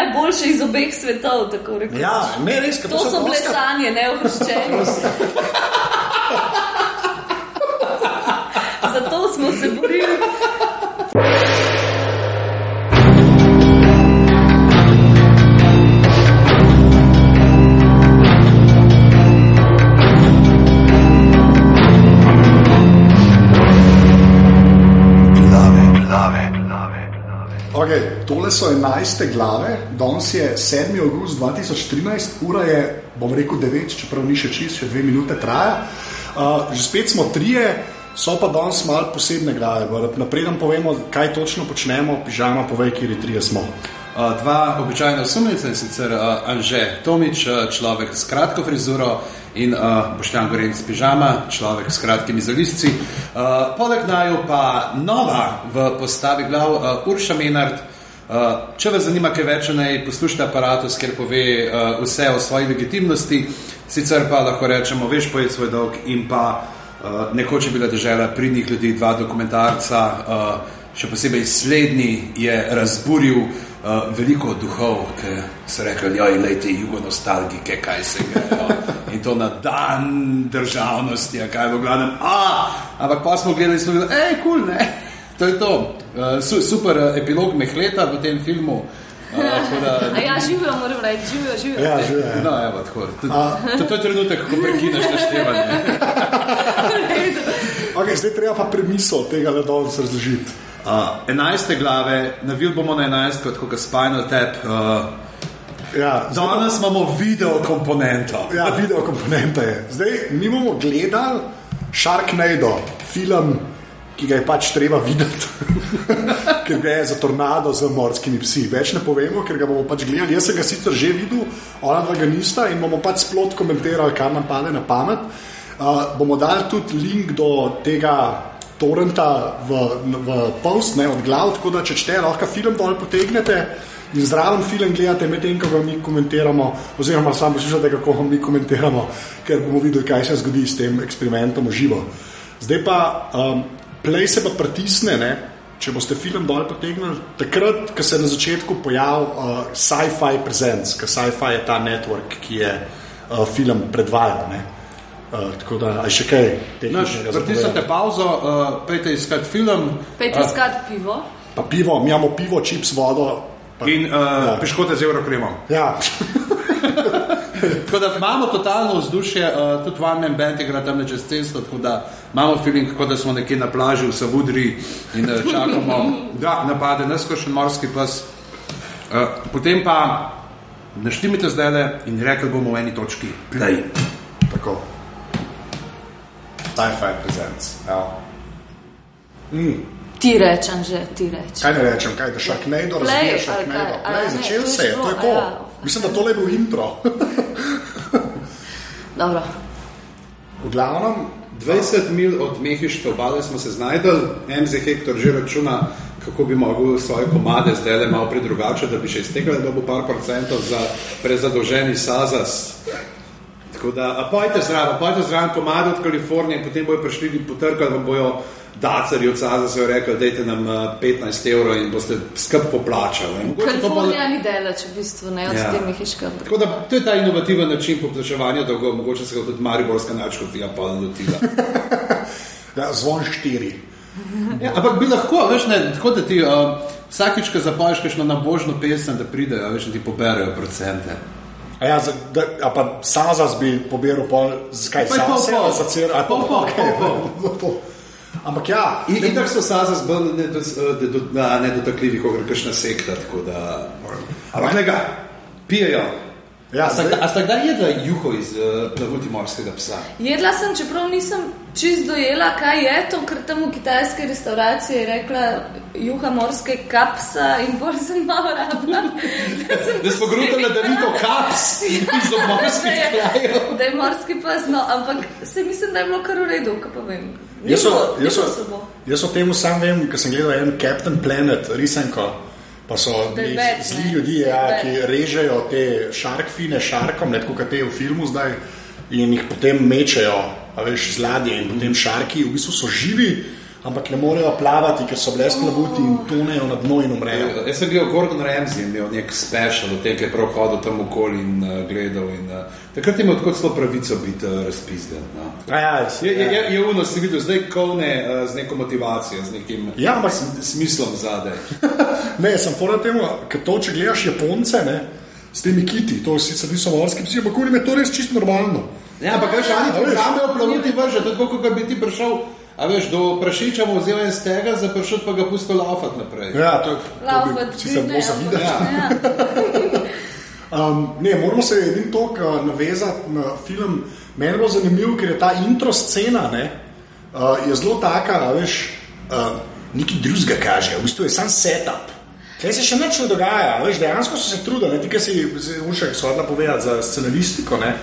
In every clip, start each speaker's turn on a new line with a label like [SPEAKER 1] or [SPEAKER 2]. [SPEAKER 1] Najboljše iz obeh svetov, tako rekoč.
[SPEAKER 2] Ja, ne res,
[SPEAKER 1] To so bile
[SPEAKER 2] Oscar-
[SPEAKER 1] sanje, ne ohrščenost. Zato smo se borili.
[SPEAKER 3] Plave, plave, plave, plave.
[SPEAKER 2] Okay, tole so 11. glave, danes je 7. august 2013, ura je, bom rekel, 9, čeprav ni še čist, še 2 minute traja. Uh, že spet smo trije, so pa danes malo posebne glave. Napreden povemo, kaj točno počnemo, pižama pove, kje trije smo.
[SPEAKER 4] Uh, Dva običajna osumljenca in sicer uh, Anže Tomič, uh, človek s kratko frizuro in uh, Boštjan Gorenc Pižama, človek s kratkimi zalizci. Uh, poleg naju pa nova v postavi glav uh, Urša Menard. Uh, če vas zanima kaj več, naj poslušate aparatus, kjer pove uh, vse o svoji legitimnosti, sicer pa lahko rečemo, veš, pojdi svoj dolg in pa Uh, nekoč je bila država pridnih ljudi, dva dokumentarca, uh, še posebej slednji je razburil uh, veliko duhov, ki so rekli: Joj, lejte, jugonostalgike, kaj se grejo. In to na dan državnosti, a kaj v glavnem. A, ampak pa smo gledali in smo rekli: hej, kul, cool, ne. To je to. Uh, su, super eh, epilog mehleta v tem filmu. Uh, tako da,
[SPEAKER 1] A ja, živijo, moram reči, živijo, živijo.
[SPEAKER 2] Ja, že je.
[SPEAKER 4] no, evo, tako. To, to, to je trenutek, ko prekineš naštevanje.
[SPEAKER 2] Okay, zdaj treba pa premisel tega, da danes razložiti.
[SPEAKER 4] Uh, 11 glave, navil bomo na 11, kot kot Spinal Tap. Uh,
[SPEAKER 2] Ja, zdaj pa-
[SPEAKER 4] danes imamo video komponento.
[SPEAKER 2] Ja, video komponenta je. Zdaj mi bomo gledali Sharknado, film, ki ga je pač treba videti, ker gre za tornado z morskimi psi. Več ne povemo, ker ga bomo pač gledali. Jaz sem ga sicer že videl, ona dva ga nista in bomo pač splot komentirali, kar nam pade na pamet. Uh, bomo dali tudi link do tega torrenta v, v post, ne od glav, tako da če čete, lahko film dol potegnete. In zraven film gledate, medtem ko ga mi komentiramo, oziroma samo poslušate, kako ga mi komentiramo, ker bomo videli, kaj se zgodi s tem eksperimentom v živo. Zdaj pa um, play se pa pritisne, ne? če boste film dol potegnili, takrat, ko se je na začetku pojavil uh, Sci-Fi Presents, ker Sci-Fi je ta network, ki je uh, film predvajal. ne. Uh, tako da, a je še kaj?
[SPEAKER 4] Naš,
[SPEAKER 2] tehničnega za
[SPEAKER 4] pritisnite
[SPEAKER 2] povedati?
[SPEAKER 4] pauzo, uh, pejte iskat film.
[SPEAKER 1] Pejte iskat pivo.
[SPEAKER 2] Pa pivo, mi imamo pivo, čips, vodo. Pa,
[SPEAKER 4] Uh, in uh,
[SPEAKER 2] Ja.
[SPEAKER 4] ja. piškote z eurokremom.
[SPEAKER 2] ja,
[SPEAKER 4] Tako da imamo totalno vzdušje, uh, tudi vam en bend igra tam čez cesto, tako da imamo feeling, kot da smo nekje na plaži v Savudri in uh, čakamo, da napade nas kot še morski pes. Uh, potem pa naštimite zdaj le in rekli bomo v eni točki. Play.
[SPEAKER 2] tako. Sci-fi presents. Ja.
[SPEAKER 1] Ti rečem že, ti rečem.
[SPEAKER 2] Kaj ne rečem, kaj da šak ne do
[SPEAKER 1] Play,
[SPEAKER 2] razumeš,
[SPEAKER 1] ali
[SPEAKER 2] šak
[SPEAKER 1] kaj? A
[SPEAKER 2] ne
[SPEAKER 1] ja,
[SPEAKER 2] do.
[SPEAKER 1] ne,
[SPEAKER 2] Začel
[SPEAKER 1] to je
[SPEAKER 2] se je,
[SPEAKER 1] šlo,
[SPEAKER 2] to je
[SPEAKER 1] a
[SPEAKER 2] to.
[SPEAKER 1] ja.
[SPEAKER 2] Mislim, da tole je bil intro.
[SPEAKER 1] Dobro.
[SPEAKER 2] V glavnem,
[SPEAKER 4] 20 mil od mehiške obale smo se znašli, MZ Hektor že računa, kako bi lahko svoje komade zdaj le malo predrugače, da bi še iztekel, da bo par procentov za prezadolženi Sazas. Tako da, a pojte zraven, pojte zraven komade od Kalifornije, potem bojo prišli in potrkali, vam bojo dacarji od Sazasa in rekli, dajte nam eh, 15 evrov in boste skrb poplačali. In mogoče to bo-
[SPEAKER 1] Kalifornija ni delač, v bistvu ne od
[SPEAKER 4] Ja.
[SPEAKER 1] te mehiške obrti.
[SPEAKER 4] Tako da to je ta inovativen način poplačevanja dolgov, mogoče se ga tudi Mariborska načkofija pa lotila.
[SPEAKER 2] ja, zvon štiri.
[SPEAKER 4] Ja, ampak bi lahko, veš, ne, tako da ti uh, vsakič, ko zapoješ kakšno nabožno pesem, da pridejo, a veš, da ti poberajo procente.
[SPEAKER 2] A ja, za, da, a pa Sazas bi pobiral pol, zakaj
[SPEAKER 4] Pa je pol,
[SPEAKER 2] Sazas za
[SPEAKER 4] pol.
[SPEAKER 2] cel, ali
[SPEAKER 4] Pol, pol,
[SPEAKER 2] okej,
[SPEAKER 4] pol,
[SPEAKER 2] to. Ampak ja,
[SPEAKER 4] In, in tako so saza zbolj nedotakljivih, kot je kakšna sekta. tako Da, ampak ne ga, pijejo.
[SPEAKER 2] Ja,
[SPEAKER 4] a sta,
[SPEAKER 2] zdaj-
[SPEAKER 4] a sta kdaj jedla juho iz uh, plavuti morskega psa?
[SPEAKER 1] Jedla sem, čeprav nisem čist dojela, kaj je to, ker tam v kitajski restauraciji je rekla juha morske kapsa in bolj sem malo rabila. da sem
[SPEAKER 4] Da smo grutili, da ni to kaps iz
[SPEAKER 1] Da
[SPEAKER 4] obmorskih
[SPEAKER 1] je-
[SPEAKER 4] krajev.
[SPEAKER 1] Da je morski pes, no, ampak se mislim, da je bilo kar v redu, kaj pa vem. Ni
[SPEAKER 2] Jaz
[SPEAKER 1] bilo-
[SPEAKER 2] o-
[SPEAKER 1] ni
[SPEAKER 2] jaz
[SPEAKER 1] bilo
[SPEAKER 2] o-
[SPEAKER 1] slabo.
[SPEAKER 2] Jaz o tem sam vem, ker sem gledal en Captain Planet, risanko. Pa so
[SPEAKER 1] Da je
[SPEAKER 2] bili
[SPEAKER 1] bad,
[SPEAKER 2] zli
[SPEAKER 1] ne?
[SPEAKER 2] ljudje,
[SPEAKER 1] Da
[SPEAKER 2] ja,
[SPEAKER 1] je
[SPEAKER 2] ki režejo te šarkfine šarkom, ne tako kot te v filmu zdaj, in jih potem mečejo, a veš, z ladje in potem šarki v bistvu so živi. a ampak ne morejo plavati, ker so bile splavuti in tonejo na dno in umrejo.
[SPEAKER 4] Jaz sem gledal Gordon Ramsay, je imel nek special, od tega je prav hodil tam okoli in uh, gledal. In, uh, takrat je imel tako celo pravico biti uh, razpizden. No.
[SPEAKER 2] A Ja,
[SPEAKER 4] Je, je,
[SPEAKER 2] ja.
[SPEAKER 4] je, je uno si videl, zdaj kovne uh, z neko motivacijo, z nekim
[SPEAKER 2] Ja, ampak-
[SPEAKER 4] s- smislom zadaj.
[SPEAKER 2] Ne, sem fora temu, ker to, če gledaš Japonce, ne, s temi kiti, to sicer niso morski psi, ampak oni me to res čisto normalno.
[SPEAKER 4] Ja, ampak veš,
[SPEAKER 2] A
[SPEAKER 4] ali ti
[SPEAKER 2] veš?
[SPEAKER 4] vzamejo plavuti vrže, tako kot bi ti prišel, a veš, do prašiča mu vzel en stega, za pršut pa ga pustil laufat naprej.
[SPEAKER 2] Ja, to, to
[SPEAKER 1] Laufat,
[SPEAKER 2] bi sicer
[SPEAKER 1] ne,
[SPEAKER 2] bilo za
[SPEAKER 1] ampak-
[SPEAKER 2] videti.
[SPEAKER 1] Ja.
[SPEAKER 2] Um, ne, moramo se edin tok uh, navezati na film. Meni je bilo zanimivo, ker je ta intro scena ne, uh, je zelo taka, a veš, uh, neki drugega kaže, v bistvu je sam setup. Kaj se še nič ne dogaja, a veš, dejansko so se trudili, ti, ki si ušek sodla povedati za scenaristiko, ne,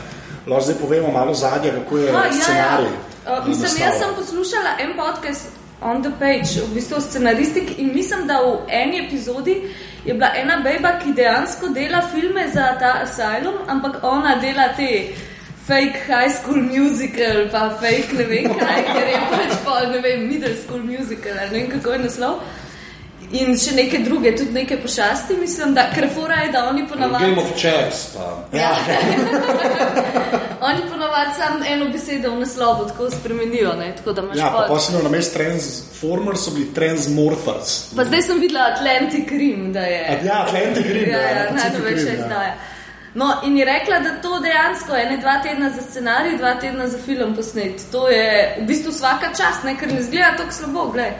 [SPEAKER 2] lahko zdaj povemo malo zadnje, kako je
[SPEAKER 1] A,
[SPEAKER 2] scenarij.
[SPEAKER 1] Ja, ja. Uh, mislim, jaz
[SPEAKER 2] nastal.
[SPEAKER 1] sem poslušala en podcast on the page, v bistvu scenaristik in mislim, da v eni epizodi je bila ena beba, ki dejansko dela filme za ta Asylum, ampak ona dela te fake high school musical, pa fake ne vem kaj, ker je pač pol, ne vem, middle school musical, ali ne vem kako je naslov. In še neke druge, tudi neke pošasti, mislim, da ker fora je, da oni
[SPEAKER 4] Game
[SPEAKER 1] ponavadi
[SPEAKER 4] of Chess pa.
[SPEAKER 2] Ja,
[SPEAKER 1] Oni ponovadi samo eno besedo v naslovu tako spremenijo. Ne? Tako da imaš
[SPEAKER 2] ja, pa
[SPEAKER 1] pol-
[SPEAKER 2] posebno na mestu Transformers so bili Transmorphers.
[SPEAKER 1] pa zdaj sem videla Atlantic Rim, da je.
[SPEAKER 2] Ja, Atlantic Rim,
[SPEAKER 1] ja, ja,
[SPEAKER 2] Pacific
[SPEAKER 1] najnovejša
[SPEAKER 2] Rim, ja.
[SPEAKER 1] izdaja. No, in je rekla, da to dejansko je ne dva tedna za scenarij, dva tedna za film posnet. To je v bistvu vsaka čast, ne, ker ne zgleda tako slabo. Glej.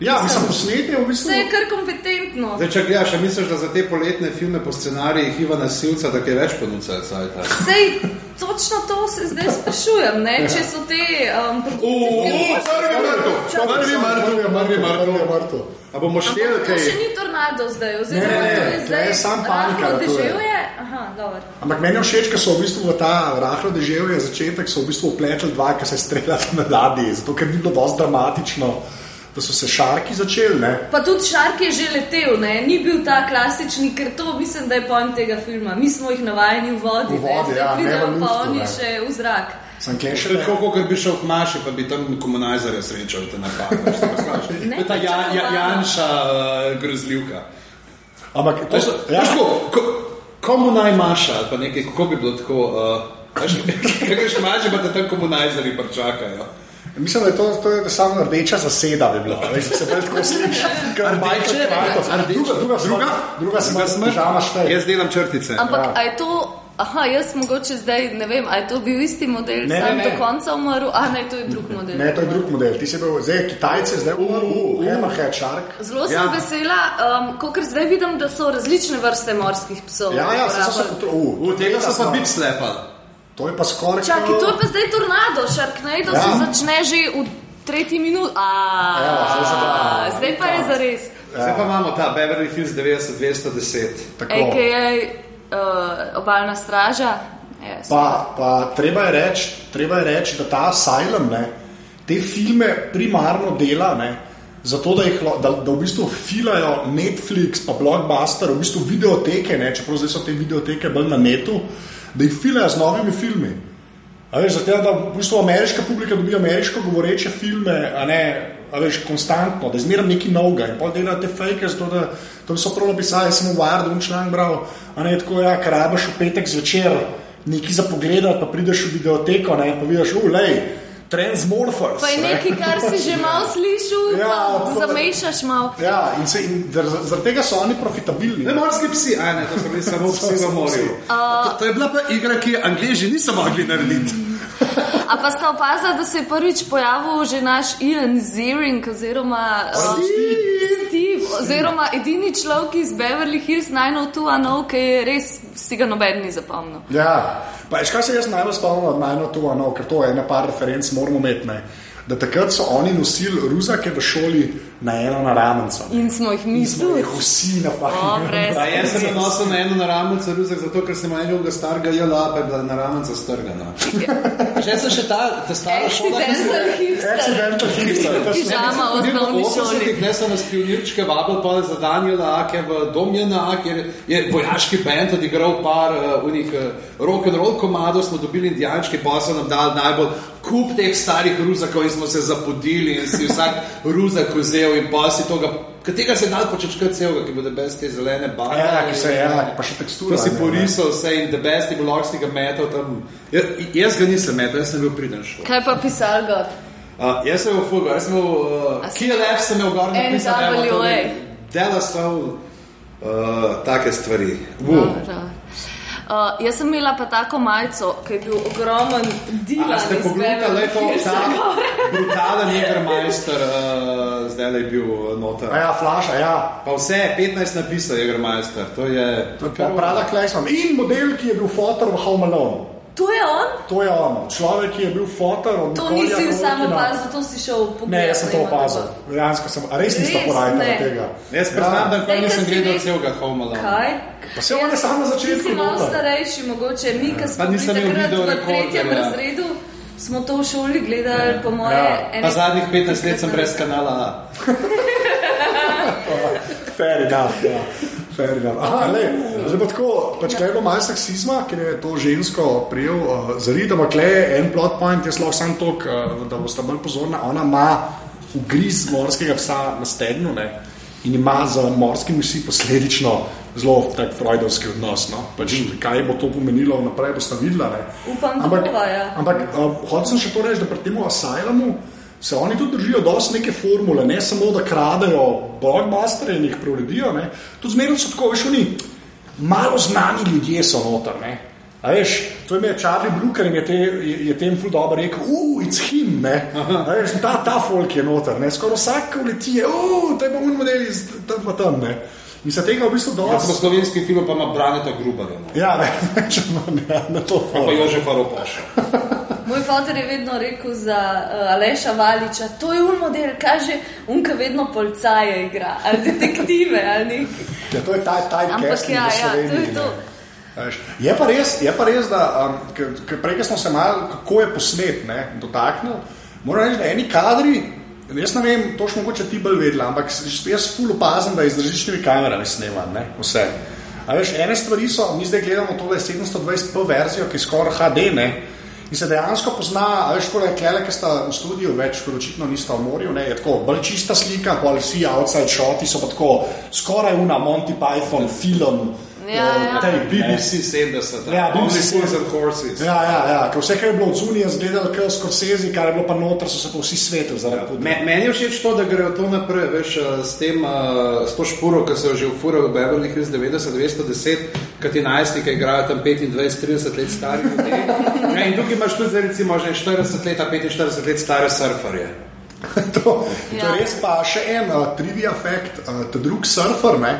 [SPEAKER 2] Ja, mislim, posnetje v bistvu.
[SPEAKER 1] Vse je kar kompetentno.
[SPEAKER 4] Zdaj, če gledaš, a misliš, da za te poletne filme po scenarijih Ivana Silca, da je več ponuca caj ta.
[SPEAKER 1] Sej, točno to se zdaj sprašujem,
[SPEAKER 2] Ja.
[SPEAKER 1] ne? če so te um, produkcijske
[SPEAKER 4] prvi mrtev, prvi mrtev, prvi mrtev.
[SPEAKER 2] je mrtev.
[SPEAKER 4] A bomo šteli
[SPEAKER 1] Ampak to
[SPEAKER 4] kaj?
[SPEAKER 1] še ni tornado zdaj, oziroma
[SPEAKER 2] Ne, ne,
[SPEAKER 1] to
[SPEAKER 2] ne,
[SPEAKER 1] je
[SPEAKER 2] to
[SPEAKER 1] zdaj
[SPEAKER 2] je samo panika,
[SPEAKER 1] rahlo
[SPEAKER 2] to je.
[SPEAKER 1] deževje. Aha, dobro.
[SPEAKER 2] Ampak meni je všeč, ker so v bistvu v ta rahlo deževje začetek, so v bistvu upletli dva, ki se streljata na ladji, zato ker ni bilo dosti dramatično, da so se šarki začeli. Ne?
[SPEAKER 1] Pa tudi šark je že letel, ne? ni bil ta klasični, ker to mislim, da je pojem tega filma. Mi smo jih navajeni v vodi,
[SPEAKER 2] V vodi,
[SPEAKER 1] ne?
[SPEAKER 2] ja,
[SPEAKER 1] zdaj
[SPEAKER 2] ne
[SPEAKER 1] pridejo
[SPEAKER 2] v
[SPEAKER 1] pa
[SPEAKER 2] luftu,
[SPEAKER 1] oni
[SPEAKER 2] ne.
[SPEAKER 1] še v zrak.
[SPEAKER 2] Sem klešil.
[SPEAKER 4] Še tako, kot bi šel k Maši, pa bi tam komunizerja srečal, te napadal. To je ta ja, ja, Janša uh, grozljivka.
[SPEAKER 2] Ampak to
[SPEAKER 4] Veš,
[SPEAKER 2] so.
[SPEAKER 4] ja.
[SPEAKER 2] Ja,
[SPEAKER 4] ko, ko, komu naj maša, ali pa nekaj, kako bi bilo tako. Uh, veš, kaj greš maši, pa te tam komunizerji pričakajo.
[SPEAKER 2] mislim, da je to, to je samo rdeča zaseda, bi bilo. Veš, da se pravi tako sliši. Kar
[SPEAKER 4] Rdeče,
[SPEAKER 2] rdeča kvartos.
[SPEAKER 4] rdeče.
[SPEAKER 2] Druga, druga, druga, druga smrt, žama šteje.
[SPEAKER 4] Jaz delam črtice.
[SPEAKER 1] Ampak
[SPEAKER 2] Ja.
[SPEAKER 1] ja. je to, aha, jaz mogoče zdaj ne vem, ali je to bil isti model,
[SPEAKER 2] Ne,
[SPEAKER 1] sam
[SPEAKER 2] ne, ne.
[SPEAKER 1] do konca umrl, a ne, to je drug model.
[SPEAKER 2] Ne, to je drug model. Ti si bil, zdaj Kitajci, zdaj
[SPEAKER 4] u.
[SPEAKER 2] Umahed, šark.
[SPEAKER 1] Zelo sem
[SPEAKER 4] Ja.
[SPEAKER 1] ja. vesela, um, ko ker zdaj vidim, da so različne vrste morskih psov.
[SPEAKER 2] Ja, ja, se so
[SPEAKER 1] uporabili.
[SPEAKER 2] potrudili.
[SPEAKER 4] V tega so pa biti slepa.
[SPEAKER 2] To je pa skoraj.
[SPEAKER 1] Čakaj, to je pa zdaj tornado, Sharknado
[SPEAKER 2] Ja.
[SPEAKER 1] ja. se začne že v tretji minuti.
[SPEAKER 2] Evo, zdaj se
[SPEAKER 1] A,
[SPEAKER 2] pravi.
[SPEAKER 1] Zdaj pa je zares.
[SPEAKER 2] Ja.
[SPEAKER 4] Zdaj pa imamo ta Beverly Hills 90210.
[SPEAKER 2] tako.
[SPEAKER 1] AKA uh, obaljna straža. Yes.
[SPEAKER 2] Pa, pa treba je reči, reč, da ta Asylum ne, te filme primarno dela, ne, zato da, jih, lo- da, da v bistvu filajo Netflix, pa Blockbuster, v bistvu videoteke, ne, čeprav zdaj so te videoteke bolj na netu, da jih filajo z novimi filmi. A Veš, zato, da v bistvu ameriška publika dobi ameriško govoreče filme, a ne a veš, konstantno, da je zmeraj neki novega in pol delajo te fake, zato da to so prav napisali, sem v Vardu in član bral, a ne tako, ja, kar rabiš v petek zvečer, neki za pogled, pa prideš v videoteko, ne, pa vidiš, ulej, Transmorphers.
[SPEAKER 1] Pa je
[SPEAKER 2] ne."
[SPEAKER 1] nekaj, kar si že malo slišal,
[SPEAKER 2] Ja,
[SPEAKER 1] ja,
[SPEAKER 2] to-
[SPEAKER 1] zamešaš malo.
[SPEAKER 2] Ja, in, se, in dar- zaradi tega so oni profitabilni.
[SPEAKER 4] Ne morski psi, a ne, to so bili samo psi v morju. To, to je bila pa igra, ki je angliži niso mogli narediti.
[SPEAKER 1] A pa sta opazila, da se je prvič pojavil že naš Ian Ziering, oziroma um, Steve, oziroma edini človek iz Beverly Hills 90210, ki je res si ga noben ni zapomnil.
[SPEAKER 2] Ja, pa veš, kaj se jaz najbolj spomnim od Najno Tuva, no, ker to je ena par referenc, moramo imeti. Ne? Da takrat so oni nosili ruzake v šoli na eno naravnico.
[SPEAKER 1] In smo jih mi
[SPEAKER 2] Mi smo
[SPEAKER 1] tudi.
[SPEAKER 2] jih vsi
[SPEAKER 1] O, brez.
[SPEAKER 4] A
[SPEAKER 2] napadli.
[SPEAKER 4] Ja, jaz sem nosil na eno naravnico ruzak, zato ker sem enega starega jela, pa je bila naravnica strgana. Še sem Ja. še ta, ta stara šola, ki sem
[SPEAKER 1] Accidental hipster.
[SPEAKER 2] Accidental hipster. to so-
[SPEAKER 1] Pižama v osnovni šoli.
[SPEAKER 4] Ne so nas pionirčke vabili, pa za Daniela Ake v Domljena, kjer je vojaški bend eh, odigral par uh, unih uh, rock and roll komadov, smo dobili indijančki, pa so nam dali najbolj kup teh starih ruzakov in smo se zapodili in si vsak ruzak vzel in pa si toga, katerega se da počečkati celega, ki bo debes te zelene barve.
[SPEAKER 2] Ja, ki se je, ja, pa še tekstura.
[SPEAKER 4] To si
[SPEAKER 2] ne,
[SPEAKER 4] porisal vse in debes ti bo lahko si ga metal tam. Jaz, jaz ga nisem metal, jaz sem bil priden šel.
[SPEAKER 1] Kaj pa pisal gor?
[SPEAKER 4] Uh, jaz sem v Fugu, jaz sem v uh,
[SPEAKER 1] A si- E.
[SPEAKER 4] KLF, sem imel gor napisan, evo, to
[SPEAKER 1] NWA.
[SPEAKER 4] je- Dela sem uh, take stvari. Wow.
[SPEAKER 1] Dobro. Uh, jaz sem imela pa tako majico, ki je bil ogromen
[SPEAKER 4] A
[SPEAKER 1] divan.
[SPEAKER 4] ste
[SPEAKER 1] iz
[SPEAKER 4] pogledali,
[SPEAKER 1] Beverly
[SPEAKER 4] lepo,
[SPEAKER 1] Hillsa
[SPEAKER 4] ta
[SPEAKER 1] gor.
[SPEAKER 4] brutalen Jägermeister, uh, zdaj je bil uh, noter.
[SPEAKER 2] A ja, flaša, ja.
[SPEAKER 4] Pa vse, 15 napisal Jägermeister, to je...
[SPEAKER 2] To je pa Prada Klesman. In model, ki je bil fotor v Home Alone.
[SPEAKER 1] To je on?
[SPEAKER 2] To je on, človek, ki je bil fotor od
[SPEAKER 1] To
[SPEAKER 2] Nikolja
[SPEAKER 1] nisi sam
[SPEAKER 2] Rotina.
[SPEAKER 1] opazil, to si šel pogledat.
[SPEAKER 2] Ne, jaz sem to
[SPEAKER 1] na
[SPEAKER 2] opazil.
[SPEAKER 1] internetu.
[SPEAKER 2] Dejansko sem, a res nisem
[SPEAKER 1] Res
[SPEAKER 2] porajal
[SPEAKER 1] ne.
[SPEAKER 2] tega.
[SPEAKER 4] Jaz priznam, da nikoli
[SPEAKER 1] Zdaj,
[SPEAKER 4] nisem
[SPEAKER 1] ko si
[SPEAKER 4] gledal
[SPEAKER 1] rekel-
[SPEAKER 4] celega Homala.
[SPEAKER 1] Kaj?
[SPEAKER 2] Pa se on je samo na začetku
[SPEAKER 1] Ti si malo
[SPEAKER 2] noter.
[SPEAKER 1] starejši, mogoče mi, ki smo
[SPEAKER 4] Ja. Pa
[SPEAKER 1] bili
[SPEAKER 4] nisem imel
[SPEAKER 1] takrat
[SPEAKER 4] video
[SPEAKER 1] v tretjem
[SPEAKER 4] rekorderja.
[SPEAKER 1] razredu, smo to v šoli gledali, po moje.
[SPEAKER 2] Ja.
[SPEAKER 1] ene-
[SPEAKER 4] Pa zadnjih 15 let sem brez kanala A.
[SPEAKER 2] Fair enough, ja. Fair enough. Aha, le, zdaj pa tako, pač kaj je bilo malo seksizma, ker je to žensko prijel, uh, zarit, ampak le en plot point, jaz lahko sam tok, uh, da boste bolj pozorna, ona ima ugriz morskega psa na stednu, ne, in ima za morskim vsi posledično zelo tak freudovski odnos, no, pač kaj bo to pomenilo naprej, boste videla, ne.
[SPEAKER 1] Mm. Upam, da bova, ja.
[SPEAKER 2] Ampak uh, hočem še to reči, da pri tem asylumu se oni tudi držijo dosti neke formule, ne samo da kradejo blogmastere in jih preudijo. Tudi zmerno so tako, veš, oni malo znani ljudje so noter. Ne? A veš, to je imel Charlie Brooker in je, te, je, je tem ful dobro rekel, uh, it's him, ne. A veš, ta, ta folk je noter, ne. Skoraj vsak, ki leti, je, uh, to je pa un model iz tam pa tam, ne. In se tega v bistvu
[SPEAKER 4] Jaz sem
[SPEAKER 2] dosti.
[SPEAKER 4] slovenski film, pa ima Braneta Grubarja. no.
[SPEAKER 2] Ja, ne, če imam ja, na to.
[SPEAKER 4] Pa Jožefa Ropoša.
[SPEAKER 1] Moj fotor je vedno rekel za uh, Aleša Valiča, to je un model, kaže, un, ki vedno policaje igra, ali detektive, ali nekaj.
[SPEAKER 2] Ja, to je taj, taj
[SPEAKER 1] Ampak ja, ja, to je to.
[SPEAKER 2] Veš, Je pa res, je pa res da um, ker- ker prej ko smo se malo, kako je posnet, ne, dotaknil. Moram reči, da eni kadri, jaz ne vem, to še mogoče ti bolj vedela, ampak s- jaz ful opazim, da je z različnimi kamerami sneman ne, vse. A veš, ene stvari so, mi zdaj gledamo tole 720p verzijo, ki je skoraj HD, ne, in se dejansko pozna, a veš, ko je klele, ki sta v studiu, več kot očitno nista v morju, ne, je tako bolj čista slika, pa vsi outside shoti so pa tako skoraj una Monty Python film.
[SPEAKER 1] Ja,
[SPEAKER 2] eh,
[SPEAKER 1] ja.
[SPEAKER 2] tej BBC
[SPEAKER 4] BBC 70.
[SPEAKER 2] Ja,
[SPEAKER 4] Only
[SPEAKER 2] BBC.
[SPEAKER 4] Fools and Horses.
[SPEAKER 2] Ja, ja, ja. ker Vse, kar je bilo od zunije, je zgledalo kot skorsezi, kar je bilo pa noter, so se pa vsi svetili zaradi tega.
[SPEAKER 4] Ja. Me, meni je všeč to, da grejo to naprej, veš, eh, s, tem, eh, s to špuro, ki so jo že ufurali v Beverly Hills 90, 210, kaj ti najstnike igrajo tam 25, 30 let stari ljudje. Ja, in tukaj imaš tudi zdaj recimo že 40 let, a 45 let stare surferje.
[SPEAKER 2] To, ja. to
[SPEAKER 1] Ja.
[SPEAKER 2] je res pa še en uh, trivia fakt, uh, ta drug surfer, ne?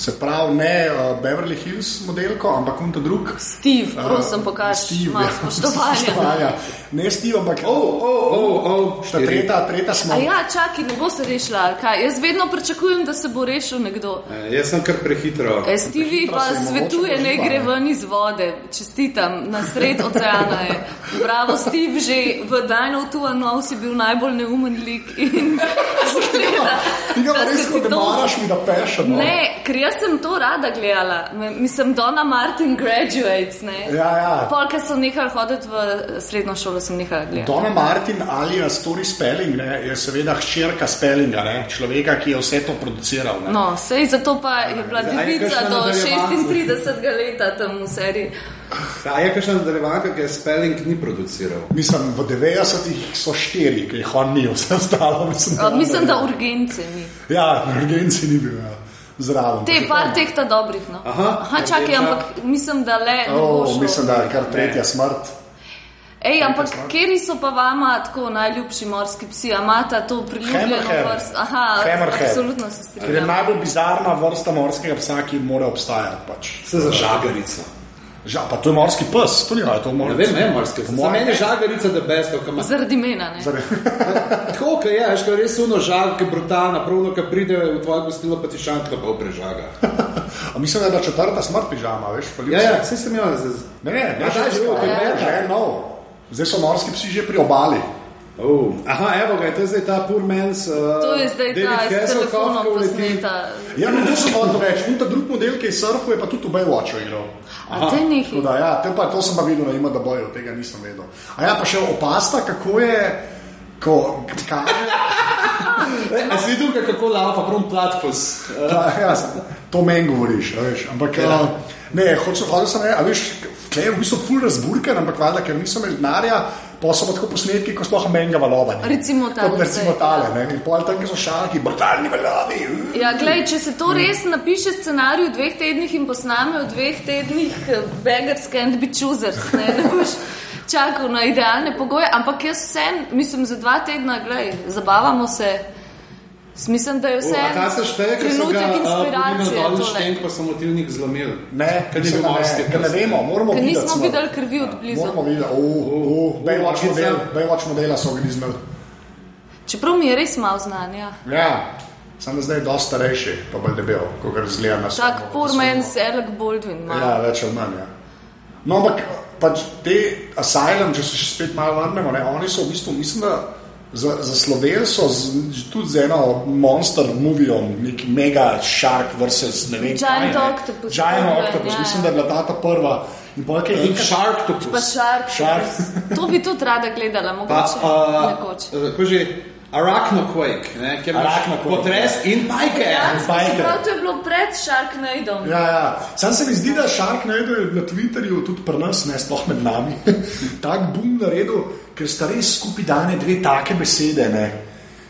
[SPEAKER 2] se pravi ne uh, Beverly Hills modelko, ampak on ta drug.
[SPEAKER 1] Steve,
[SPEAKER 2] eh,
[SPEAKER 1] prosim, pokaži,
[SPEAKER 2] Steve,
[SPEAKER 1] malo
[SPEAKER 2] ja,
[SPEAKER 1] spoštovanja.
[SPEAKER 2] spoštovanja. Ne Steve, ampak oh,
[SPEAKER 4] O, o, o, o,
[SPEAKER 2] ta tretja, tretja
[SPEAKER 1] A
[SPEAKER 2] smo.
[SPEAKER 1] ja, čakaj, ne bo se rešila, ali kaj? Jaz vedno pričakujem, da se bo rešil nekdo.
[SPEAKER 4] Eh, Jaz sem kar prehitro.
[SPEAKER 1] E, Stevie
[SPEAKER 2] Hitro
[SPEAKER 1] pa
[SPEAKER 2] se je mogoče
[SPEAKER 1] svetuje, ne
[SPEAKER 2] poživa,
[SPEAKER 1] gre
[SPEAKER 2] ne.
[SPEAKER 1] ven iz vode. Čestitam, na sred oceana je. Bravo, Steve, že v Dino tu Anou si bil najbolj neumen lik. in zgleda,
[SPEAKER 2] Ti ga pa
[SPEAKER 1] da se
[SPEAKER 2] res
[SPEAKER 1] ti
[SPEAKER 2] kot
[SPEAKER 1] to-
[SPEAKER 2] maraš, mi da peš. No.
[SPEAKER 1] Ne, ker jaz sem to rada gledala. Me- Mislim, Dona Martin graduates. Ne?
[SPEAKER 2] Ja, ja.
[SPEAKER 1] Pol, ker sem nehala hoditi v srednjo šolo, sem nehala gledati.
[SPEAKER 2] Dona Martin ali Story Spelling ne, je seveda hčerka Spellinga, ne, človeka, ki je vse to produciral. Ne.
[SPEAKER 1] No, sej zato pa je bila
[SPEAKER 4] Zdaj,
[SPEAKER 1] devica
[SPEAKER 4] kakšna
[SPEAKER 1] do
[SPEAKER 4] nadaljevanka.
[SPEAKER 1] 36. leta tam v seriji.
[SPEAKER 4] A je kakšna nadaljevanka, ki je Spelling ni produciral?
[SPEAKER 2] Mislim, v 90-ih so štiri, ki jih on ni, vse ostalo. Mislim,
[SPEAKER 1] Uh, Mislim, da
[SPEAKER 2] on
[SPEAKER 1] urgence ni.
[SPEAKER 2] je. Ja, urgenci ni bil, ja. zraven.
[SPEAKER 1] Te par teh ta dobrih. No.
[SPEAKER 4] Aha,
[SPEAKER 1] Aha čakaj,
[SPEAKER 4] rdeča.
[SPEAKER 1] ampak mislim, da le. ne bo
[SPEAKER 2] Oh,
[SPEAKER 1] šlo.
[SPEAKER 2] ja. mislim, da je kar tretja smrt.
[SPEAKER 1] Ej, ampak kateri so pa vama tako najljubši morski psi? A imata to priljubljeno
[SPEAKER 2] Hammerhead.
[SPEAKER 1] vrsto? Aha,
[SPEAKER 2] Hammerhead.
[SPEAKER 1] absolutno se
[SPEAKER 2] Ker je
[SPEAKER 1] strinjam.
[SPEAKER 2] najbolj bizarna vrsta morskega psa, ki mora obstajati. Pač.
[SPEAKER 4] Se za žagarico.
[SPEAKER 2] Žal, pa to je morski pes, to ni no, je to
[SPEAKER 4] Ne
[SPEAKER 2] morski
[SPEAKER 4] vem, ne, morske.
[SPEAKER 2] Po
[SPEAKER 4] Za
[SPEAKER 2] mojem
[SPEAKER 4] mene je
[SPEAKER 2] ne.
[SPEAKER 4] žagarica the best, ki ima
[SPEAKER 1] Zaradi mena, ne?
[SPEAKER 4] Tako kot je, veš, ko je res uno žal, ki je brutalna, pravno, ki pride v tvoje gostilo, pa ti šanka pa obrežaga.
[SPEAKER 2] A mislim, da je bila četrta smrt pižama, veš, falil
[SPEAKER 4] Ja,
[SPEAKER 2] si.
[SPEAKER 4] ja, vse sem jaz.
[SPEAKER 2] Ne, ne,
[SPEAKER 4] A,
[SPEAKER 2] ne,
[SPEAKER 4] daj,
[SPEAKER 2] še
[SPEAKER 4] že,
[SPEAKER 2] drugo,
[SPEAKER 4] kaj
[SPEAKER 2] ne, no.
[SPEAKER 4] meta.
[SPEAKER 2] že nov. Zdaj so morski psi že pri obali.
[SPEAKER 4] Oh. Aha, evo ga, to je zdaj ta poor man's. Uh,
[SPEAKER 1] To je zdaj
[SPEAKER 4] David
[SPEAKER 1] ta s
[SPEAKER 4] Hasselhoff,
[SPEAKER 1] telefonom
[SPEAKER 4] ko leti.
[SPEAKER 1] posneta.
[SPEAKER 2] Ja, no, to sem hotel reči. In ta drugi model, ki je srfal, je pa tudi v Baywatchu igral.
[SPEAKER 1] A te
[SPEAKER 2] Tako
[SPEAKER 1] neki.
[SPEAKER 2] Da, ja, to, pa, to sem pa videl na ima, da bojo, tega nisem vedel. A ja, pa še opasta, kako je, ko kaže.
[SPEAKER 4] E, a si videl, kako lava prom platfus?
[SPEAKER 2] Ja, ja, to meni govoriš, a veš. Ampak ja. ne, hočem hoditi samo, ja, a veš, tle je v bistvu ful razburkan, ampak valjda, ker nisem imel denarja, pa so pa tako posnetki, ko sploh menga valova. ne.
[SPEAKER 1] Recimo tale,
[SPEAKER 2] Kot Recimo
[SPEAKER 1] zdaj,
[SPEAKER 2] tale, ne. In pol tam, kjer so šarki, brutalni valovi. uh.
[SPEAKER 1] Ja, glej, če se to res napiše scenarij v dveh tednih in posname v dveh tednih, eh, beggars can't be choosers. Ne, ne boš čakal na idealne pogoje, ampak jaz vsem, mislim, za dva tedna, glej, zabavamo se. Mislim, da je vse.
[SPEAKER 4] Oh, A ta se šteje, ker so ga uh, eh,
[SPEAKER 1] trenutek inspiracije.
[SPEAKER 4] dolžni
[SPEAKER 1] tole.
[SPEAKER 4] štenk, pa so motilnik zlomil.
[SPEAKER 2] Ne,
[SPEAKER 4] ker ni
[SPEAKER 2] mislim,
[SPEAKER 4] bil
[SPEAKER 2] da
[SPEAKER 4] morski.
[SPEAKER 2] ne, ker ne vemo, moramo
[SPEAKER 1] Ker nismo
[SPEAKER 2] smo-
[SPEAKER 1] videli krvi
[SPEAKER 4] Ja,
[SPEAKER 1] od blizu.
[SPEAKER 2] Moramo videti,
[SPEAKER 4] Uh,
[SPEAKER 2] oh, Baywatch
[SPEAKER 4] Rokica.
[SPEAKER 2] model, Baywatch modela so ga izmeli.
[SPEAKER 1] Čeprav mi je res malo znanja.
[SPEAKER 2] Ja, samo da zdaj je dosti starejši, pa bolj debel, ko ga razgleda na
[SPEAKER 1] Tak
[SPEAKER 4] Ja,
[SPEAKER 2] samo-
[SPEAKER 1] poor
[SPEAKER 2] samo-
[SPEAKER 1] man's
[SPEAKER 4] no.
[SPEAKER 1] Alec Baldwin. malo.
[SPEAKER 2] Ja, več ali manj. Ja. No, ampak pač te asylum, če se še spet malo vrnemo, ne, oni so v bistvu, mislim, da za, za Slovenijo, tudi z eno monster movijo, nek mega shark versus ne vem.
[SPEAKER 1] Giant
[SPEAKER 2] kaj, ne.
[SPEAKER 1] octopus.
[SPEAKER 2] Giant
[SPEAKER 1] Ja,
[SPEAKER 2] octopus,
[SPEAKER 1] ja.
[SPEAKER 2] mislim, da je bila ta, ta prva. In pa kaj
[SPEAKER 4] In
[SPEAKER 2] je
[SPEAKER 4] shark to
[SPEAKER 1] Pa
[SPEAKER 4] pus.
[SPEAKER 1] šark.
[SPEAKER 2] Shark.
[SPEAKER 1] To bi tudi rada gledala,
[SPEAKER 4] Pa,
[SPEAKER 1] mogoče. nekoč.
[SPEAKER 4] uh, ko že, arachnoquake, ne, kjer imaš
[SPEAKER 2] Arachnoquake,
[SPEAKER 4] potres in pajke.
[SPEAKER 1] Ja,
[SPEAKER 2] Spiker.
[SPEAKER 1] Prav to je bilo pred Sharknadom.
[SPEAKER 2] Ja, ja. Sam se mi zdi, da Shark Nado je na Twitterju, tudi pri nas, ne sploh med nami, tak bum naredil, ker sta res skupaj dane dve take besede, ne,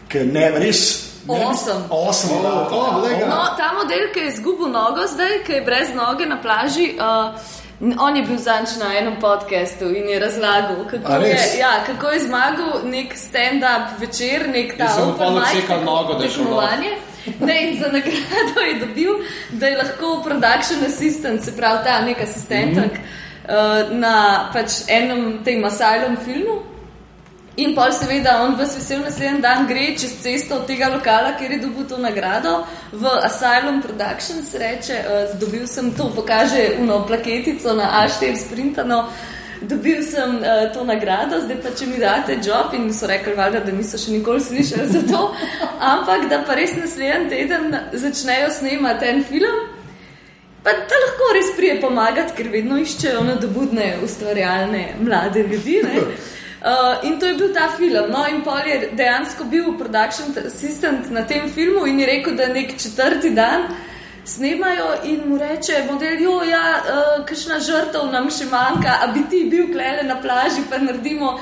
[SPEAKER 2] ker ne res. ne- ja.
[SPEAKER 1] Awesome.
[SPEAKER 2] Awesome,
[SPEAKER 4] Oh,
[SPEAKER 2] da.
[SPEAKER 4] oh, glej ga.
[SPEAKER 1] No, ta model, ki je izgubil nogo zdaj, ki je brez noge na plaži, uh, n- on je bil zanč na enem podkastu in je razlagal, kako
[SPEAKER 2] A
[SPEAKER 1] je,
[SPEAKER 2] res?
[SPEAKER 1] ja, kako je zmagal nek stand-up večer, nek ta
[SPEAKER 4] In so mu
[SPEAKER 1] open
[SPEAKER 4] pol
[SPEAKER 1] mic,
[SPEAKER 4] odsekal
[SPEAKER 1] tako-
[SPEAKER 4] nogo, da je šel dol.
[SPEAKER 1] tekmovanje. Ne, in za nagrado je dobil, da je lahko production assistant, se pravi ta nek asistentek mm
[SPEAKER 4] Mhm.
[SPEAKER 1] -hmm. uh, na pač enem tem asylum filmu. In pol seveda on vas vesel naslednji dan gre čez cesto od tega lokala, kjer je dobil to nagrado, v Asylum Productions reče, uh, dobil sem to, pokaže uno plaketico na A4 sprintano, dobil sem uh, to nagrado, zdaj pa če mi date job in so rekli, valjda, da niso še nikoli slišali za to, ampak da pa res naslednji teden začnejo snemati en film. Pa da lahko res prije pomagati, ker vedno iščejo nadobudne, ustvarjalne mlade ljudi. ne. Uh, in to je bil ta film. No, in pol je dejansko bil production assistant na tem filmu in je rekel, da nek četrti dan snemajo in mu reče, model, jo, ja, uh, kakšna žrtev nam še manjka, a bi ti bil klele na plaži, pa naredimo,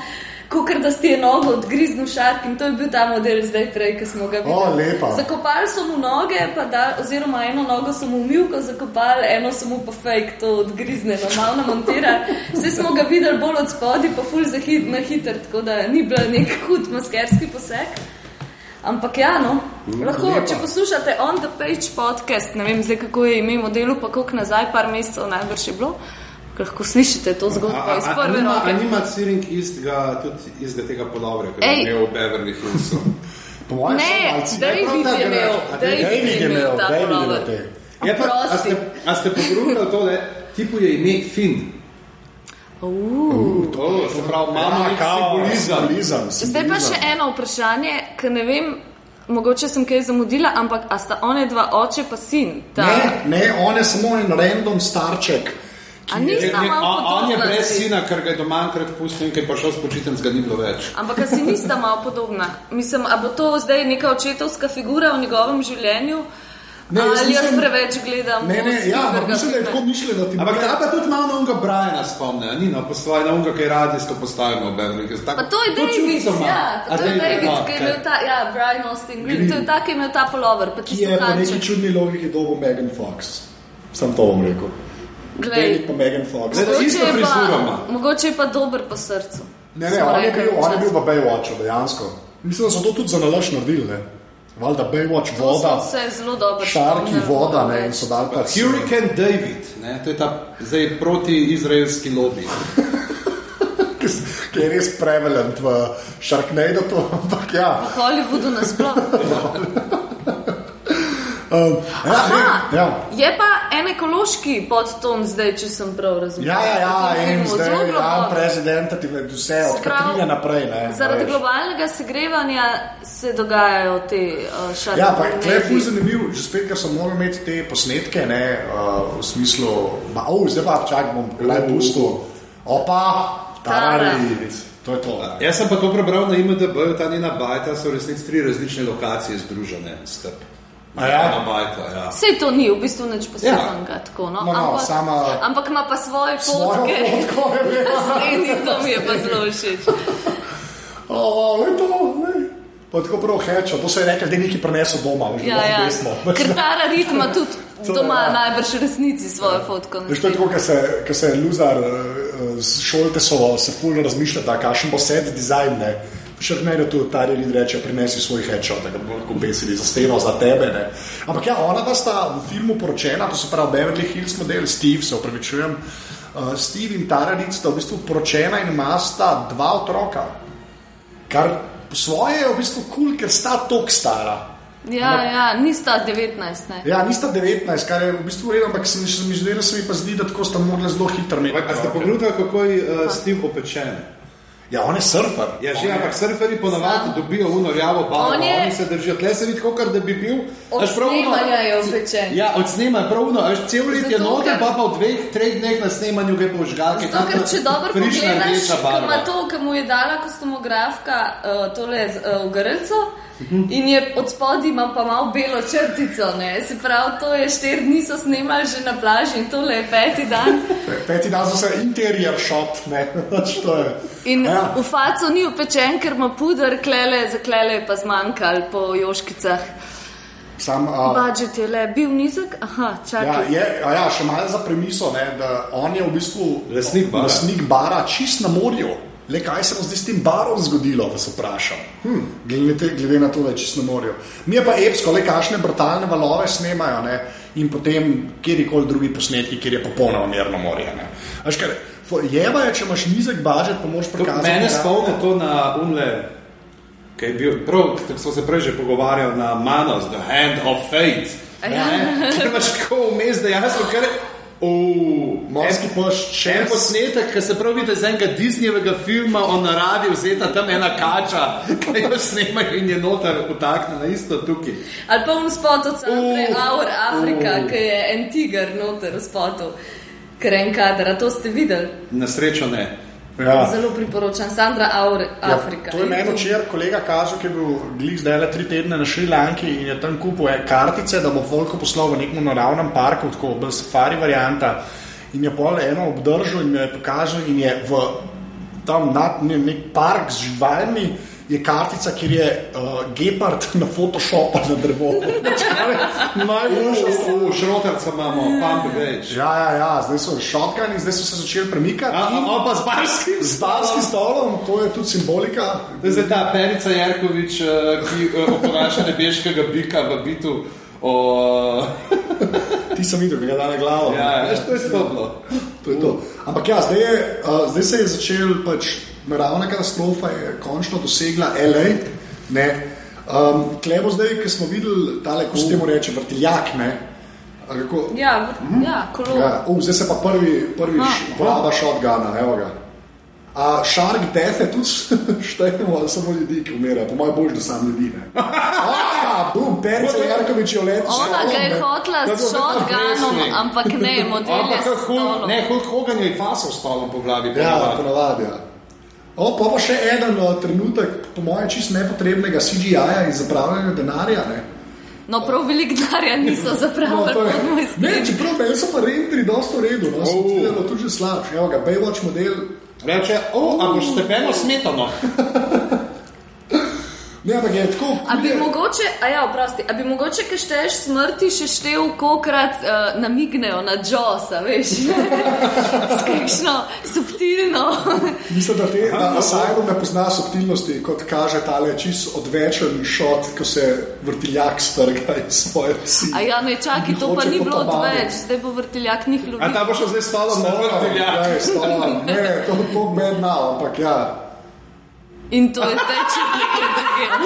[SPEAKER 1] kot da ste nogo odgriznil šark. In to je bil ta model zdaj prej, ki smo ga
[SPEAKER 2] O,
[SPEAKER 1] videli.
[SPEAKER 2] lepa.
[SPEAKER 1] Za Zakopali so mu noge, pa da, oziroma eno nogo so mu umilko zakopali, eno so mu pa fake, to odgrizne, normalno montira. Vse smo ga videli bolj od spodaj, pa ful za hit, na hiter, tako da ni bil nek hud maskerski poseg. Ampak ja, no, lahko,
[SPEAKER 4] Mm, lepa.
[SPEAKER 1] če poslušate on the page podcast, ne vem zdaj kako je ime modelu, pa koliko nazaj, par mesecev najbrž je bilo, ker lahko slišite to zgodbo iz prve
[SPEAKER 4] nima, a
[SPEAKER 1] roke.
[SPEAKER 4] nima Ciring istega, tudi istega tega polovra, ki ga
[SPEAKER 1] Ej.
[SPEAKER 4] je imel v Beverly Hillsu.
[SPEAKER 2] Po mojem, so
[SPEAKER 1] Ne,
[SPEAKER 2] malci-
[SPEAKER 1] David
[SPEAKER 4] Ja, prav ta
[SPEAKER 1] je imel,
[SPEAKER 4] graž- a
[SPEAKER 1] David je imel ta
[SPEAKER 2] David je imel
[SPEAKER 1] polovr.
[SPEAKER 2] te.
[SPEAKER 4] Je pa, a ste,
[SPEAKER 1] Oprosti.
[SPEAKER 4] a ste pogledali tole, tipu je ime Finn.
[SPEAKER 1] Uh.
[SPEAKER 4] To se pravi, mama,
[SPEAKER 2] Ja, kao,
[SPEAKER 4] simbolizem.
[SPEAKER 2] simbolizem,
[SPEAKER 1] Zdaj pa še
[SPEAKER 2] simbolizem.
[SPEAKER 1] eno vprašanje, ki ne vem, mogoče sem kaj zamudila, ampak a sta one dva oče pa sin? Ta,
[SPEAKER 2] Ne, ne, on je samo en random starček.
[SPEAKER 1] a nista
[SPEAKER 4] Ne,
[SPEAKER 1] malo
[SPEAKER 4] a- On je
[SPEAKER 1] podobna?
[SPEAKER 4] brez
[SPEAKER 1] si?
[SPEAKER 4] sina, ker ga je doma enkrat pustil in ker je pa šel spočiten, ga ni bilo več.
[SPEAKER 1] Ampak a si nista malo podobna? Mislim, a bo to zdaj neka očetovska figura v njegovem življenju?
[SPEAKER 2] Ne,
[SPEAKER 1] Ne,
[SPEAKER 2] jaz
[SPEAKER 1] ali jaz
[SPEAKER 2] mislim-
[SPEAKER 1] preveč gledam?
[SPEAKER 2] Ne, ne, ja, ampak mislim, da je tako mišljeno, da ti
[SPEAKER 4] Ampak ta pa tudi malo na unga Briana spomne, a ni na poslovi, na unga, ki je radijsko postavil v Beverly Hills. Tako-
[SPEAKER 1] Pa to je
[SPEAKER 4] to
[SPEAKER 1] David,
[SPEAKER 4] čutico ima.
[SPEAKER 1] ja,
[SPEAKER 4] A
[SPEAKER 1] to je David,
[SPEAKER 4] no,
[SPEAKER 1] ki je
[SPEAKER 4] kaj.
[SPEAKER 1] imel ta, ja, Brian Austin Green, to je ta, ki je imel ta polover, pa
[SPEAKER 2] ki
[SPEAKER 1] tisto
[SPEAKER 2] je po neki
[SPEAKER 1] tanček.
[SPEAKER 2] čudni logiki dobil Megan Fox. Sam to bom rekel.
[SPEAKER 1] Glej,
[SPEAKER 2] David pa Megan Fox.
[SPEAKER 4] Zdaj,
[SPEAKER 1] mogoče
[SPEAKER 4] isto
[SPEAKER 1] je pa-
[SPEAKER 4] frizuro ima.
[SPEAKER 1] Mogoče je pa dober po srcu.
[SPEAKER 2] Ne, ne,
[SPEAKER 1] Smo
[SPEAKER 2] on je
[SPEAKER 1] rekli
[SPEAKER 2] bil, on je bil
[SPEAKER 1] včasih.
[SPEAKER 2] v Baywatchu dejansko. Mislim, da so to tudi za nalaž naredili. Ne? Valjda Baywatch,
[SPEAKER 1] To smo
[SPEAKER 2] voda,
[SPEAKER 1] se zelo dobro
[SPEAKER 2] šarki,
[SPEAKER 1] spomnili,
[SPEAKER 2] voda
[SPEAKER 1] moram
[SPEAKER 2] ne, in
[SPEAKER 1] reči.
[SPEAKER 2] so dal pa
[SPEAKER 4] Hurricane David, ne, to je ta zdaj proti-izraelski lobby.
[SPEAKER 2] ki s- ki je res prevalent v Sharknado, to, ampak ja.
[SPEAKER 1] V Hollywoodu nasploh.
[SPEAKER 2] Um, ja, ne,
[SPEAKER 1] Aha,
[SPEAKER 2] ja.
[SPEAKER 1] Je pa en ekološki podton zdaj, če sem prav razumel.
[SPEAKER 2] Ja, ja,
[SPEAKER 1] V tem
[SPEAKER 2] ja in
[SPEAKER 1] filmu, zelo
[SPEAKER 2] zdaj
[SPEAKER 1] globoko.
[SPEAKER 2] imam prezidenta, ti ve vse od
[SPEAKER 1] Sprav-
[SPEAKER 2] Katrine naprej. Ne,
[SPEAKER 1] Zaradi
[SPEAKER 2] veš.
[SPEAKER 1] globalnega segrevanja se dogajajo te uh, šarne.
[SPEAKER 2] Ja, pa tle je fuz zanimiv, že spet, ker sem moral imeti te posnetke, ne, uh, v smislu, ma, oh, zdaj pa čak bom le pustil, opa, tarari, to je to.
[SPEAKER 1] Ja.
[SPEAKER 2] ne.
[SPEAKER 4] Jaz sem pa to prebral na IMDB, ta njena bajta so v resnici tri različne lokacije združene s tem.
[SPEAKER 2] A ja?
[SPEAKER 4] Ena bajta, ja.
[SPEAKER 1] Vse to ni, v bistvu nič posebnega. Ja. Tako, no?
[SPEAKER 2] No, no,
[SPEAKER 1] ampak,
[SPEAKER 2] sama-
[SPEAKER 1] ampak ima pa svoje
[SPEAKER 2] Mojo
[SPEAKER 1] fotke.
[SPEAKER 2] fotko je bila.
[SPEAKER 1] Naslednji, to mi je pa zelo všeč.
[SPEAKER 2] O, o, lej to, lej. Pa je tako prav hečo, to se je rekel, da je nekaj prenesel doma, že
[SPEAKER 1] Ja, ja.
[SPEAKER 2] desno.
[SPEAKER 1] Ker ta ritma tudi
[SPEAKER 2] To,
[SPEAKER 1] doma
[SPEAKER 2] ja.
[SPEAKER 1] najbrž v resnici svojo fotko.
[SPEAKER 2] Veš, to je
[SPEAKER 1] naslikal.
[SPEAKER 2] tako, ker se, ker se luzar eh, s šoltesovo se fulno razmišlja, da kakšen bo set dizajn, ne. Še vedno tu ta ljudi reče, prinesi svoj headshot, da ga bomo lahko pesili za steno, za tebe. Ne. Ampak ja, ona pa sta v filmu poročena, to se pravi Beverly Hills model, Steve, se upravičujem. Uh, Steve in Taranic sta v bistvu poročena in imata dva otroka, kar po svoje je v bistvu kul, cool, ker sta tok stara.
[SPEAKER 1] Ja, ja, nista 19. Ne.
[SPEAKER 2] Ja, nista 19, kar je v bistvu redo, ampak se mi, se mi zdi, da se mi pa zdi, da tako sta mogla zelo hitro imeti.
[SPEAKER 4] A ste
[SPEAKER 2] otroke.
[SPEAKER 4] pogledali, kako je uh, Steve opečen?
[SPEAKER 2] Ja, on je surfer.
[SPEAKER 4] Ja, že, ampak surferi ponavadi dobijo unorjavo barvo,
[SPEAKER 1] On je-
[SPEAKER 4] oni se držijo, tle se vidi, kot da bi bil.
[SPEAKER 1] Od
[SPEAKER 4] Až prav ono-
[SPEAKER 1] snemanja je opečen.
[SPEAKER 4] Ja, od snemanja, prav uno, až cel let je
[SPEAKER 1] Zato,
[SPEAKER 4] noter,
[SPEAKER 1] ker-
[SPEAKER 4] pa pa v dveh, treh dneh na snemanju ga je požgal.
[SPEAKER 1] Zato, ker če dobro pogledaš, ki ima
[SPEAKER 4] barva.
[SPEAKER 1] to, ki mu je dala kostumografka, uh, tole z uh, grlco. In je od spodaj ima pa malo belo črtico, ne? se pravi, to je štiri dni so snimali že na plaži in tole je peti dan.
[SPEAKER 2] Peti dan so se interior shot, ne, pač to je.
[SPEAKER 1] In
[SPEAKER 2] ja.
[SPEAKER 1] ja. v faco ni upečen, ker ima puder, klele, zaklele je pa zmanjkal po joškicah.
[SPEAKER 2] Sam, a,
[SPEAKER 1] Budžet je le bil nizek, aha,
[SPEAKER 2] ja,
[SPEAKER 1] čakaj.
[SPEAKER 2] je, a ja, še malo za premiso, ne, da on je v bistvu
[SPEAKER 4] Lastnik bara.
[SPEAKER 2] lastnik bara čist na morju. Le kaj se bo zdaj s tem barom zgodilo, vas vprašam. Hm, glede, te- glede na to, da je čist na morju. Mi je pa epsko, le kakšne brutalne valove snemajo ne, in potem kjerkoli drugi posnetki, kjer je popolnoma mirno morje. ne. A veš kaj, fo- Jeba je, če imaš nizek budžet, pa moraš
[SPEAKER 4] To
[SPEAKER 2] prikazati.
[SPEAKER 4] Mene
[SPEAKER 2] da-
[SPEAKER 4] spomne to na unle, ki je bil, prav, tako smo se prej že pogovarjali na Manos, The Hand of Fate.
[SPEAKER 1] Ja.
[SPEAKER 4] ne, Ker imaš tako vmes dejansko, ker
[SPEAKER 2] Morski
[SPEAKER 4] je.
[SPEAKER 2] pes,
[SPEAKER 4] Še en posnetek, ki se prav vidi iz enega Disneyjevega filma o naravi, vzeta tam ena kača, ki jo snemajo in je noter utaknjena, isto tukaj.
[SPEAKER 1] Ali pa un spot od Sanfre,
[SPEAKER 4] Uh,
[SPEAKER 1] Aur Afrika,
[SPEAKER 4] uh.
[SPEAKER 1] ki je en tiger noter v spotu, ker en kader, a to ste videli.
[SPEAKER 4] Na srečo ne.
[SPEAKER 2] Ja.
[SPEAKER 1] Zelo priporočam, Sandra Aur Afrika.
[SPEAKER 2] Ja, to je meni včeraj kolega kazal, ki je bil glih zdaj le tri tedne na Šrilanki in je tam kupil eh, kartice, da bo Volko poslal v nekem naravnem parku, tako bolj safari varianta. In je pol eno obdržal in mi jo je pokazal, in je v tam nad ne, nek park z živalmi. Je kartica, kjer je uh, gepard na Photoshopu na drevo. Najboljša stvar.
[SPEAKER 4] V šrotarcu imamo, pump več.
[SPEAKER 2] Ja, ja, ja, zdaj so šotkani, zdaj so se začeli premikati.
[SPEAKER 4] A, a, a pa z barskim.
[SPEAKER 2] Z barskim stolom, to je tudi simbolika.
[SPEAKER 4] To je zdaj ta Perica Jarkovič, eh, ki eh, oponaša nebeškega bika v bitu. O,
[SPEAKER 2] Ti sem videl, gleda na glavo.
[SPEAKER 4] ja, veš, to je stopno.
[SPEAKER 2] To je to. Ampak ja, zdaj, je, uh, zdaj se je začel pač naravna katastrofa, je končno dosegla L.A. Ne. Um, Klemo zdaj, ki smo videli, tale, ko se temu reče, vrtiljak. Ne, A kako,
[SPEAKER 1] Ja, v- ja, kolo.
[SPEAKER 2] ja, uh, zdaj se pa prvi, prvi
[SPEAKER 1] Ah.
[SPEAKER 2] š- uporaba šotgana, evo ga. A Shark Death je tudi štejemo, ali samo ljudi, ki umirajo, po mojem božju, da sam ljudi. ne. Ah, bum, Perce Jarkovič Ja, je letel.
[SPEAKER 1] Ona ga je hotla
[SPEAKER 4] To je
[SPEAKER 1] s
[SPEAKER 4] bilo tako
[SPEAKER 1] shotgunom,
[SPEAKER 4] resno.
[SPEAKER 1] ampak ne, model je
[SPEAKER 4] Ampak
[SPEAKER 1] s
[SPEAKER 4] kako hul,
[SPEAKER 1] stolom.
[SPEAKER 4] ne, hul hogan je fasal s palom po
[SPEAKER 2] Ja,
[SPEAKER 4] glavi. ponavadi.
[SPEAKER 2] ponovadi. Ja. O, pa pa še en uh, trenutek, po mojem, čist nepotrebnega CGI-ja in zapravljanja denarja. Ne?
[SPEAKER 1] No, prav velik denarja niso zapravili
[SPEAKER 2] No, to je-
[SPEAKER 1] pod moj
[SPEAKER 2] ne,
[SPEAKER 1] skin.
[SPEAKER 2] čeprav meni so pa rentri dosto v redu, no,
[SPEAKER 4] Oh.
[SPEAKER 2] oh. da tudi že slabš. Evo ga, Baywatch model.
[SPEAKER 4] Reče, o, a boš stepeno smetano.
[SPEAKER 2] Ne, ampak je tako.
[SPEAKER 1] A bi
[SPEAKER 2] je-
[SPEAKER 1] mogoče, a ja, oprosti, a bi mogoče, ki šteješ smrti, še štev, kokrat uh, namignejo na Džosa, veš, s kakšno subtilno.
[SPEAKER 2] Mislim, da te da Asylum ne pozna subtilnosti, kot kaže tale čist odvečen šot, ko se vrtiljak strga iz svoje psi.
[SPEAKER 1] A ja, ne čakaj, to pa
[SPEAKER 2] Hoče
[SPEAKER 1] ni
[SPEAKER 2] po
[SPEAKER 1] bilo
[SPEAKER 2] tabavi.
[SPEAKER 1] odveč, zdaj bo vrteljak njih
[SPEAKER 4] A ta
[SPEAKER 1] lovil.
[SPEAKER 4] bo šel zdaj s Ja. palom na vrtelja.
[SPEAKER 2] ja. Ne, to je bed now, ampak ja.
[SPEAKER 1] In to je zdaj čez nekaj drugega.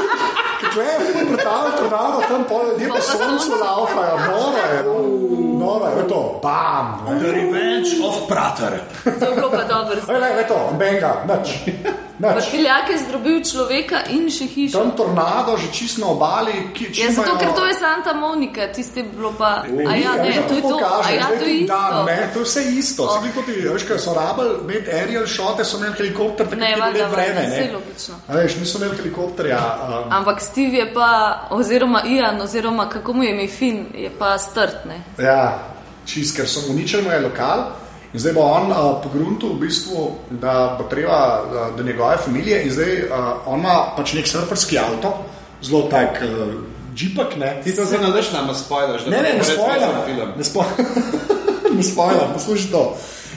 [SPEAKER 2] Tle je bilo brutalno tornado, tam pol ljudje po soncu laufajo, noro je, no. noro je, to, bam. ne.
[SPEAKER 4] The Revenge of Prater.
[SPEAKER 1] To je bilo pa dobro.
[SPEAKER 2] Ej, ne, ne, to, benga, nič, nič.
[SPEAKER 1] Vrtiljak je zdrobil človeka in še hišo.
[SPEAKER 2] Tam tornado že čisto na obali, ki če
[SPEAKER 1] Ja, zato,
[SPEAKER 2] imajo-
[SPEAKER 1] ker to je Santa Monika, tiste je bilo pa. A ja,
[SPEAKER 2] veš,
[SPEAKER 1] ne,
[SPEAKER 2] kako
[SPEAKER 1] to je to. A
[SPEAKER 2] pokaže,
[SPEAKER 1] ja,
[SPEAKER 2] zdaj
[SPEAKER 1] to je
[SPEAKER 2] ti
[SPEAKER 1] isto.
[SPEAKER 2] dam, ne, to je vse isto. Oh. Kot ti, veš, kaj so rabili, med aerial shote so imeli helikopter, tako
[SPEAKER 1] Ne,
[SPEAKER 2] da
[SPEAKER 1] valjda,
[SPEAKER 2] ne vreme.
[SPEAKER 1] valjda,
[SPEAKER 2] ne.
[SPEAKER 1] saj logično.
[SPEAKER 2] A Veš, niso imeli helikopterja. Um,
[SPEAKER 1] Ampak Steve je pa, oziroma Ian, oziroma kako mu je ime Fin, je pa strtne.
[SPEAKER 2] Ja, čist, ker so uničili moj lokal. In zdaj bo on uh, pogrunil, v bistvu, da bo treba uh, do njegove družine. In zdaj uh, on ima pač nek srpski avto, zelo tak uh, džipek. Ne,
[SPEAKER 4] Ti to zdaj ne daš nam spojlaš, da
[SPEAKER 2] ne, ne, ne spojljam.
[SPEAKER 4] film.
[SPEAKER 2] Ne spojljam, ne spojljam, poslušaj to.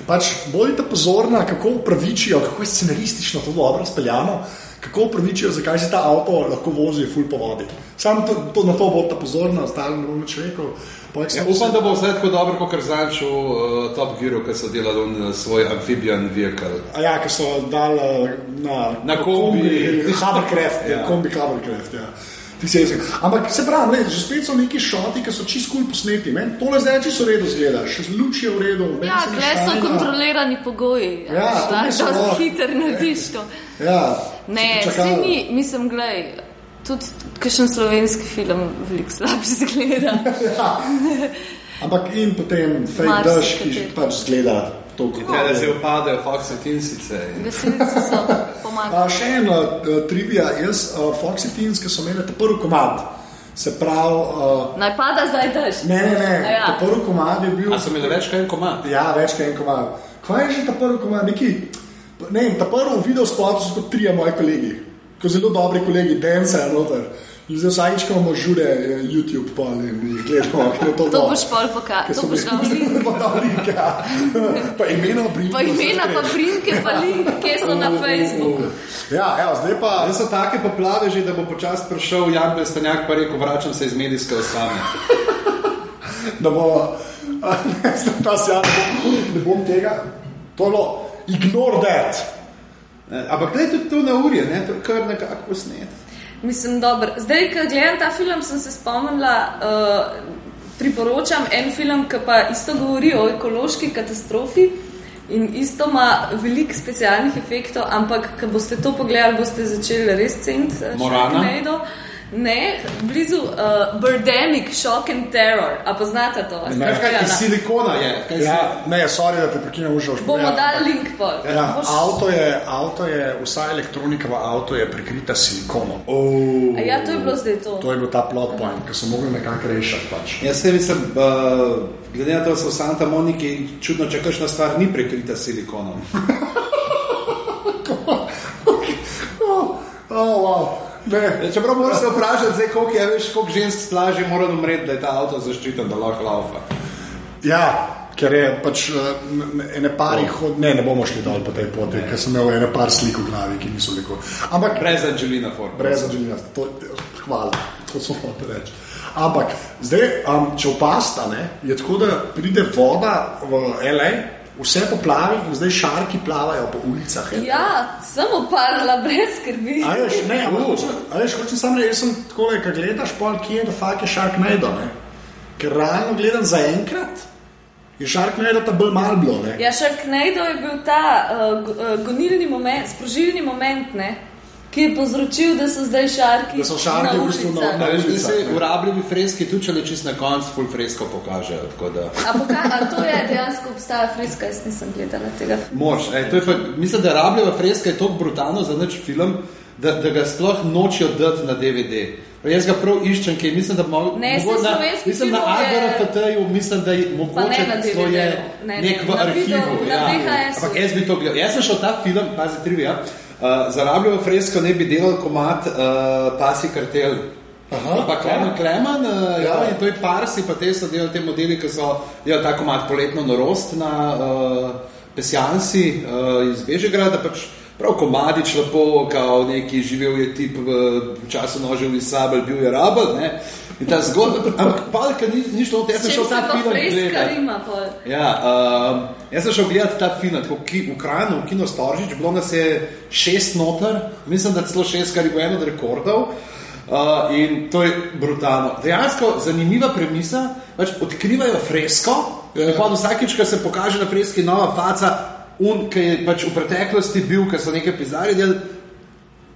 [SPEAKER 2] Pač bodite pozorni, kako upravičijo, kako je scenaristično to dobro speljano, kako upravičijo, zakaj se ta avto lahko vozi ful po vodi. Sam to, to, na to bodite pozorni, ostali ne bom več rekel. Poleg
[SPEAKER 4] Ja,
[SPEAKER 2] sem-
[SPEAKER 4] upam, da bo vse tako dobro, kot kar zanč v uh, Top Gearu, ki so delali on, eh, svoj amphibian vehicle.
[SPEAKER 2] A Ja, ki so dali eh, na,
[SPEAKER 4] Na kombi.
[SPEAKER 2] Habercraft, ja.
[SPEAKER 4] Ja.
[SPEAKER 2] kombi Habercraft. Ja. Ti si jezik. Ampak se pravi, ne, že spet so neki šoti, ki so čist kul cool posneti. Meni tole zdaj čisto v redu zgleda, še luč je v redu. meni
[SPEAKER 1] Ja,
[SPEAKER 2] se ne
[SPEAKER 1] kle so
[SPEAKER 2] štajna.
[SPEAKER 1] kontrolirani pogoji.
[SPEAKER 2] Ja,
[SPEAKER 1] veš,
[SPEAKER 2] to
[SPEAKER 1] da
[SPEAKER 2] niso
[SPEAKER 1] dosti
[SPEAKER 2] lahko.
[SPEAKER 1] hiter narediš to.
[SPEAKER 2] Ja,
[SPEAKER 1] Ne,
[SPEAKER 2] čakal.
[SPEAKER 1] vsi ni, mislim, gledaj, tudi kakšen slovenski film veliko slabše zgleda.
[SPEAKER 2] Ja. Ampak in potem fake
[SPEAKER 1] Marsikateri.
[SPEAKER 2] dash, ki že pač zgleda to kot
[SPEAKER 4] Ja, da se upadejo Fox in Tinsice.
[SPEAKER 1] Veselice so pomagali.
[SPEAKER 2] A, še ena uh, trivija, jaz, uh, Foxy Teens, ki so imeli ta prvi komad, se pravi, uh,
[SPEAKER 1] Naj pada zdaj daš.
[SPEAKER 2] ne, ne, ne,
[SPEAKER 1] A ja.
[SPEAKER 2] ta prvi komad je bil.
[SPEAKER 4] A so imeli več kot en komad?
[SPEAKER 2] Ja, več kot en komad. Kaj je že ta prvi komad, neki, ne vem, ta prvi video spot so kot trije moji kolegi, ko zelo dobri kolegi, dancer, noter. In zdaj vsakič, ko imamo žure, eh, YouTube pol in jih gledamo, ker je to
[SPEAKER 1] To
[SPEAKER 2] dobro.
[SPEAKER 1] boš pol pokazal.
[SPEAKER 2] No. Ker
[SPEAKER 1] To
[SPEAKER 2] so
[SPEAKER 1] boš dal link.
[SPEAKER 2] bili- Pa dal link, ja. Pa imena, priimke,
[SPEAKER 1] Pa imena,
[SPEAKER 2] vse
[SPEAKER 1] pa
[SPEAKER 2] gre.
[SPEAKER 1] primke, pa link, kje so na Facebooku.
[SPEAKER 2] Ja, evo, zdaj pa.
[SPEAKER 4] Zdaj so take poplave že, da bo počasi prišel Jan Bestanjak in rekel: Vračam se iz medijske osame.
[SPEAKER 2] da bo ta sjaj, ne bom tega, tolo, ignore that.
[SPEAKER 4] Ne, Ampak gledaj tudi to na urje, ne, to je kar nekako posnet.
[SPEAKER 1] Mislim, dobro. Zdaj, ko gledam ta film, sem se spomnila, uh, priporočam en film, ki pa isto govori o ekološki katastrofi in isto ima veliko specialnih efektov, ampak ko boste to pogledali, boste začeli res ceniti. eh,
[SPEAKER 4] Morana?
[SPEAKER 1] Sharknado. Ne, blizu uh, Birdemic, Shock and Terror. A poznate to? A ste
[SPEAKER 4] Ne, kaj iz
[SPEAKER 1] gledala?
[SPEAKER 4] silikona je. Kaj
[SPEAKER 2] Ja, ne, sorry, da te prekinem, že
[SPEAKER 1] Bomo dali link pol.
[SPEAKER 2] Ja,
[SPEAKER 1] Boš-
[SPEAKER 2] avto, je, avto je, vsa elektronika v avtu je prekrita silikonom. Oh.
[SPEAKER 1] A ja, to je bilo zdaj to.
[SPEAKER 2] To je bil ta plot point, ki so mogli nekako rešiti. Pač.
[SPEAKER 4] Jaz se Ja, mislim, uh, glede na to, da so v Santa Moniki čudno, če kakšna stvar ni prekrita s silikonom.
[SPEAKER 2] Oh, oh, wow. Ne.
[SPEAKER 4] Ja, Čeprav moraš se vprašati, zdaj, koliko je več, koliko žensk s plaže mora umreti, da je ta avto zaščiten, da lahko laufa.
[SPEAKER 2] Ja, ker je pač eh, n- n- ene pari hod, ne, ne bomo šli dol po tej poti, ker sem imel ene par slik v glavi, ki niso veliko. Ampak
[SPEAKER 4] Brez Angelina Forda.
[SPEAKER 2] brez odvijanja. Hvala, to smo hoteli reči. Ampak zdaj, um, če opasta, ne, je tako, da pride voda v L.A., vse poplavi in zdaj šarki plavajo po ulicah. LA.
[SPEAKER 1] Ja, sem opazila brez skrbi.
[SPEAKER 2] A veš, ne, ampak hočem- a veš, hočem samo reči, jaz sem tako, da gledaš, pol kje je, da fak je šark najdo. Ne? Ker realno gledam za enkrat, je šark najdo ta bolj malo bilo. Ne?
[SPEAKER 1] Ja, Sharknado je bil ta uh, go- uh, gonilni moment, sprožilni moment, ne, ki je povzročil, da so zdaj šarki.
[SPEAKER 2] Da so šarki
[SPEAKER 1] na
[SPEAKER 2] v bistvu na-
[SPEAKER 1] ulicah.
[SPEAKER 2] na-
[SPEAKER 4] Veš, da se uporabljeni freski tudi, če le čist na koncu, full fresko pokažejo. tako da-
[SPEAKER 1] A poka- a to je dejansko obstaja freska, jaz nisem gledala tega.
[SPEAKER 4] Mož, ej, to je pa, mislim, da rabljeva freska je tako brutalno za nič film, da, da ga sploh nočijo dati na DVD. Jaz ga prav iščem, ker mislim, da mogo,
[SPEAKER 1] Ne, saj
[SPEAKER 4] na,
[SPEAKER 1] slovenski
[SPEAKER 4] mislim, na
[SPEAKER 1] film je-
[SPEAKER 4] AGRPT-ju, mislim, da je
[SPEAKER 1] Pa
[SPEAKER 4] mogoče
[SPEAKER 1] ne na
[SPEAKER 4] celo
[SPEAKER 1] DVD-ju,
[SPEAKER 4] je
[SPEAKER 1] ne, ne,
[SPEAKER 4] nek v
[SPEAKER 1] na video-
[SPEAKER 4] arhivu.
[SPEAKER 1] na
[SPEAKER 4] ja.
[SPEAKER 1] VHS-u.
[SPEAKER 4] Ampak jaz bi to gledal. Jaz sem šel ta film, pazi trivia, uh, za rabljeno fresko ne bi delal komat uh, Pasi kartel. Aha, pa Klemen, Klemen, uh, ja. in to je Parsi, pa te so delali te modeli, ki so ja, delali tako mat poletno norost na uh, Pesjansi uh, iz Bežegrada, pač Prav komadič lepo, kao neki živel je tip v času nožev in sabel, bil je rabel. Ne? In ta zgodba, ampak palka ni, ni šlo, jaz
[SPEAKER 1] Če
[SPEAKER 4] sem šel
[SPEAKER 1] se
[SPEAKER 4] ta
[SPEAKER 1] pa
[SPEAKER 4] film
[SPEAKER 1] preiskar
[SPEAKER 4] gledati.
[SPEAKER 1] ima pol.
[SPEAKER 4] Ja, uh, jaz sem šel gledati ta film, tako ki, v Kranju, v Kino Storžič, bilo nas je šest noter, mislim, da celo šest, kar je bil en od rekordov. Uh, in to je brutalno. Dejansko zanimiva premisa, pač odkrivajo fresko, in pa vsakič, ko se pokaže na freski nova faca, un, ki je pač v preteklosti bil, ki so nekaj pizarje delali,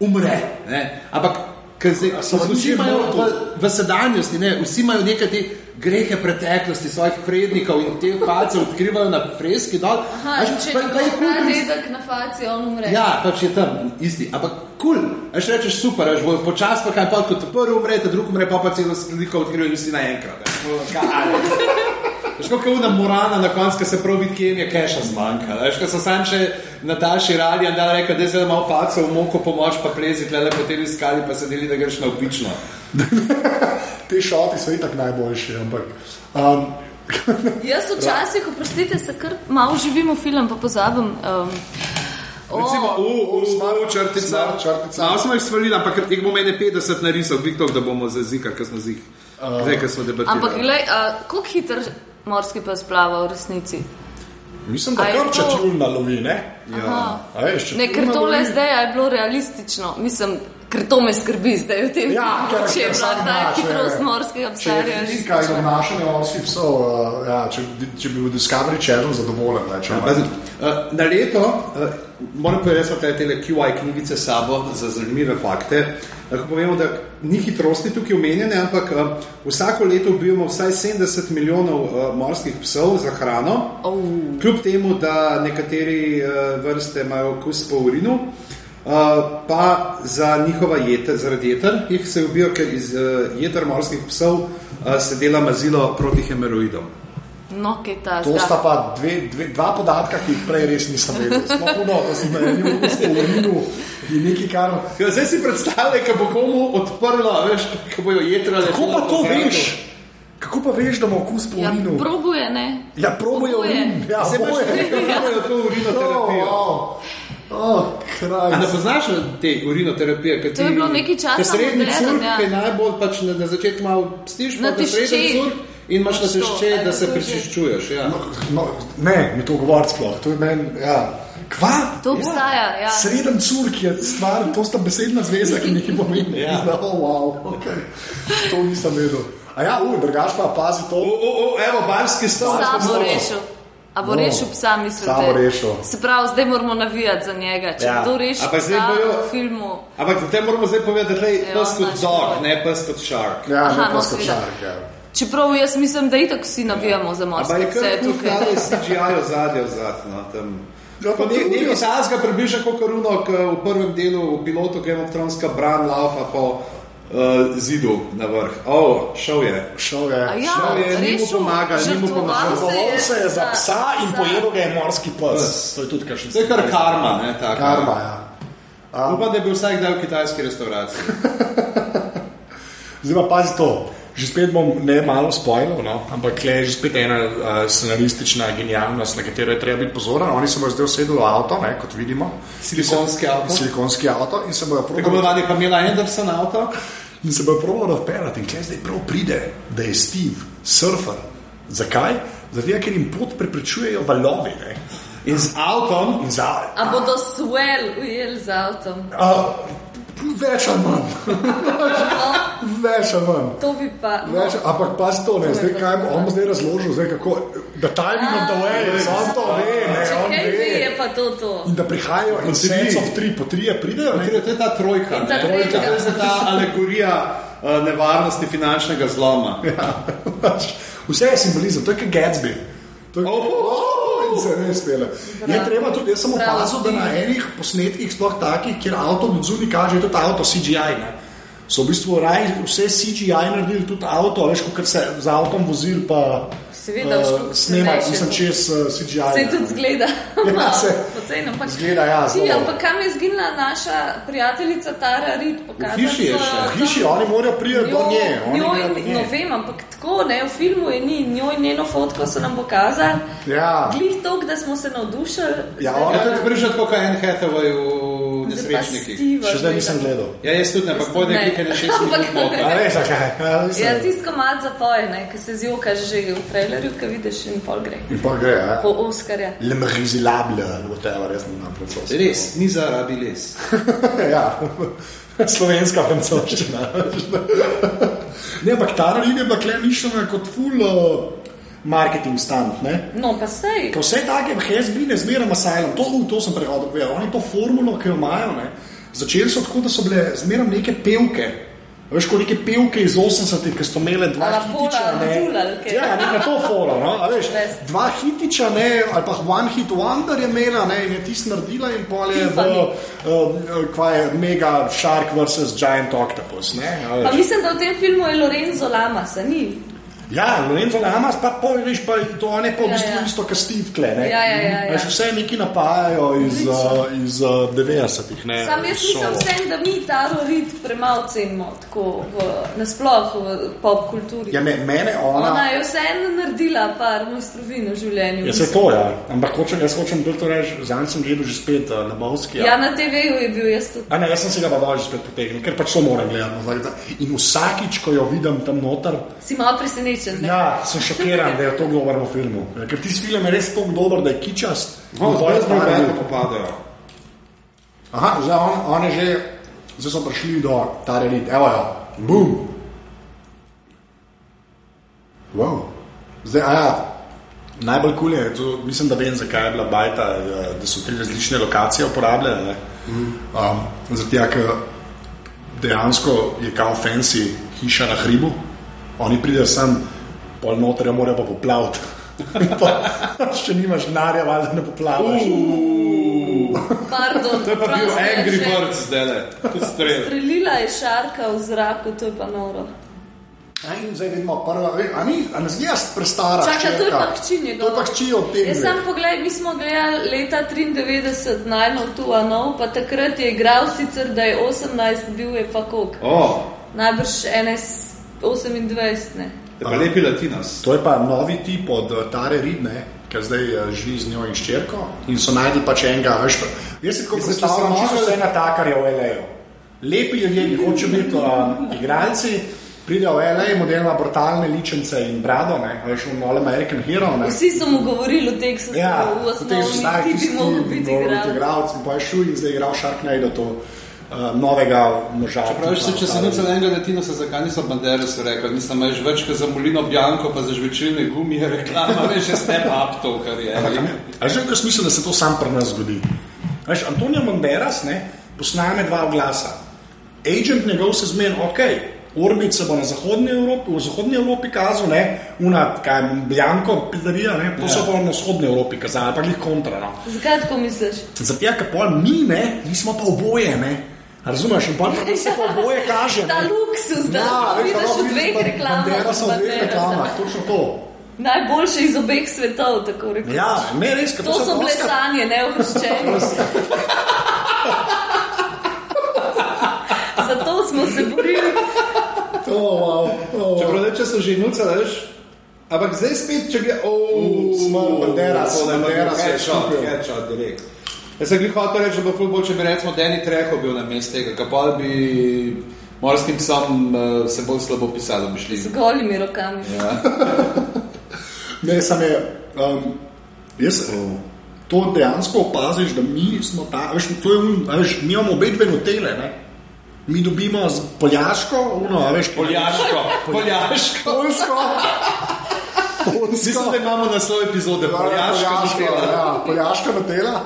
[SPEAKER 4] umre. Ne? Ampak, ker zdaj,
[SPEAKER 2] so
[SPEAKER 4] vsi
[SPEAKER 2] ljudje
[SPEAKER 4] imajo
[SPEAKER 2] morali
[SPEAKER 4] v, v sedanjosti, ne? vsi imajo nekaj te grehe preteklosti svojih prednikov in te face odkrivajo na freski dol.
[SPEAKER 1] Aha,
[SPEAKER 4] Veš,
[SPEAKER 1] in če
[SPEAKER 4] pa-
[SPEAKER 1] ti
[SPEAKER 4] pa je
[SPEAKER 1] bo
[SPEAKER 4] kul pristop.
[SPEAKER 1] dedek na faci, on umre.
[SPEAKER 4] Ja, pač je tam isti, ampak kul. Cool. Až rečeš super, až bo počasi, pa kaj pa kot prvi umre, ta drugi umre, pa pa celo sliko odkrijejo vsi naenkrat. no, Šlo je ura morana, na koncu ko se prav vidi, kje jim je keša zmanjkalo. Veš, ko so sam še na daljši radi in da reka, da zdaj malo paco v moko pomoč, pa plezi tle, da potem iskali, pa se deli, da greš na upično.
[SPEAKER 2] Te šoti so itak najboljši, ampak. Um,
[SPEAKER 1] Jaz včasih, oprostite, se kar malo živim v film, pa pozabim. Um, o,
[SPEAKER 4] Recimo,
[SPEAKER 2] u, smart črtica.
[SPEAKER 4] Samo smo jih svalili, ampak jih bo meni 50 narisal, Viktor, da bomo zazikali, ker smo zih.
[SPEAKER 2] Eh.
[SPEAKER 4] Zdaj, ker smo debatirali.
[SPEAKER 1] ampak, glej, uh, kako hiter morski pes plava v resnici?
[SPEAKER 2] mislim, da
[SPEAKER 1] A je
[SPEAKER 2] kar če
[SPEAKER 1] to-
[SPEAKER 2] ti ulna lovi, ne?
[SPEAKER 1] Aha.
[SPEAKER 2] A veš, če
[SPEAKER 1] Ne,
[SPEAKER 2] ti
[SPEAKER 1] ker
[SPEAKER 2] ulna
[SPEAKER 1] tole
[SPEAKER 2] lovi-
[SPEAKER 1] zdaj a je bilo realistično, mislim, ker to me skrbi zdaj v tem.
[SPEAKER 2] Ja, ker
[SPEAKER 1] če je bila
[SPEAKER 2] ker sam
[SPEAKER 1] ta
[SPEAKER 2] naš,
[SPEAKER 1] hitrost
[SPEAKER 2] ne.
[SPEAKER 1] morskega
[SPEAKER 2] Če
[SPEAKER 1] psa
[SPEAKER 2] je fizika in
[SPEAKER 1] realistična.
[SPEAKER 2] obnašanje morskih psov, uh, ja, če, če bi bil Discovery Channel zadovoljen, ne, če
[SPEAKER 4] Pazi, eh, Na leto, eh, moram povedati, da smo te QI knjigice s sabo za zanimive fakte. Lahko povemo, da ni hitrosti tukaj omenjene, ampak eh, vsako leto ubijemo vsaj 70 milijonov eh, morskih psov za hrano.
[SPEAKER 1] Oh.
[SPEAKER 4] Kljub temu, da nekateri eh, vrste imajo okus po urinu, eh, pa za njihova jeta, zaradi jeter, jih se ubijo, ker iz eh, jeter morskih psov eh, se dela mazilo proti hemeroidom.
[SPEAKER 1] No, kaj ta
[SPEAKER 2] To sta
[SPEAKER 1] zdaj.
[SPEAKER 2] pa dve, dve, dva podatka, ki jih prej res nisem vedel. Sploh no, da sem na enem ugotovil, je nekaj, kar.
[SPEAKER 4] Ja, zdaj si predstavljaj, kako bo komu odprlo, veš, kako bojo jedrali.
[SPEAKER 2] Kako pa to veš? Kako pa veš, da ima okus po
[SPEAKER 1] Ja,
[SPEAKER 2] urinu?
[SPEAKER 1] probuje, ne?
[SPEAKER 2] Ja, proboje
[SPEAKER 1] Oboje.
[SPEAKER 2] urin. Ja,
[SPEAKER 4] Se boš
[SPEAKER 2] oboje.
[SPEAKER 4] rekel, da imajo to urinoterapijo.
[SPEAKER 2] Oh, oh, kraj.
[SPEAKER 4] A ne poznaš te urinoterapije? ki
[SPEAKER 1] To je
[SPEAKER 4] ti-
[SPEAKER 1] bilo nekaj časa
[SPEAKER 4] ko Srednji
[SPEAKER 1] moderno,
[SPEAKER 4] curk,
[SPEAKER 1] ja.
[SPEAKER 4] ki je najbolj pač na, na začetku malo stiš,
[SPEAKER 1] Na
[SPEAKER 4] pa ti srednji
[SPEAKER 1] tišči.
[SPEAKER 4] curk in imaš na
[SPEAKER 1] Pač to,
[SPEAKER 4] tišče,
[SPEAKER 1] a
[SPEAKER 4] da
[SPEAKER 1] na
[SPEAKER 4] se
[SPEAKER 1] tišči.
[SPEAKER 4] prečiščuješ. Ja.
[SPEAKER 2] No, ne, mi to govorimo sploh. To je meni. Ja. Kva?
[SPEAKER 1] To obstaja, ja.
[SPEAKER 2] Sreden curk je stvar, to sta besedna zveza, ki nekaj pomeni.
[SPEAKER 4] Ja.
[SPEAKER 2] No, wow, okay. To nisem vedel. A ja, uj, drugač pa pazi to.
[SPEAKER 4] O, o, o, evo, barski stol.
[SPEAKER 1] Psa bo
[SPEAKER 2] zelo.
[SPEAKER 1] rešil. A bo
[SPEAKER 2] No.
[SPEAKER 1] rešil psa, mislite?
[SPEAKER 2] Psa bo rešil.
[SPEAKER 1] Se pravi, zdaj moramo navijati za njega. Če
[SPEAKER 2] Ja.
[SPEAKER 1] ja. kdo reši
[SPEAKER 4] Ampak zdaj
[SPEAKER 1] psa
[SPEAKER 4] bojo-
[SPEAKER 1] v filmu,
[SPEAKER 4] Ampak te moramo zdaj povedati, da je
[SPEAKER 1] Ja,
[SPEAKER 4] pes kot
[SPEAKER 1] znaš,
[SPEAKER 4] dog,
[SPEAKER 1] to.
[SPEAKER 4] ne pes kot shark.
[SPEAKER 2] Ja,
[SPEAKER 1] Aha,
[SPEAKER 2] Aha,
[SPEAKER 1] no,
[SPEAKER 2] ne paskočar. Ja.
[SPEAKER 1] seveda. čeprav jaz mislim, da itak vsi navijamo ja. za morske
[SPEAKER 4] Ampak je
[SPEAKER 1] pse
[SPEAKER 4] kar
[SPEAKER 1] tukaj.
[SPEAKER 4] tukaj dalo CGI-jo zadnjo zadnjo. no, Tam.
[SPEAKER 2] Ja, pa
[SPEAKER 4] Pa ne-
[SPEAKER 2] trudijo
[SPEAKER 4] Nekaj
[SPEAKER 2] se.
[SPEAKER 4] tazga približa kot runo, ki v prvem delu v pilotu Game of Thrones bran laufa po uh, zidu na vrh. O, oh, šel je.
[SPEAKER 2] Šel je.
[SPEAKER 1] A ja,
[SPEAKER 2] Šel je.
[SPEAKER 4] je, ni mu
[SPEAKER 1] rešil,
[SPEAKER 4] pomagal, ni mu
[SPEAKER 1] žrtvoval
[SPEAKER 4] pomagal.
[SPEAKER 2] Zavolil se je za psa in
[SPEAKER 1] psa.
[SPEAKER 2] pojedel ga je morski pes. To je tudi kakšen
[SPEAKER 4] To je kar karma, ne ta
[SPEAKER 2] Karma, ja.
[SPEAKER 4] Upam, da je bil vsak dan v kitajski restavraciji.
[SPEAKER 2] Zdaj pa pazi to. No, Že spet bom ne malo spojil, no? ampak tle je že spet ena uh, scenaristična genialnost, na katero je treba biti pozoren. Oni se bodo zdaj usedli v avto, ne, kot vidimo.
[SPEAKER 4] Silikonski avto.
[SPEAKER 2] Silikonski avto in se bodo
[SPEAKER 4] Tako
[SPEAKER 2] probali
[SPEAKER 4] imenovani Pamela Anderson avto.
[SPEAKER 2] In se bo proval odpeljati, in kaj zdaj prav pride, da je Steve, surfer. Zakaj? Zato, ker jim pot preprečujejo valovi. Ne?
[SPEAKER 4] In z avtom.
[SPEAKER 2] In za.
[SPEAKER 1] A bodo swell ujeli z avtom.
[SPEAKER 2] A, več ali manj. več ali manj.
[SPEAKER 1] To bi pa. No.
[SPEAKER 2] Več, ampak pa to ne, zdaj kaj bo- on bo zdaj razložil, zdaj kako, da timing of the way, on to ve, ne,
[SPEAKER 1] Ah, Če
[SPEAKER 2] on
[SPEAKER 1] kaj ve,
[SPEAKER 2] ve.
[SPEAKER 1] je pa to to.
[SPEAKER 2] In da prihajajo in
[SPEAKER 4] tri.
[SPEAKER 2] sence of tri, po trije pridejo, ne,
[SPEAKER 4] To je ta trojka.
[SPEAKER 1] In ta
[SPEAKER 4] ne?
[SPEAKER 1] trojka.
[SPEAKER 4] To je zdaj ta alegorija uh, nevarnosti finančnega zloma.
[SPEAKER 2] Pač, Vse je simbolizem, to je kot Gatsby. To je
[SPEAKER 4] Oh.
[SPEAKER 2] kot se ne spele. Je treba tudi, jaz sem
[SPEAKER 1] Bravo,
[SPEAKER 2] opazil, da na enih posnetkih, sploh takih, kjer avto od zunaj kaže tudi avto CGI. Ne? So v bistvu raj, vse CGI naredili, tudi avto, veš, kot se z avtom vozil, pa
[SPEAKER 1] seveda, uh,
[SPEAKER 2] snema, mislim, čez uh, CGI.
[SPEAKER 1] Se tudi zgleda,
[SPEAKER 2] Ja, se-
[SPEAKER 1] poceni. Pač.
[SPEAKER 2] Zgleda, ja,
[SPEAKER 1] Ti,
[SPEAKER 2] zelo.
[SPEAKER 1] ampak kam je zginila naša prijateljica Tara Reid? Pokazali
[SPEAKER 4] V hiši je
[SPEAKER 1] so jo
[SPEAKER 4] še.
[SPEAKER 1] tam.
[SPEAKER 2] V hiši oni morajo priti do nje. oni
[SPEAKER 1] njo,
[SPEAKER 2] grejo do
[SPEAKER 1] in-
[SPEAKER 2] nje.
[SPEAKER 1] no vem, ampak tako ne, v filmu je ni, njo in njeno fotko so nam pokazali.
[SPEAKER 2] Ja.
[SPEAKER 1] Glih to, da smo se navdušili.
[SPEAKER 2] Ja,
[SPEAKER 1] zdaj
[SPEAKER 2] ona
[SPEAKER 1] pa-
[SPEAKER 4] Ja, to prišel tako kot en Hathaway v
[SPEAKER 1] zdaj pa
[SPEAKER 4] nesrečnikih.
[SPEAKER 1] Steva
[SPEAKER 2] Še zdaj nisem
[SPEAKER 1] zgleda.
[SPEAKER 2] gledal.
[SPEAKER 4] Ja, jaz tudi ne, ampak pojdi
[SPEAKER 1] Ne.
[SPEAKER 4] nekaj na šest minut.
[SPEAKER 1] Ampak-
[SPEAKER 4] boka.
[SPEAKER 2] A res, zakaj? Ja, mislim.
[SPEAKER 1] Ja, tisto mat zapoje, ki se zjuka že v trailerju, ki vidiš in pol gre.
[SPEAKER 2] In pa gre, ja.
[SPEAKER 1] Po Oskarja.
[SPEAKER 2] Le mrizilable, ali whatever, jaz ne znam francosko.
[SPEAKER 4] Res, ni zarabi les.
[SPEAKER 2] ja, slovenska francoščina. ne, ampak ta rarin je bila klemišljena kot full uh, marketing stunt. Ne?
[SPEAKER 1] No, pa sej.
[SPEAKER 2] Ker vse take hezbine zmeraj asajlom, to, v to sem prehodil, povedal. Oni to formulo, ki jo imajo, ne? začeli so tako, da so bile zmeraj neke pevke. Veš, kot neke pevke iz 80-ih, ki so imele dva
[SPEAKER 1] A la
[SPEAKER 2] hitiča.
[SPEAKER 1] Paula Abdul ali kaj.
[SPEAKER 2] ne? Ja, ne, na to foro. No? a Veš,
[SPEAKER 1] Res.
[SPEAKER 2] dva hitiča, ne, ali pa One Hit Wonder je imela ne? in je tisti naredila in pol je v,
[SPEAKER 1] Tiffany.
[SPEAKER 2] uh, kva je Mega Shark vs. Giant Octopus. Ne? a veš.
[SPEAKER 1] Pa mislim, da v tem filmu je Lorenzo Lama, se ni.
[SPEAKER 2] Ja, Lorenzo Lamas pa poviš, pa to on je pa v
[SPEAKER 1] Ja,
[SPEAKER 2] bistvu
[SPEAKER 1] ja.
[SPEAKER 2] isto kastivkle.
[SPEAKER 1] Ja, ja, ja, ja.
[SPEAKER 2] Vse neki napajajo iz, uh, iz uh, 90-ih. ne,
[SPEAKER 1] Sam jaz
[SPEAKER 2] šovo.
[SPEAKER 1] mislim vsem, da mi ta rovid premalo cenimo, tako v, nasploh v pop kulturi.
[SPEAKER 2] Ja, me, mene ona.
[SPEAKER 1] Ona je vseeno naredila par mojstrovin v življenju.
[SPEAKER 2] Jaz se to, ja. ampak hočem, jaz hočem bolj to reči, zanj sem gledal že spet uh, na Bovski.
[SPEAKER 1] ja, na TV-ju je bil jaz tudi.
[SPEAKER 2] A ne, jaz sem si ga pa dal že spet potegnil, ker pač to moram gledati. nazaj, da- In vsakič, ko jo vidim tam noter,
[SPEAKER 1] Si malo presenečen. ne?
[SPEAKER 2] ja, sem šokiran, da je to dober v filmu. Ker ti film je res tako dober, da je kičast. In
[SPEAKER 4] No,
[SPEAKER 2] to
[SPEAKER 4] zdaj
[SPEAKER 2] je
[SPEAKER 4] smo
[SPEAKER 2] ta-
[SPEAKER 4] vedno popadajo.
[SPEAKER 2] Aha, zdaj on, on je že, zdaj so prišli do ta relit, evo jo, bum. Wow. Zdaj, a ja, najbolj kul cool je, to, mislim, da vem, zakaj je bila bajta, eh, da so tri različne lokacije uporabljene. ne. Um, Zato, ker dejansko je kao fancy hiša na hribu, oni pridejo sem, pol noter jo morajo pa poplaviti. Pa, Če nimaš denarja, valjda ne poplaviš.
[SPEAKER 1] Pardon,
[SPEAKER 4] To je pa bil
[SPEAKER 1] prosim,
[SPEAKER 4] Angry
[SPEAKER 1] še-
[SPEAKER 4] Birds, zdaj le. Strel.
[SPEAKER 1] Strelila je šarka v zraku, to je pa noro.
[SPEAKER 2] Aj, in zdaj vidimo prva, ej, a ni, a ne zdi jaz prestara.
[SPEAKER 1] Čaka, to je
[SPEAKER 2] hčerka?
[SPEAKER 1] pa hči njegova.
[SPEAKER 2] To je pa hči od tega.
[SPEAKER 1] Jaz sam pogled, mi smo gledali leta 93 najno tu, a no, pa takrat je igral sicer, da je 18, bil je pa kok.
[SPEAKER 4] O,
[SPEAKER 1] Najbrž 28, ne.
[SPEAKER 4] te pa lepi latinos.
[SPEAKER 2] To je pa novi tip od eh, Tare Ridne, ki zdaj eh, živi z njo in ščerko in so najdli pač enega. veš, pa- Jaz se tako predstavljam, če so vse natakarje v L.A. Lepi ljudje, ki hoče biti um, igralci, pridejo v L.A., model ima brutalne ličence in brado, ne, a veš, un All American Hero. Ne.
[SPEAKER 1] Vsi so mu govorili v Teksasu,
[SPEAKER 2] Ja,
[SPEAKER 1] v
[SPEAKER 2] potem so stari
[SPEAKER 1] osnovi, ti bi mogel biti igral.
[SPEAKER 2] igralci, pa je šul in zdaj je igral Sharknado, to uh, novega moža.
[SPEAKER 4] Pravi,
[SPEAKER 2] tipa,
[SPEAKER 4] se, če se
[SPEAKER 2] Tare
[SPEAKER 4] ni za enega latinosa, zakaj niso Banderas rekli, nisem več več kot za Molino Bjanko, pa za žvečilne gumije, reklama, veš, še step up to, kar je.
[SPEAKER 2] Ali že jaz mislim, da se to sam pri nas zgodi? Veš, Antonijo Banderas ne, posname dva glasa. Agent njegov se zmeni, ok, Orbit se bo na zahodni Evropi, v zahodni Evropi kazal, ne, una, kaj, Bjanko, pizzerija, ne, to ja. se bo na vzhodni Evropi kazalo, pa jih kontra. No.
[SPEAKER 1] Zakaj tako misliš?
[SPEAKER 2] Zato, ker pol mi, ne, mi smo pa oboje, ne. A Razumeš, in pa se pa oboje kaže.
[SPEAKER 1] Ta luksuz, da
[SPEAKER 2] Ja,
[SPEAKER 1] lahko vidiš
[SPEAKER 2] no,
[SPEAKER 1] v dveh reklamah.
[SPEAKER 2] Bandera so v dveh
[SPEAKER 1] Banderasa.
[SPEAKER 2] reklamah, točno to.
[SPEAKER 1] Najboljše iz obeh svetov, tako rekoč.
[SPEAKER 2] Ja, ne res, kako
[SPEAKER 1] To
[SPEAKER 2] se
[SPEAKER 1] so bile
[SPEAKER 2] Oscar-
[SPEAKER 1] sanje, ne ohrščenost. Zato smo se borili.
[SPEAKER 2] To, wow, to, wow.
[SPEAKER 4] Čeprav reče, so že nuca, veš, ampak zdaj spet, če gre, o,
[SPEAKER 2] Smrt, Banderas,
[SPEAKER 4] to, da ima
[SPEAKER 2] Banderas je
[SPEAKER 4] headshot,
[SPEAKER 2] kupil.
[SPEAKER 4] headshot, direkt. Jaz sem jih hotel reči, da bo ful bolj, če bi recimo Danny Treho bil na mestu tega, kaj pa bi morskim psom eh, se bolj slabo pisalo, bi šli.
[SPEAKER 1] Z golimi rokami.
[SPEAKER 2] Ja. Ne, samo je. Um, jaz to dejansko opaziš, da mi smo ta, veš, to je, un- a veš, mi imamo obe dve notele. Ne? Mi dobimo z poljaško, no, a veš,
[SPEAKER 4] Poljaško, poljaško.
[SPEAKER 2] polsko. Polsko.
[SPEAKER 4] Mislim, da imamo naslov epizode,
[SPEAKER 2] Ja,
[SPEAKER 4] poljaško.
[SPEAKER 2] poljaška, ja, poljaška notela.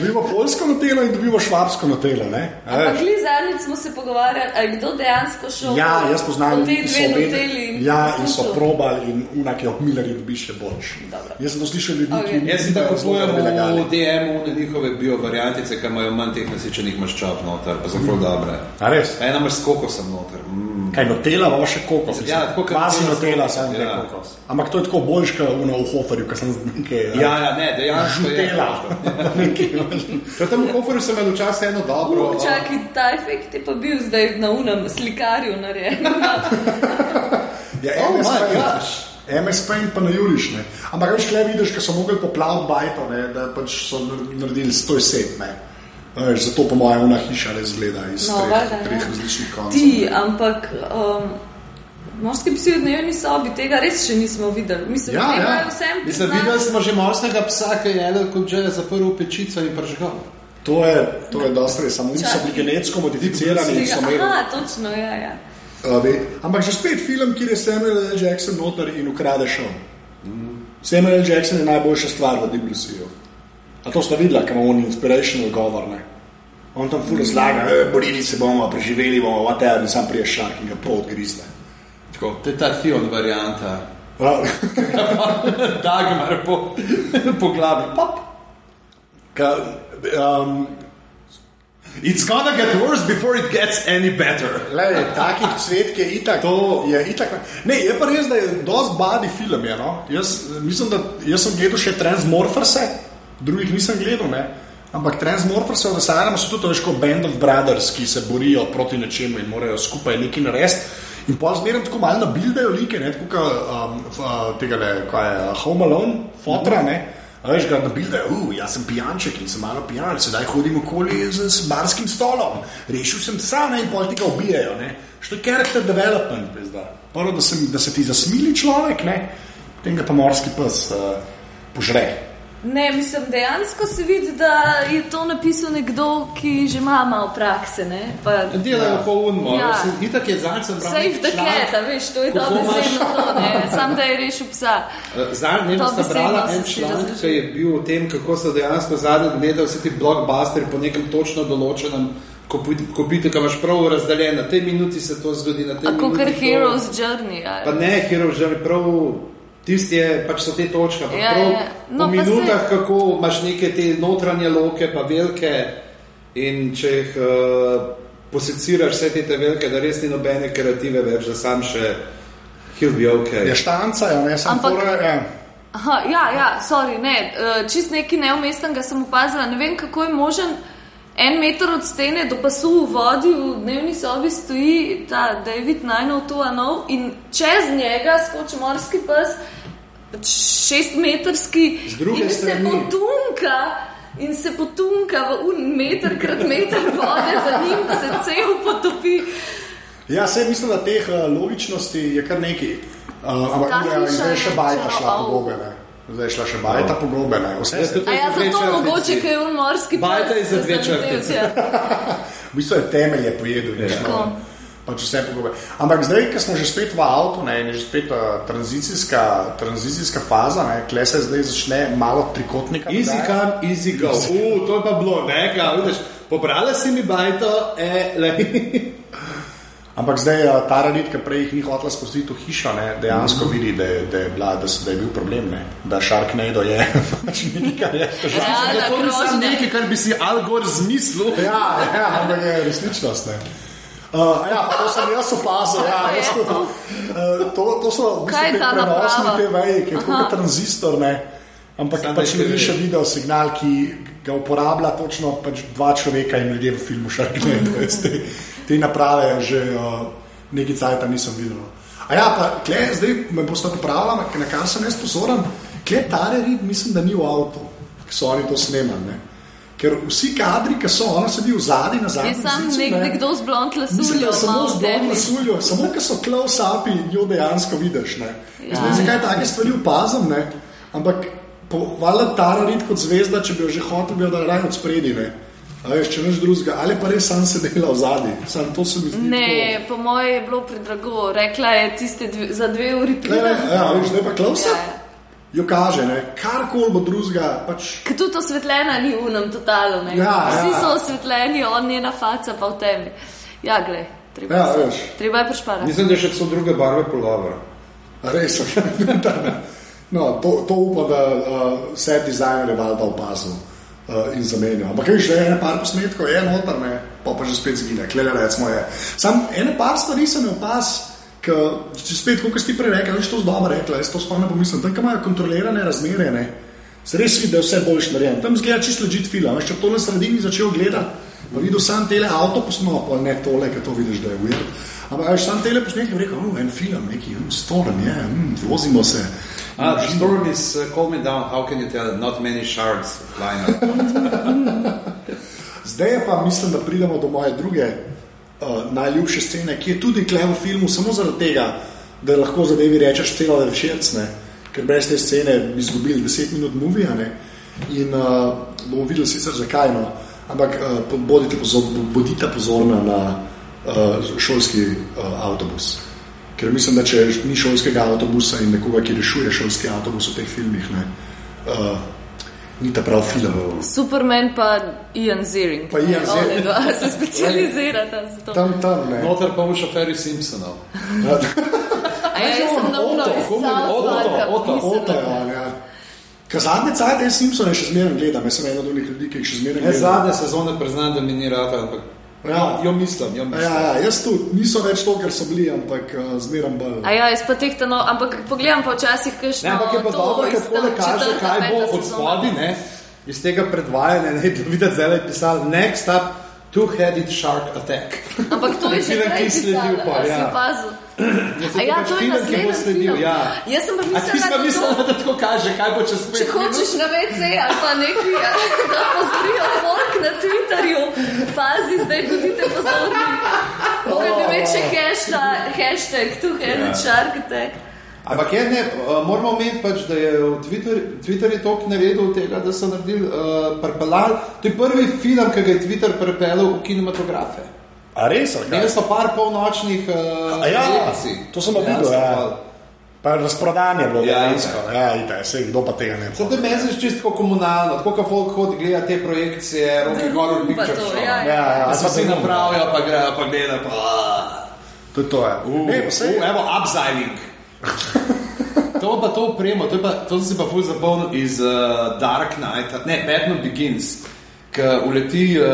[SPEAKER 2] Dobimo polsko notelo in dobimo švabsko notelo. ne? A veš?
[SPEAKER 1] Ampak le zadnjič smo se pogovarjali, ali je kdo dejansko šel
[SPEAKER 2] Ja, jaz poznam
[SPEAKER 1] po te
[SPEAKER 2] ki so
[SPEAKER 1] No, dve
[SPEAKER 2] obe-
[SPEAKER 1] noteli.
[SPEAKER 2] Ja, in so probali in unake ob Millerju dobiš še boljš.
[SPEAKER 1] Dobro.
[SPEAKER 2] Jaz sem to slišal ljudi,
[SPEAKER 1] Ok.
[SPEAKER 2] ki
[SPEAKER 4] Jaz si tako
[SPEAKER 2] zelo
[SPEAKER 4] kupujem
[SPEAKER 2] nelegali.
[SPEAKER 4] v DM-u na njihove biovariantice, ki imajo manj teh nasičenih maščob noter, pa so zelo dobre.
[SPEAKER 2] A res?
[SPEAKER 4] Ena imaš s kokosom noter. Mm.
[SPEAKER 2] Kaj notela, imamo še kokos.
[SPEAKER 4] Ja, tako kot
[SPEAKER 2] Masi
[SPEAKER 4] notela,
[SPEAKER 2] notela,
[SPEAKER 4] so-
[SPEAKER 2] samo ne
[SPEAKER 4] ja.
[SPEAKER 2] kokos. Ampak to je tako boljš, kot v Hoferju, ki sem z neke...
[SPEAKER 4] Ja, ja, ne, dejansko je.
[SPEAKER 2] Žutela. ja.
[SPEAKER 4] Ker tam v koferju sem imel včasih eno dobro.
[SPEAKER 1] Uh,
[SPEAKER 4] a-
[SPEAKER 1] Čakaj, ta efekt je pa bil zdaj na unem slikarju narejen.
[SPEAKER 2] Ja,
[SPEAKER 4] Oh my
[SPEAKER 2] MSP,
[SPEAKER 4] gosh.
[SPEAKER 2] MSP in pa na Juriš. Ne. Ampak več kaj vidiš, ker so mogli poplaviti bajto, ne, da pač so nar- naredili 107. Ne. A veš, Zato po mojem una hiša res gleda iz
[SPEAKER 1] No,
[SPEAKER 2] treh,
[SPEAKER 1] valjda, ja.
[SPEAKER 2] treh različnih koncev.
[SPEAKER 1] Ti, ampak um, morski psi v dnevni sobi tega res še nismo videli. Mislim,
[SPEAKER 2] Ja,
[SPEAKER 1] da
[SPEAKER 2] ja.
[SPEAKER 1] imajo vsem
[SPEAKER 4] Mislim,
[SPEAKER 1] priznano-
[SPEAKER 4] videli smo že morskega psa, ki je jedel kot že zaprl v pečico in pržgal.
[SPEAKER 2] To je, to je dosti res, samo niso bili genetsko modificirani in
[SPEAKER 1] Tega-
[SPEAKER 2] so imeli.
[SPEAKER 1] Aha, točno, ja, ja.
[SPEAKER 2] A ve- Ampak že spet film, kjer je Samuel L. Jackson noter in ukrade šov. Samuel L. Jackson je najboljša stvar v Diblesiju. A to ste videli, kam on inspirational govor. Ne? On tam ful razlaga, "Eh, borili se bomo, preživeli bomo, whatever, in sam prije šah in ga pol odgrizne.
[SPEAKER 4] Tako, To je ta Fion varianta.
[SPEAKER 2] A,
[SPEAKER 4] Dagmar po, po glavi. Pop.
[SPEAKER 2] ka, um,
[SPEAKER 4] It's gonna get worse before it gets any better.
[SPEAKER 2] Lej, takih cvetk je itak.
[SPEAKER 4] To-
[SPEAKER 2] je itak. Ne, je pa res, da je dosti badi film. Je, no? jaz, eh, mislim, da, jaz sem gledal še Transmorferse, drugih nisem gledal. Ne? Ampak Transmorferse v Sanju so tudi to veš kot Band of Brothers, ki se borijo proti nečemu in morajo skupaj nekaj narediti. In pa zmeraj tako malo nabildajo like, ne, tako kot um, f- a, tega, ne, kaj je a Home Alone,
[SPEAKER 4] Mhm.
[SPEAKER 2] fotra. Ne? A veš, ga nabildajo, uh, jaz sem pijanček in sem malo pijan, sedaj hodim okoli z, z barskim stolom, rešil sem psa ne, in pol tega ubijajo. Ne? Što je character development, pizda. Prvo, da, sem, da se ti zasmili človek, ne, potem ga pa morski pes uh, požre.
[SPEAKER 1] Ne, mislim, dejansko se vidi, da je to napisal nekdo, ki že ima malo prakse. ne, pa-
[SPEAKER 4] Delajo po unmo.
[SPEAKER 1] Ja.
[SPEAKER 4] Ja. Itak je zanjcem
[SPEAKER 1] Save the cat, a veš, to je
[SPEAKER 4] Kako
[SPEAKER 1] dobro
[SPEAKER 4] imaš-
[SPEAKER 1] besedno to, ne, sam da je rešil psa.
[SPEAKER 4] Eh, Zanj ne
[SPEAKER 1] To
[SPEAKER 4] sta
[SPEAKER 1] besedno
[SPEAKER 4] brala
[SPEAKER 1] sem
[SPEAKER 4] en
[SPEAKER 1] si
[SPEAKER 4] članek, ki
[SPEAKER 1] razložila.
[SPEAKER 4] je bil o tem, kako so dejansko zadnje leta vsi ti blockbusteri po nekem točno določenem kopitu, ki imaš prav razdeljen, na tej minuti se to zgodi, na tej
[SPEAKER 1] A
[SPEAKER 4] minuti
[SPEAKER 1] Kot
[SPEAKER 4] to.
[SPEAKER 1] Heroes Journey. ali-
[SPEAKER 4] Pa ne, Heroes že prav. Tisti je, pač so te točke. pa
[SPEAKER 1] Ja,
[SPEAKER 4] prav
[SPEAKER 1] ja, ja. No,
[SPEAKER 4] v
[SPEAKER 1] pa
[SPEAKER 4] minutah, kako imaš neke te notranje loke, pa velike, in če jih uh, poseciraš vse te, te velike, da res ni nobene kreative več, da sam še he'll be okay.
[SPEAKER 2] Je štanca, jo, ne, samo
[SPEAKER 1] Ampak-
[SPEAKER 2] fora, ja.
[SPEAKER 1] Aha, ja, ja, sorry, ne, eh, čist neki neumestnega sem opazila. Ne vem, kako je možen en meter od stene do pasu v vodi, v dnevni sobi stoji ta David Najnov, to anov in čez njega skoči morski pes, pač šestmetrski,
[SPEAKER 4] Z druge
[SPEAKER 1] in se
[SPEAKER 4] strani.
[SPEAKER 1] potunka. In se potunka v un meter krat meter vode, za njim se cel potopi.
[SPEAKER 2] Ja, se mislim, da teh uh, logičnosti je kar nekaj. Uh, ampak
[SPEAKER 1] Ta
[SPEAKER 2] ja, in
[SPEAKER 1] hiša
[SPEAKER 2] zdaj je
[SPEAKER 1] je
[SPEAKER 2] še bajta
[SPEAKER 1] načelo,
[SPEAKER 2] šla
[SPEAKER 1] au.
[SPEAKER 2] pogobe. Ne. Zdaj je šla še bajta pogobe. Ne. Vse se
[SPEAKER 1] A ja, zato mogoče, ker je on morski pes.
[SPEAKER 4] Bajta je za dve
[SPEAKER 1] zaletel,
[SPEAKER 4] črtice.
[SPEAKER 1] ja.
[SPEAKER 2] V bistvu je temelje pojedel, ne
[SPEAKER 1] Tako.
[SPEAKER 2] šlo. Pač vse pogobe. Ampak zdaj, ko smo že spet v avtu, ne, in je že spet uh, tranzicijska, tranzicijska faza, ne, kle se zdaj začne malo trikotnika.
[SPEAKER 4] Easy
[SPEAKER 2] dodajati.
[SPEAKER 4] come, easy go. U, to je pa bilo, ne, kaj, vidiš, pobrala si mi bajto, e, le.
[SPEAKER 2] Ampak zdaj uh, ta ranit, ki prej jih ni hotela spustiti v hišo, ne, dejansko mm -hmm. vidi, da, je- da, je bila, da, se- da je bil problem, ne, da šark ne doje. pač ni nikar je.
[SPEAKER 1] Realna
[SPEAKER 4] Ja, to ni samo
[SPEAKER 1] grožnja.
[SPEAKER 4] nekaj, kar bi si Al Gore zmislil.
[SPEAKER 2] Ja, ja, ampak je resničnost. Ne. Uh, ja, pa to sem jaz opazil. Ja, jaz to, uh, to, to so v
[SPEAKER 1] Kaj je
[SPEAKER 2] bistvu
[SPEAKER 1] ta
[SPEAKER 2] prenosni
[SPEAKER 1] naprava?
[SPEAKER 2] TV-ji, ki je kot tranzistor. Ne. Ampak
[SPEAKER 4] Samo
[SPEAKER 2] pač
[SPEAKER 4] da je
[SPEAKER 2] ljudi še
[SPEAKER 4] TV.
[SPEAKER 2] video signal, ki ga uporablja točno pač dva človeka in ljudje v filmu Sharknado.
[SPEAKER 1] Mhm.
[SPEAKER 2] Jaz Te, te naprave že uh, nekaj cajt nisem videl. A ja, pa kle, zdaj me boste popravili, na kar sem jaz pozoren. Kle tare rid, mislim, da ni v avtu, ki so oni to snemali. ne. Ker vsi kadri, ki so, ona sedi v zadnji, na zadnji.
[SPEAKER 1] Je sam
[SPEAKER 2] pozici,
[SPEAKER 1] nek,
[SPEAKER 2] ne.
[SPEAKER 1] nekdo z blond
[SPEAKER 2] Mislim,
[SPEAKER 1] lasuljo,
[SPEAKER 2] da samo
[SPEAKER 1] malo
[SPEAKER 2] z
[SPEAKER 1] temni.
[SPEAKER 2] blond suljo, samo ker so close upi, jo dejansko vidiš. Ne,
[SPEAKER 1] Ja.
[SPEAKER 2] ja. ne vem, zakaj take stvari opazim, ne? ampak valjda Tara rid kot zvezda, če bi jo že hotel, bi jo dal raje od spredi. Ne? A Veš, če neš drugega, ali pa res sam sedela v zadnji, sam to se mi zdi.
[SPEAKER 1] Ne, po mojem je bilo predrago. Rekla je tiste dve, za dve uri
[SPEAKER 2] tako. Ne, ne,
[SPEAKER 5] ja.
[SPEAKER 1] pridem.
[SPEAKER 2] ja, veš, zdaj pa close up.
[SPEAKER 1] Ja,
[SPEAKER 5] jo kaže, ne? karkoli bo drugega, pač
[SPEAKER 1] Ker tudi osvetljena ni v unem totalu. ne.
[SPEAKER 5] Ja,
[SPEAKER 1] Vsi
[SPEAKER 5] ja.
[SPEAKER 1] so osvetljeni, on njena faca pa v temi. Ja, glej, treba,
[SPEAKER 5] Ja,
[SPEAKER 1] se-
[SPEAKER 5] veš.
[SPEAKER 1] treba je prešparati.
[SPEAKER 4] Mislim, da še so druge barve pulovera.
[SPEAKER 5] res je. no, to, to upam, da uh, vse dizajnerje valjda opazil uh, in zamenjal. Ampak veš, da je ena par posnetkov, je noter, ne? pa pa že spet zgine, klele recimo je. Sam ena par stvari sem jo opazil. Ker če spet, kot si ti prej rekel, je to zelo dobro rekla, jaz to sploh ne pomislim. Tam, kjer imajo kontrolirane razmere, ne, se res vidi, da je vse boljš narejeno. Tam zgleda čisto ležit film. Veš, Če bi to na sredini začel gledati, pa videl sam tele avto posnop, ne tole, ki to vidiš, da je ujel. Ampak a veš, sam tele posnetek, bi rekel, oh, en film, neki um, storm, je, mm, vozimo se.
[SPEAKER 4] Ah, the storm is uh, calming down. How can you tell? Not many shards flying out.
[SPEAKER 5] Zdaj je pa mislim, da pridemo do moje druge uh, najljubše scene, ki je tudi klej v filmu, samo zaradi tega, da lahko zadevi rečeš celo večerc, ne? ker brez te scene bi izgubili 10 minut movija. Ne? In uh, bomo videli sicer zakaj, no? ampak uh, bodite pozor, bodite pozorna na uh, šolski uh, avtobus. Ker mislim, da če ni šolskega avtobusa in nekoga, ki rešuje šolski avtobus v teh filmih, ne, uh, ni ta prav film.
[SPEAKER 1] Superman pa Ian Ziering.
[SPEAKER 5] Pa Ian
[SPEAKER 1] Ona
[SPEAKER 5] Ziering.
[SPEAKER 1] dva se specializirata za to.
[SPEAKER 5] Tam, tam, ne.
[SPEAKER 4] Noter pa bo šoferji Simpsonov.
[SPEAKER 1] A ja, jaz sem
[SPEAKER 5] John,
[SPEAKER 1] dobro
[SPEAKER 5] Otto,
[SPEAKER 1] iz
[SPEAKER 4] komu-
[SPEAKER 1] South
[SPEAKER 4] Otto,
[SPEAKER 1] Parka
[SPEAKER 4] Otto,
[SPEAKER 1] mislila.
[SPEAKER 5] Ota, ja, ja. Ker zadnje cajt, jaz Simpsone še zmeraj gledam, jaz sem ena od onih ljudi, ki jih še zmeraj
[SPEAKER 4] Ne,
[SPEAKER 5] gledam.
[SPEAKER 4] zadnje sezone priznam, da mi ni rata, ampak
[SPEAKER 5] Ja.
[SPEAKER 4] jo mislim, jo
[SPEAKER 5] Ja,
[SPEAKER 4] mislim.
[SPEAKER 5] ja, jaz tu niso več to, kar so bili, ampak uh, zmeraj bolj.
[SPEAKER 1] A ja, jaz pa tehtano, ampak pogledam pa včasih, kaj še
[SPEAKER 4] Ne, ampak je pa dobro, ker tako da kaže, kaj bo od spodaj, ne? Iz tega predvajanja, ne, da vidite, zdaj je pisal next up, two-headed shark attack.
[SPEAKER 1] Ampak to je že
[SPEAKER 4] Film, ki
[SPEAKER 1] prej
[SPEAKER 4] sledi
[SPEAKER 1] pisalo,
[SPEAKER 4] pa,
[SPEAKER 1] a si
[SPEAKER 4] ja.
[SPEAKER 1] opazil. A
[SPEAKER 4] je
[SPEAKER 1] ja,
[SPEAKER 4] pač
[SPEAKER 1] to je
[SPEAKER 4] film, ki bo
[SPEAKER 1] naslednji
[SPEAKER 4] sledil,
[SPEAKER 1] film.
[SPEAKER 4] ja.
[SPEAKER 1] Jaz sem pa
[SPEAKER 4] A ti si
[SPEAKER 1] mislila,
[SPEAKER 4] pa
[SPEAKER 1] da je
[SPEAKER 4] mislila,
[SPEAKER 1] to-
[SPEAKER 4] da tako kaže, kaj bo čez
[SPEAKER 1] Če
[SPEAKER 4] pet minut?
[SPEAKER 1] hočeš na VC ali pa nekaj, ja, da pozorijo folk na Twitterju, pazi, zdaj bodite pozorni. Morate imeti še hashtag, hashtag tu
[SPEAKER 4] Ja.
[SPEAKER 1] head shark attack.
[SPEAKER 4] Ampak je, ne, uh, moramo omeniti, pač, da je v Twitter, Twitter je toliko navedel tega, da so naredili uh, Parpelal. To je prvi film, ki ga je Twitter prepeljal v kinematografe.
[SPEAKER 2] A res, ali
[SPEAKER 4] Imeli
[SPEAKER 2] kaj?
[SPEAKER 4] so par polnočnih uh,
[SPEAKER 2] Ja. A ja,
[SPEAKER 4] projekcij.
[SPEAKER 2] to sem pa videl, ja. Pa razprodanje bilo
[SPEAKER 4] Ja,
[SPEAKER 2] dejansko.
[SPEAKER 4] itak.
[SPEAKER 2] Ja, itak, saj kdo pa tega ne
[SPEAKER 4] Zato je meni se čisto tako komunalno, tako kot folk hodi gleda te projekcije, roke
[SPEAKER 1] Room
[SPEAKER 4] gor in
[SPEAKER 1] pa
[SPEAKER 4] picture
[SPEAKER 1] to,
[SPEAKER 4] show.
[SPEAKER 1] ja,
[SPEAKER 2] Ja, ja,
[SPEAKER 4] Pa
[SPEAKER 2] ali
[SPEAKER 4] se
[SPEAKER 2] pa
[SPEAKER 4] vsi
[SPEAKER 2] Dune.
[SPEAKER 4] napravijo, pa grejo, pa gledajo, pa...
[SPEAKER 2] To je to, ja.
[SPEAKER 4] Uh,
[SPEAKER 2] Ne, pa
[SPEAKER 4] uh,
[SPEAKER 2] saj-
[SPEAKER 4] evo, upsiling. To pa to upremo, to, je pa, to si pa fuz zapomnil iz uh, Dark Knight, ne, Batman Begins, ki uleti uh,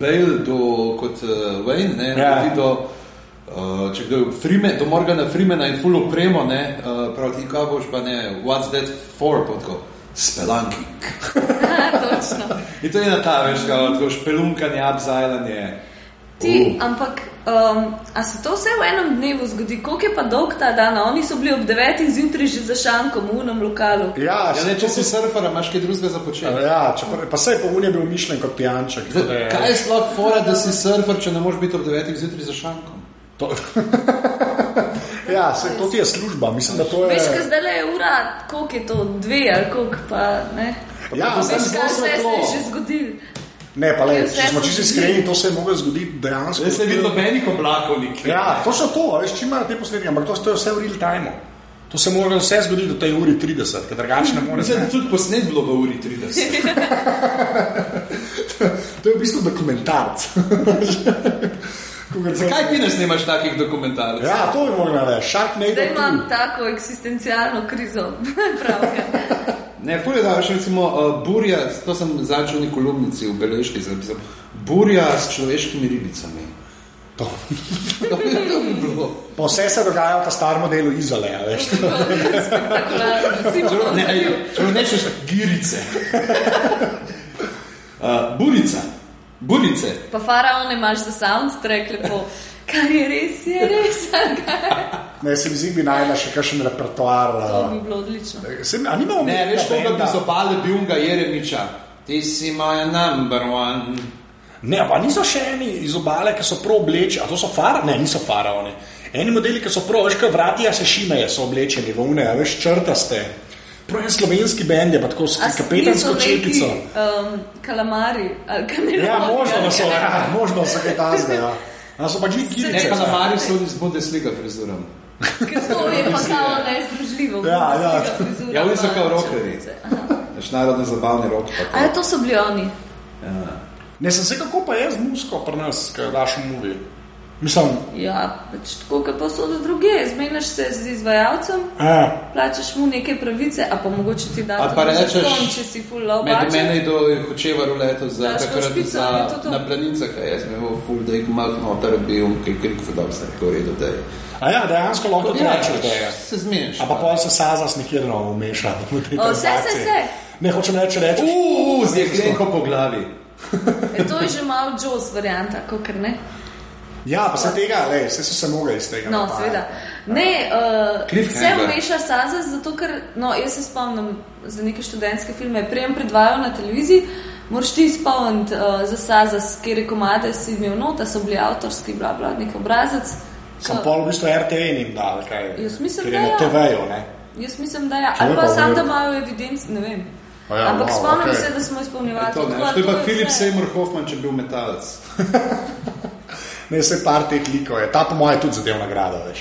[SPEAKER 4] Bale do, kot uh, Wayne, ne,
[SPEAKER 2] Ja.
[SPEAKER 4] uleti do, uh, če kdo, je Freeman, do Morgana Freemana in full upremo, ne, uh, prav ti kaj boš pa ne, what's that for, potko, spelanking.
[SPEAKER 1] Ja, točno.
[SPEAKER 4] In to je na ta veš, kao, tako špelunkanje, abzajlanje.
[SPEAKER 1] Ti, ampak, um, a se to vse v enem dnevu zgodi? Koliko je pa dolg ta dan? A Oni so bili ob devetih zjutraj že za šankom v unem lokalu.
[SPEAKER 2] Ja,
[SPEAKER 4] Ja,
[SPEAKER 2] saj
[SPEAKER 4] ne,
[SPEAKER 2] to
[SPEAKER 4] če si
[SPEAKER 2] tudi-
[SPEAKER 4] surfer, imaš kaj drugega za početi.
[SPEAKER 2] Ja, če pa, pa sej pa unije bil mišljen kot pijanček. tako da
[SPEAKER 4] Zdaj,
[SPEAKER 2] je-
[SPEAKER 5] Ja.
[SPEAKER 4] Kaj je sploh fora, da si surfer, če ne moreš biti ob 9 zjutraj za šankom?
[SPEAKER 2] To... ja, sej, to ti je služba, mislim, da to je.
[SPEAKER 1] Veš, kaj zdaj je ura, koliko je to, dve ali koliko pa ne.
[SPEAKER 2] Ja,
[SPEAKER 1] Veš,
[SPEAKER 2] sem
[SPEAKER 1] kaj
[SPEAKER 2] zelo
[SPEAKER 1] vse se je
[SPEAKER 2] svetlo.
[SPEAKER 1] že zgodilo.
[SPEAKER 2] Ne, pa le,
[SPEAKER 1] Vse
[SPEAKER 2] če smo
[SPEAKER 1] se
[SPEAKER 2] čisto
[SPEAKER 1] zgodi.
[SPEAKER 2] iskreni, to se je moglo zgoditi dejansko.
[SPEAKER 4] Zdaj se vidi nobenih oblakov, nikjer.
[SPEAKER 2] Ja, točno to, a veš, če imajo te poslednje, ampak to, to je vse v real timeu. To se mora vse zgoditi do tej uri 30, ker drugače ne moreš.
[SPEAKER 4] Mislim, da je tudi posnet bilo v uri 30.
[SPEAKER 5] To je v bistvu dokumentarc. Kakor-
[SPEAKER 4] Zakaj ti ne snemaš takih dokumentarcev?
[SPEAKER 2] Ja, to bi moralo reči, šak ne
[SPEAKER 1] Zdaj
[SPEAKER 2] gre.
[SPEAKER 1] imam tako eksistencialno krizo. ja. Pravkar.
[SPEAKER 4] Ne, fur je da, še recimo uh, burja, to sem začel v neki kolumnici v Beležki zapisal, burja s človeškimi ribicami. To. to je to bi bilo.
[SPEAKER 2] Pa vse se dogaja po starem delu izole, a veš.
[SPEAKER 1] Spektakularno. Si
[SPEAKER 4] Čeprav
[SPEAKER 1] bomo
[SPEAKER 4] Ne,
[SPEAKER 1] zbil.
[SPEAKER 4] čeprav ne češ girice. Uh, burica. Burice.
[SPEAKER 1] Pa faraone imaš za soundtrack lepo. Kar je res, je res.
[SPEAKER 2] Ne, se mi zdi, bi najla še kakšen repertoar.
[SPEAKER 1] To
[SPEAKER 2] a-
[SPEAKER 1] bi bilo odlično.
[SPEAKER 2] Se, a nimamo
[SPEAKER 4] Ne, veš,
[SPEAKER 2] nekega
[SPEAKER 4] koga bi
[SPEAKER 2] benda?
[SPEAKER 4] zapale Bjunga Jeremiča. Ti si moja number one.
[SPEAKER 2] Ne, pa niso še eni iz obale, ki so prav oblečeni, a to so faraoni, ne, niso faraoni. Eni modeli, ki so prav, veš, kaj vratija se šimeje, so oblečeni v une, a veš, črtaste. Prav en slovenski bend je, pa tako s
[SPEAKER 1] A s- niso
[SPEAKER 2] kapetansko
[SPEAKER 1] neki,
[SPEAKER 2] čepico.
[SPEAKER 1] Um, kalamari. ali kameroni
[SPEAKER 2] Ja, možno, da
[SPEAKER 1] ali
[SPEAKER 2] so,
[SPEAKER 1] kaj.
[SPEAKER 2] ja, možno so kaj tazga, ja. A so pač neki
[SPEAKER 4] Ne,
[SPEAKER 2] kirice.
[SPEAKER 4] pa na Mariju so iz Bundesliga frizurom.
[SPEAKER 1] Ker to je pa kao nezdružljivo.
[SPEAKER 2] Ja, ja.
[SPEAKER 1] frizura,
[SPEAKER 4] Ja, oni so
[SPEAKER 1] pa
[SPEAKER 4] kao rokerji.
[SPEAKER 1] čepice.
[SPEAKER 4] Naš narodno zabavni rok.
[SPEAKER 1] A ja, to so bili oni.
[SPEAKER 5] Ne, sem se kako pa je z muziko pri nas, kaj daš v muvi. Mislim,
[SPEAKER 1] Ja, pač tako, kot posod druge. Zmeniš se z izvajalcem,
[SPEAKER 2] ja.
[SPEAKER 5] eh,
[SPEAKER 1] plačaš mu neke pravice, a pa mogoče ti da
[SPEAKER 4] Ali pa
[SPEAKER 1] tudi
[SPEAKER 4] rečeš,
[SPEAKER 1] zastonj, če si full low
[SPEAKER 4] Med mene
[SPEAKER 1] budget.
[SPEAKER 4] je do hočeva ruleto za
[SPEAKER 1] Daš to
[SPEAKER 4] takrat
[SPEAKER 1] špico,
[SPEAKER 4] za,
[SPEAKER 1] je to to?
[SPEAKER 4] na planincah, a jaz me bo full day malo noter bil, kaj krik fedam se tako redo, da je.
[SPEAKER 5] a ja, dejansko lahko tudi rečeš, da je.
[SPEAKER 4] se zmeniš.
[SPEAKER 5] Ampak pol se sazas nekje novo umeša. v tej
[SPEAKER 1] O, se, se, se.
[SPEAKER 5] Ne hočem reči, reči.
[SPEAKER 4] Uuu, z jeklenko po glavi.
[SPEAKER 1] E, to je že malo Jaws varianta, kot ne.
[SPEAKER 5] Ja, pa se tega, le, vse so se mogli iz
[SPEAKER 2] Ja,
[SPEAKER 5] tega.
[SPEAKER 1] No,
[SPEAKER 5] napajati.
[SPEAKER 1] seveda. Ne, uh,
[SPEAKER 4] Cliffhanger.
[SPEAKER 1] vse umeša Sansa, zato ker, no, jaz se spomnim za neke študentske filme, je prejem predvajal na televiziji, moraš ti izpolniti uh, za Sansa, kjer komade si imel nota, so bili avtorski, bla, bla, nek obrazec.
[SPEAKER 5] Sem
[SPEAKER 1] Ko-
[SPEAKER 5] pol v bistvu RTV jim dal, kaj.
[SPEAKER 1] No. Jaz mislim,
[SPEAKER 5] Ker
[SPEAKER 1] da
[SPEAKER 5] je na
[SPEAKER 1] ja.
[SPEAKER 5] TV-ju, ne.
[SPEAKER 1] Jaz mislim, da ja,
[SPEAKER 5] Če
[SPEAKER 1] ali
[SPEAKER 5] ne
[SPEAKER 1] pa
[SPEAKER 5] pa
[SPEAKER 1] sam,
[SPEAKER 5] ne.
[SPEAKER 1] da imajo evidenc, ne vem.
[SPEAKER 5] A ja,
[SPEAKER 1] Ampak
[SPEAKER 5] wow,
[SPEAKER 1] spomnim
[SPEAKER 5] okej.
[SPEAKER 1] se, da smo izpolnjevali
[SPEAKER 4] Ja, To, ne,
[SPEAKER 1] tako,
[SPEAKER 4] to je pa
[SPEAKER 1] je
[SPEAKER 4] Filip
[SPEAKER 1] vse.
[SPEAKER 4] Seymour Hoffman, če bi bil metalec.
[SPEAKER 5] Ne, vse par teh likov je. Ta po mojem tudi zadev nagrado, veš.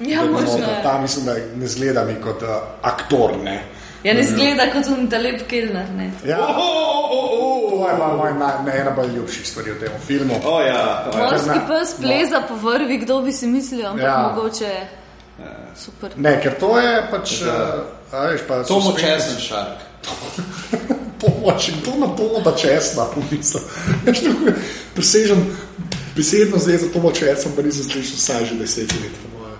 [SPEAKER 1] Ja,
[SPEAKER 5] Da je
[SPEAKER 1] možno
[SPEAKER 5] noter.
[SPEAKER 1] je.
[SPEAKER 5] Ta mislim, da ne zgleda mi kot uh, aktor, ne.
[SPEAKER 1] Ja, ne zgleda kot un talep kelner, ne.
[SPEAKER 5] Ja. Oh, oh, oh, oh, oh. To je bila moja naj- ne, ena bolj ljubših stvari v tem filmu.
[SPEAKER 4] O oh, ja, to je.
[SPEAKER 1] Morski
[SPEAKER 5] na-
[SPEAKER 1] pes pleza po vrvi, kdo bi si mislil, ampak
[SPEAKER 5] Ja.
[SPEAKER 1] mogoče je. Super.
[SPEAKER 5] Ne, ker to je pač, uh, a veš, pa
[SPEAKER 4] Tomo
[SPEAKER 5] suspenz-
[SPEAKER 4] Česen šark.
[SPEAKER 5] pomoč in to na to, da česna, pomislim. Veš, tako je, Presežem besedno zdaj za to, če sem pa nisem slišal vsaj že deset let. po moje.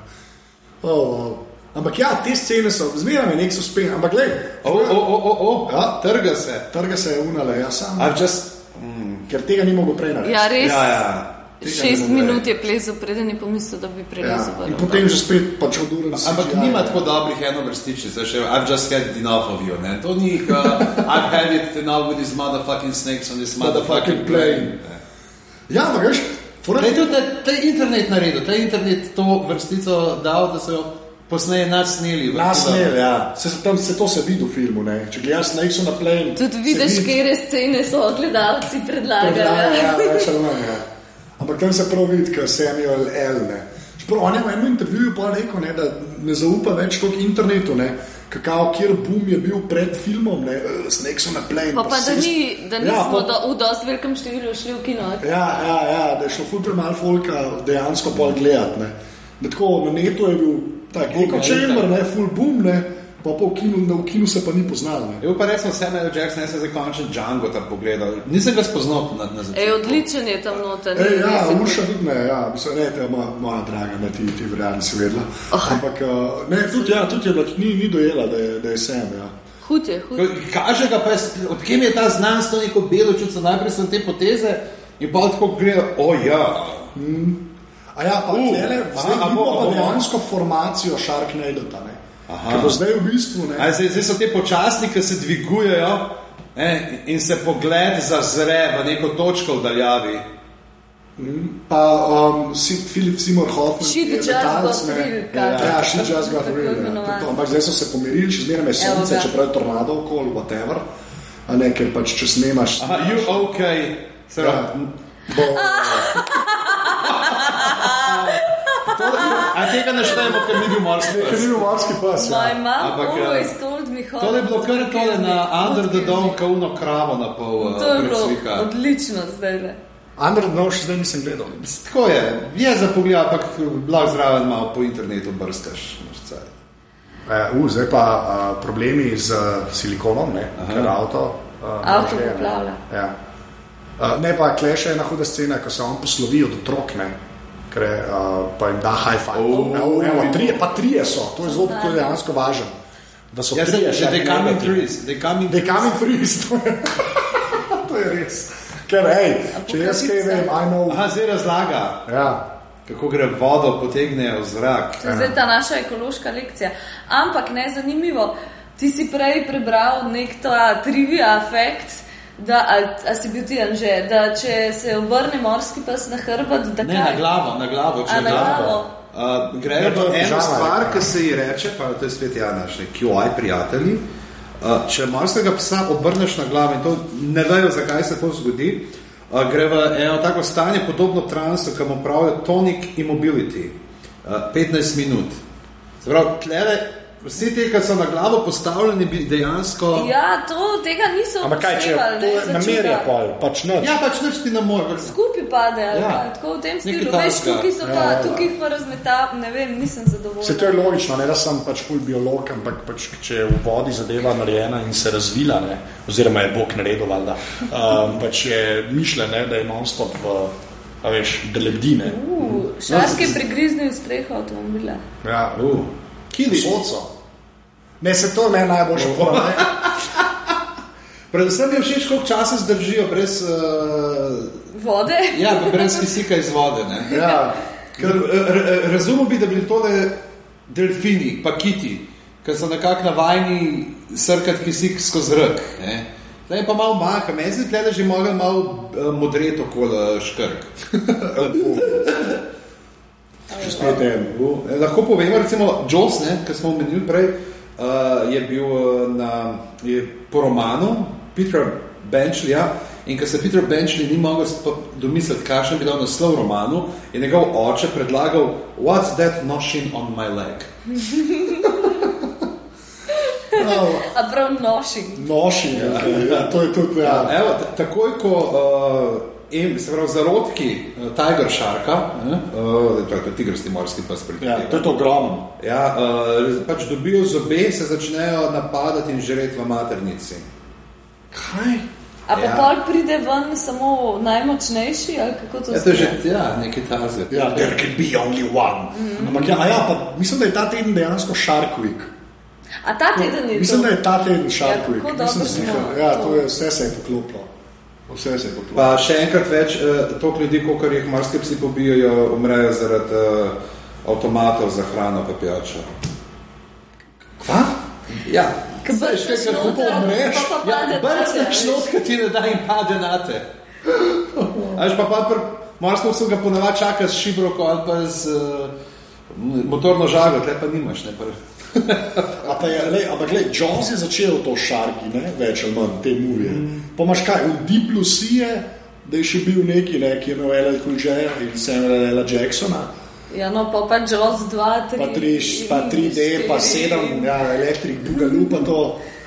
[SPEAKER 5] Oh, wow. Ampak ja, te scene so, zmeraj je nek uspeh, ampak gledaj,
[SPEAKER 2] Oh,
[SPEAKER 4] O, o, o, o, o,
[SPEAKER 5] Ja.
[SPEAKER 4] trga se.
[SPEAKER 5] trga se je unale, ja sam,
[SPEAKER 4] I've just... Mm,
[SPEAKER 5] ker tega ni mogel prej narediti.
[SPEAKER 1] Ja, res.
[SPEAKER 4] ja, ja. Tega ne Ja.
[SPEAKER 1] Šest
[SPEAKER 4] bom rekel.
[SPEAKER 1] minut je plezel, preden je pomislil, da bi prelezel
[SPEAKER 5] in
[SPEAKER 1] vrv.
[SPEAKER 5] potem že spet pač oduren.
[SPEAKER 4] Ampak
[SPEAKER 5] CGI,
[SPEAKER 4] nima
[SPEAKER 5] ne.
[SPEAKER 4] tako dobrih enovrstičic, veš, I've just had enough of you, ne? To ni, uh, I've had it enough with these motherfucking snakes on this motherfucking
[SPEAKER 5] Motherfucking plane.
[SPEAKER 4] plane.
[SPEAKER 5] Ja, ampak veš, fora-
[SPEAKER 4] Ne, tudi ta- ta internet naredil, ta internet to vrstico dal, da so jo posneje nasneli. v
[SPEAKER 5] nas
[SPEAKER 4] film.
[SPEAKER 5] ne, ja. se, se, tam, se to se vidi v filmu, ne. če gledaš na X na plane.
[SPEAKER 1] Tudi
[SPEAKER 5] se
[SPEAKER 1] vidiš,
[SPEAKER 5] vidi.
[SPEAKER 1] kje scene so gledalci predlagali.
[SPEAKER 5] Ja, več ali manj. ja. Ampak tam se prav vidi, ker Samuel L. Ne. Čeprav on je v enem intervjuju pa rekel, ne, da ne zaupa več toliko internetu, ne. Kakao, kjer boom je bil pred filmom, ne, eh, Snakes on a plane.
[SPEAKER 1] Pa pa da,
[SPEAKER 5] vse-
[SPEAKER 1] ni, da nismo
[SPEAKER 5] ja,
[SPEAKER 1] ja,
[SPEAKER 5] pa,
[SPEAKER 1] do, v dosti velikem številu šli v kino.
[SPEAKER 5] Ja, ja, ja, da je šlo ful premalo folka dejansko pol gledati, ne. Da tako na netu je bil tak neko chamber, ne, ful boom, ne, pa po kinu, na ukinu se pa ni poznal, ne.
[SPEAKER 4] Je bil pa recimo Samuel Jackson, jaz sem se končno Django tam pogledal. Nisem ga spoznal na, na
[SPEAKER 1] E,
[SPEAKER 4] začetku.
[SPEAKER 1] odličen je tam noter.
[SPEAKER 5] E,
[SPEAKER 1] ni
[SPEAKER 5] ja,
[SPEAKER 1] res je-
[SPEAKER 5] Urša tudi ne, ja, mislim, ne, te, moja, moja draga, ne, ti, ti verjamem, si vedela. Oh. Ampak uh, ne, tudi, ja, tudi je bila, ni, ni dojela, da je, da je sem. Ja.
[SPEAKER 1] Hud je, hud.
[SPEAKER 4] Ko- Kaže ga pa, jaz, odkje mi je ta znanstvo neko belo čustvo, najprej sem te poteze in pa tako gledajo, o ja.
[SPEAKER 5] A ja, pa
[SPEAKER 4] U,
[SPEAKER 5] uh, tele,
[SPEAKER 4] a,
[SPEAKER 5] zdaj
[SPEAKER 4] a bo,
[SPEAKER 5] imamo
[SPEAKER 4] a
[SPEAKER 5] pa
[SPEAKER 4] bo.
[SPEAKER 5] dejansko formacijo Sharknadota, ne. Ker bo zdaj v bistvu, ne.
[SPEAKER 4] A Zdaj, zdaj so te počasni, ki se dvigujejo ne, in se pogled zazre v neko točko v daljavi.
[SPEAKER 5] Pa um, si, Filip Simon Hoffman,
[SPEAKER 1] She
[SPEAKER 5] je
[SPEAKER 1] just
[SPEAKER 5] letalec,
[SPEAKER 1] got
[SPEAKER 5] ne.
[SPEAKER 1] real,
[SPEAKER 5] Ja,
[SPEAKER 1] kaže.
[SPEAKER 5] ja, she just got
[SPEAKER 1] Tako
[SPEAKER 5] real. ja,
[SPEAKER 1] imenovano.
[SPEAKER 5] to je to. Ampak zdaj so se pomirili, še zmeraj je
[SPEAKER 1] Evo
[SPEAKER 5] sonce,
[SPEAKER 1] ga.
[SPEAKER 5] čeprav je tornado okoli, whatever. A ne, ker pač, če snemaš,
[SPEAKER 4] Aha, you okay.
[SPEAKER 5] Ja.
[SPEAKER 4] Ja.
[SPEAKER 5] bo,
[SPEAKER 4] A tega ne štejemo, ker ni bil morski
[SPEAKER 5] ker ni
[SPEAKER 4] pes.
[SPEAKER 5] bil morski pas.
[SPEAKER 1] My
[SPEAKER 5] Ja.
[SPEAKER 1] mom
[SPEAKER 4] Ampak, ja.
[SPEAKER 1] always told me how.
[SPEAKER 4] To je bilo kar tole na Under the Dome, kauno kravo na pol eh,
[SPEAKER 1] To je bilo
[SPEAKER 4] preslika.
[SPEAKER 1] odlično zdaj. le.
[SPEAKER 5] Under the Dome še zdaj nisem gledal.
[SPEAKER 4] Tako je, je za pogled, ampak blag zraven malo po internetu brskaš. imaš cajt.
[SPEAKER 5] Uh, uh, zdaj pa uh, problemi z uh, silikonom, ne, ker avto. Uh,
[SPEAKER 1] Avto
[SPEAKER 5] ne, že, ne.
[SPEAKER 1] poplavlja.
[SPEAKER 5] Ja. Uh, ne pa kle še ena huda scena, ko se on poslovi od otrok, ne, ker je, uh, pa jim da high-five.
[SPEAKER 4] Oh.
[SPEAKER 5] evo, evo, trije, pa trije so, to je zelo to je dejansko važno. Da so
[SPEAKER 4] Jaz sem
[SPEAKER 2] Ja,
[SPEAKER 5] trije,
[SPEAKER 4] že,
[SPEAKER 5] Sharknado
[SPEAKER 4] Ja, they come in
[SPEAKER 5] ti.
[SPEAKER 4] trees, they come in
[SPEAKER 5] They come in threes, to je, to je res. Ker, hej, če jaz kaj
[SPEAKER 1] Apokalipsa.
[SPEAKER 5] vem, I know.
[SPEAKER 4] Aha, zdaj razlaga,
[SPEAKER 5] Ja.
[SPEAKER 4] kako gre vodo potegnejo v zrak.
[SPEAKER 1] To je zdaj ta naša ekološka lekcija. Ampak ne zanimivo, ti si prej prebral nek ta trivia efekt. Da, a, a si bil ti anže, da če se obrne morski pes na hrbet, da
[SPEAKER 4] Ne, na
[SPEAKER 1] kaj?
[SPEAKER 4] glavo, na glavo, če
[SPEAKER 1] A, na glavo.
[SPEAKER 4] Uh,
[SPEAKER 5] Ne, to
[SPEAKER 4] Grejo
[SPEAKER 5] je
[SPEAKER 4] v eno
[SPEAKER 5] pižama,
[SPEAKER 4] stvar,
[SPEAKER 5] ne.
[SPEAKER 4] ki se ji reče, pa to je svet Janaš, QI prijatelji. Uh, če morskega psa obrneš na glavo in to ne vejo, zakaj se to zgodi, uh, gre v eno tako stanje, podobno transu, ki mu pravijo tonic immobility, uh, 15 minut. Se pravi, tlele, vsi ti, ki so na glavo postavljeni, bi dejansko.
[SPEAKER 1] Ja, to tega niso
[SPEAKER 2] Ampak kaj če
[SPEAKER 1] upoštevali,
[SPEAKER 2] to
[SPEAKER 1] ne,
[SPEAKER 2] je
[SPEAKER 1] začuda.
[SPEAKER 2] namerje, pol, pač ne.
[SPEAKER 4] Ja, pač nič ti ne more.
[SPEAKER 1] Skupaj pade, ali
[SPEAKER 4] Ja.
[SPEAKER 1] pa tako v tem
[SPEAKER 4] Nekaj
[SPEAKER 1] stilu. Veš,
[SPEAKER 4] takega.
[SPEAKER 1] tukaj so pa,
[SPEAKER 2] Ja, ja, ja.
[SPEAKER 1] tukaj jih pa razmetam, ne vem, nisem zadovoljen.
[SPEAKER 2] Vse to je logično, ne da sem pač ful biolog, ampak pač, če je v vodi zadeva narejena in se razvila, ne, oziroma je Bog naredil, valjda, um, pač je mišljeno, da je non-stop v a veš, delebdine.
[SPEAKER 1] Uh, Šarski je prigriznil streho avtomobila.
[SPEAKER 2] Ja,
[SPEAKER 4] Uh,
[SPEAKER 2] kili. Soco. Ne, se to ne najboljše pomeni.
[SPEAKER 4] Predvsem mi je všeč, koliko časa zdržijo brez, uh,
[SPEAKER 1] Vode?
[SPEAKER 4] ja, pa brez kisika iz vode. Ne?
[SPEAKER 2] Ja.
[SPEAKER 4] Ker, eh, r- eh, razumel bi, da bili to le delfini, pa kiti, ki so nekako navajeni srkati kisik skozi zrak. Zdaj je pa malo manjka, meni se zdi, da že mogel malo eh, modreto okoli eh, škrk.
[SPEAKER 2] Še spet je.
[SPEAKER 4] Bilo. Eh, Lahko povemo, recimo, Joss, ne, ki smo omenili prej, uh, je bil eh, na, je po romanu Petra Benchlija in ker se Peter Benchley ni mogel sp- domisliti, kakšen bi dal naslov romanu, je njegov oče predlagal What's that noshing on my leg?
[SPEAKER 2] no,
[SPEAKER 1] A prav nošing.
[SPEAKER 2] Noši, ja. Ja, to je tudi. Ja.
[SPEAKER 4] Evo, t- takoj, ko uh, em, se pravi, zarodki uh, Tiger Sharka, ne, uh, to je ta tigrasti morski pas pri
[SPEAKER 2] Ja, to je to ogromno.
[SPEAKER 4] Ja, uh, pač dobijo zobe, se začnejo napadati in žreti v maternici.
[SPEAKER 2] Kaj?
[SPEAKER 1] A pa
[SPEAKER 4] Ja.
[SPEAKER 1] ja. pol pride ven samo najmočnejši, ali kako to
[SPEAKER 4] Ja, to je že
[SPEAKER 1] zgleda?
[SPEAKER 4] ja, nekaj taze.
[SPEAKER 2] Ja, there can be only one. Mm. Ampak ja, a ja, pa mislim, da je ta teden dejansko Shark Week.
[SPEAKER 1] A ta teden je
[SPEAKER 2] Mislim,
[SPEAKER 1] to?
[SPEAKER 2] da je ta teden Shark
[SPEAKER 1] Ja,
[SPEAKER 2] Week.
[SPEAKER 1] kako
[SPEAKER 2] Nisem
[SPEAKER 1] dobro smo
[SPEAKER 2] slišal. ja, to
[SPEAKER 1] to.
[SPEAKER 2] je, vse se je poklopilo. Vse se je poklopilo.
[SPEAKER 4] Pa še enkrat več, uh, toliko ljudi, koliko jih morski psi pobijajo, umrejo zaradi uh, avtomatov za hrano pa pijačo. Kva? Ja.
[SPEAKER 1] Ke brcneš noter, pa pa pade nate,
[SPEAKER 4] Brcneš
[SPEAKER 1] veš.
[SPEAKER 4] šlotka ti ne da in pade na te. Až pa pa pr, morsko psu ga ponavadi čaka s šibrokom ali pa z uh, motorno žago, tle pa nimaš. Ne, pr.
[SPEAKER 2] A pa je, lej, ampak gled, Jones je začel to šarki, ne? več ali manj te muvije. Mm. Pomaž kaj, v Diplu si je, da je še bil neki, ne, ki je imel L.L. Cool J in Samuel L. Jacksona,
[SPEAKER 1] Ja, no, pa pa Jaws 2, 3.
[SPEAKER 2] pa, tri, pa 3D, pa 7, ja, Electric, Boogaloo pa to.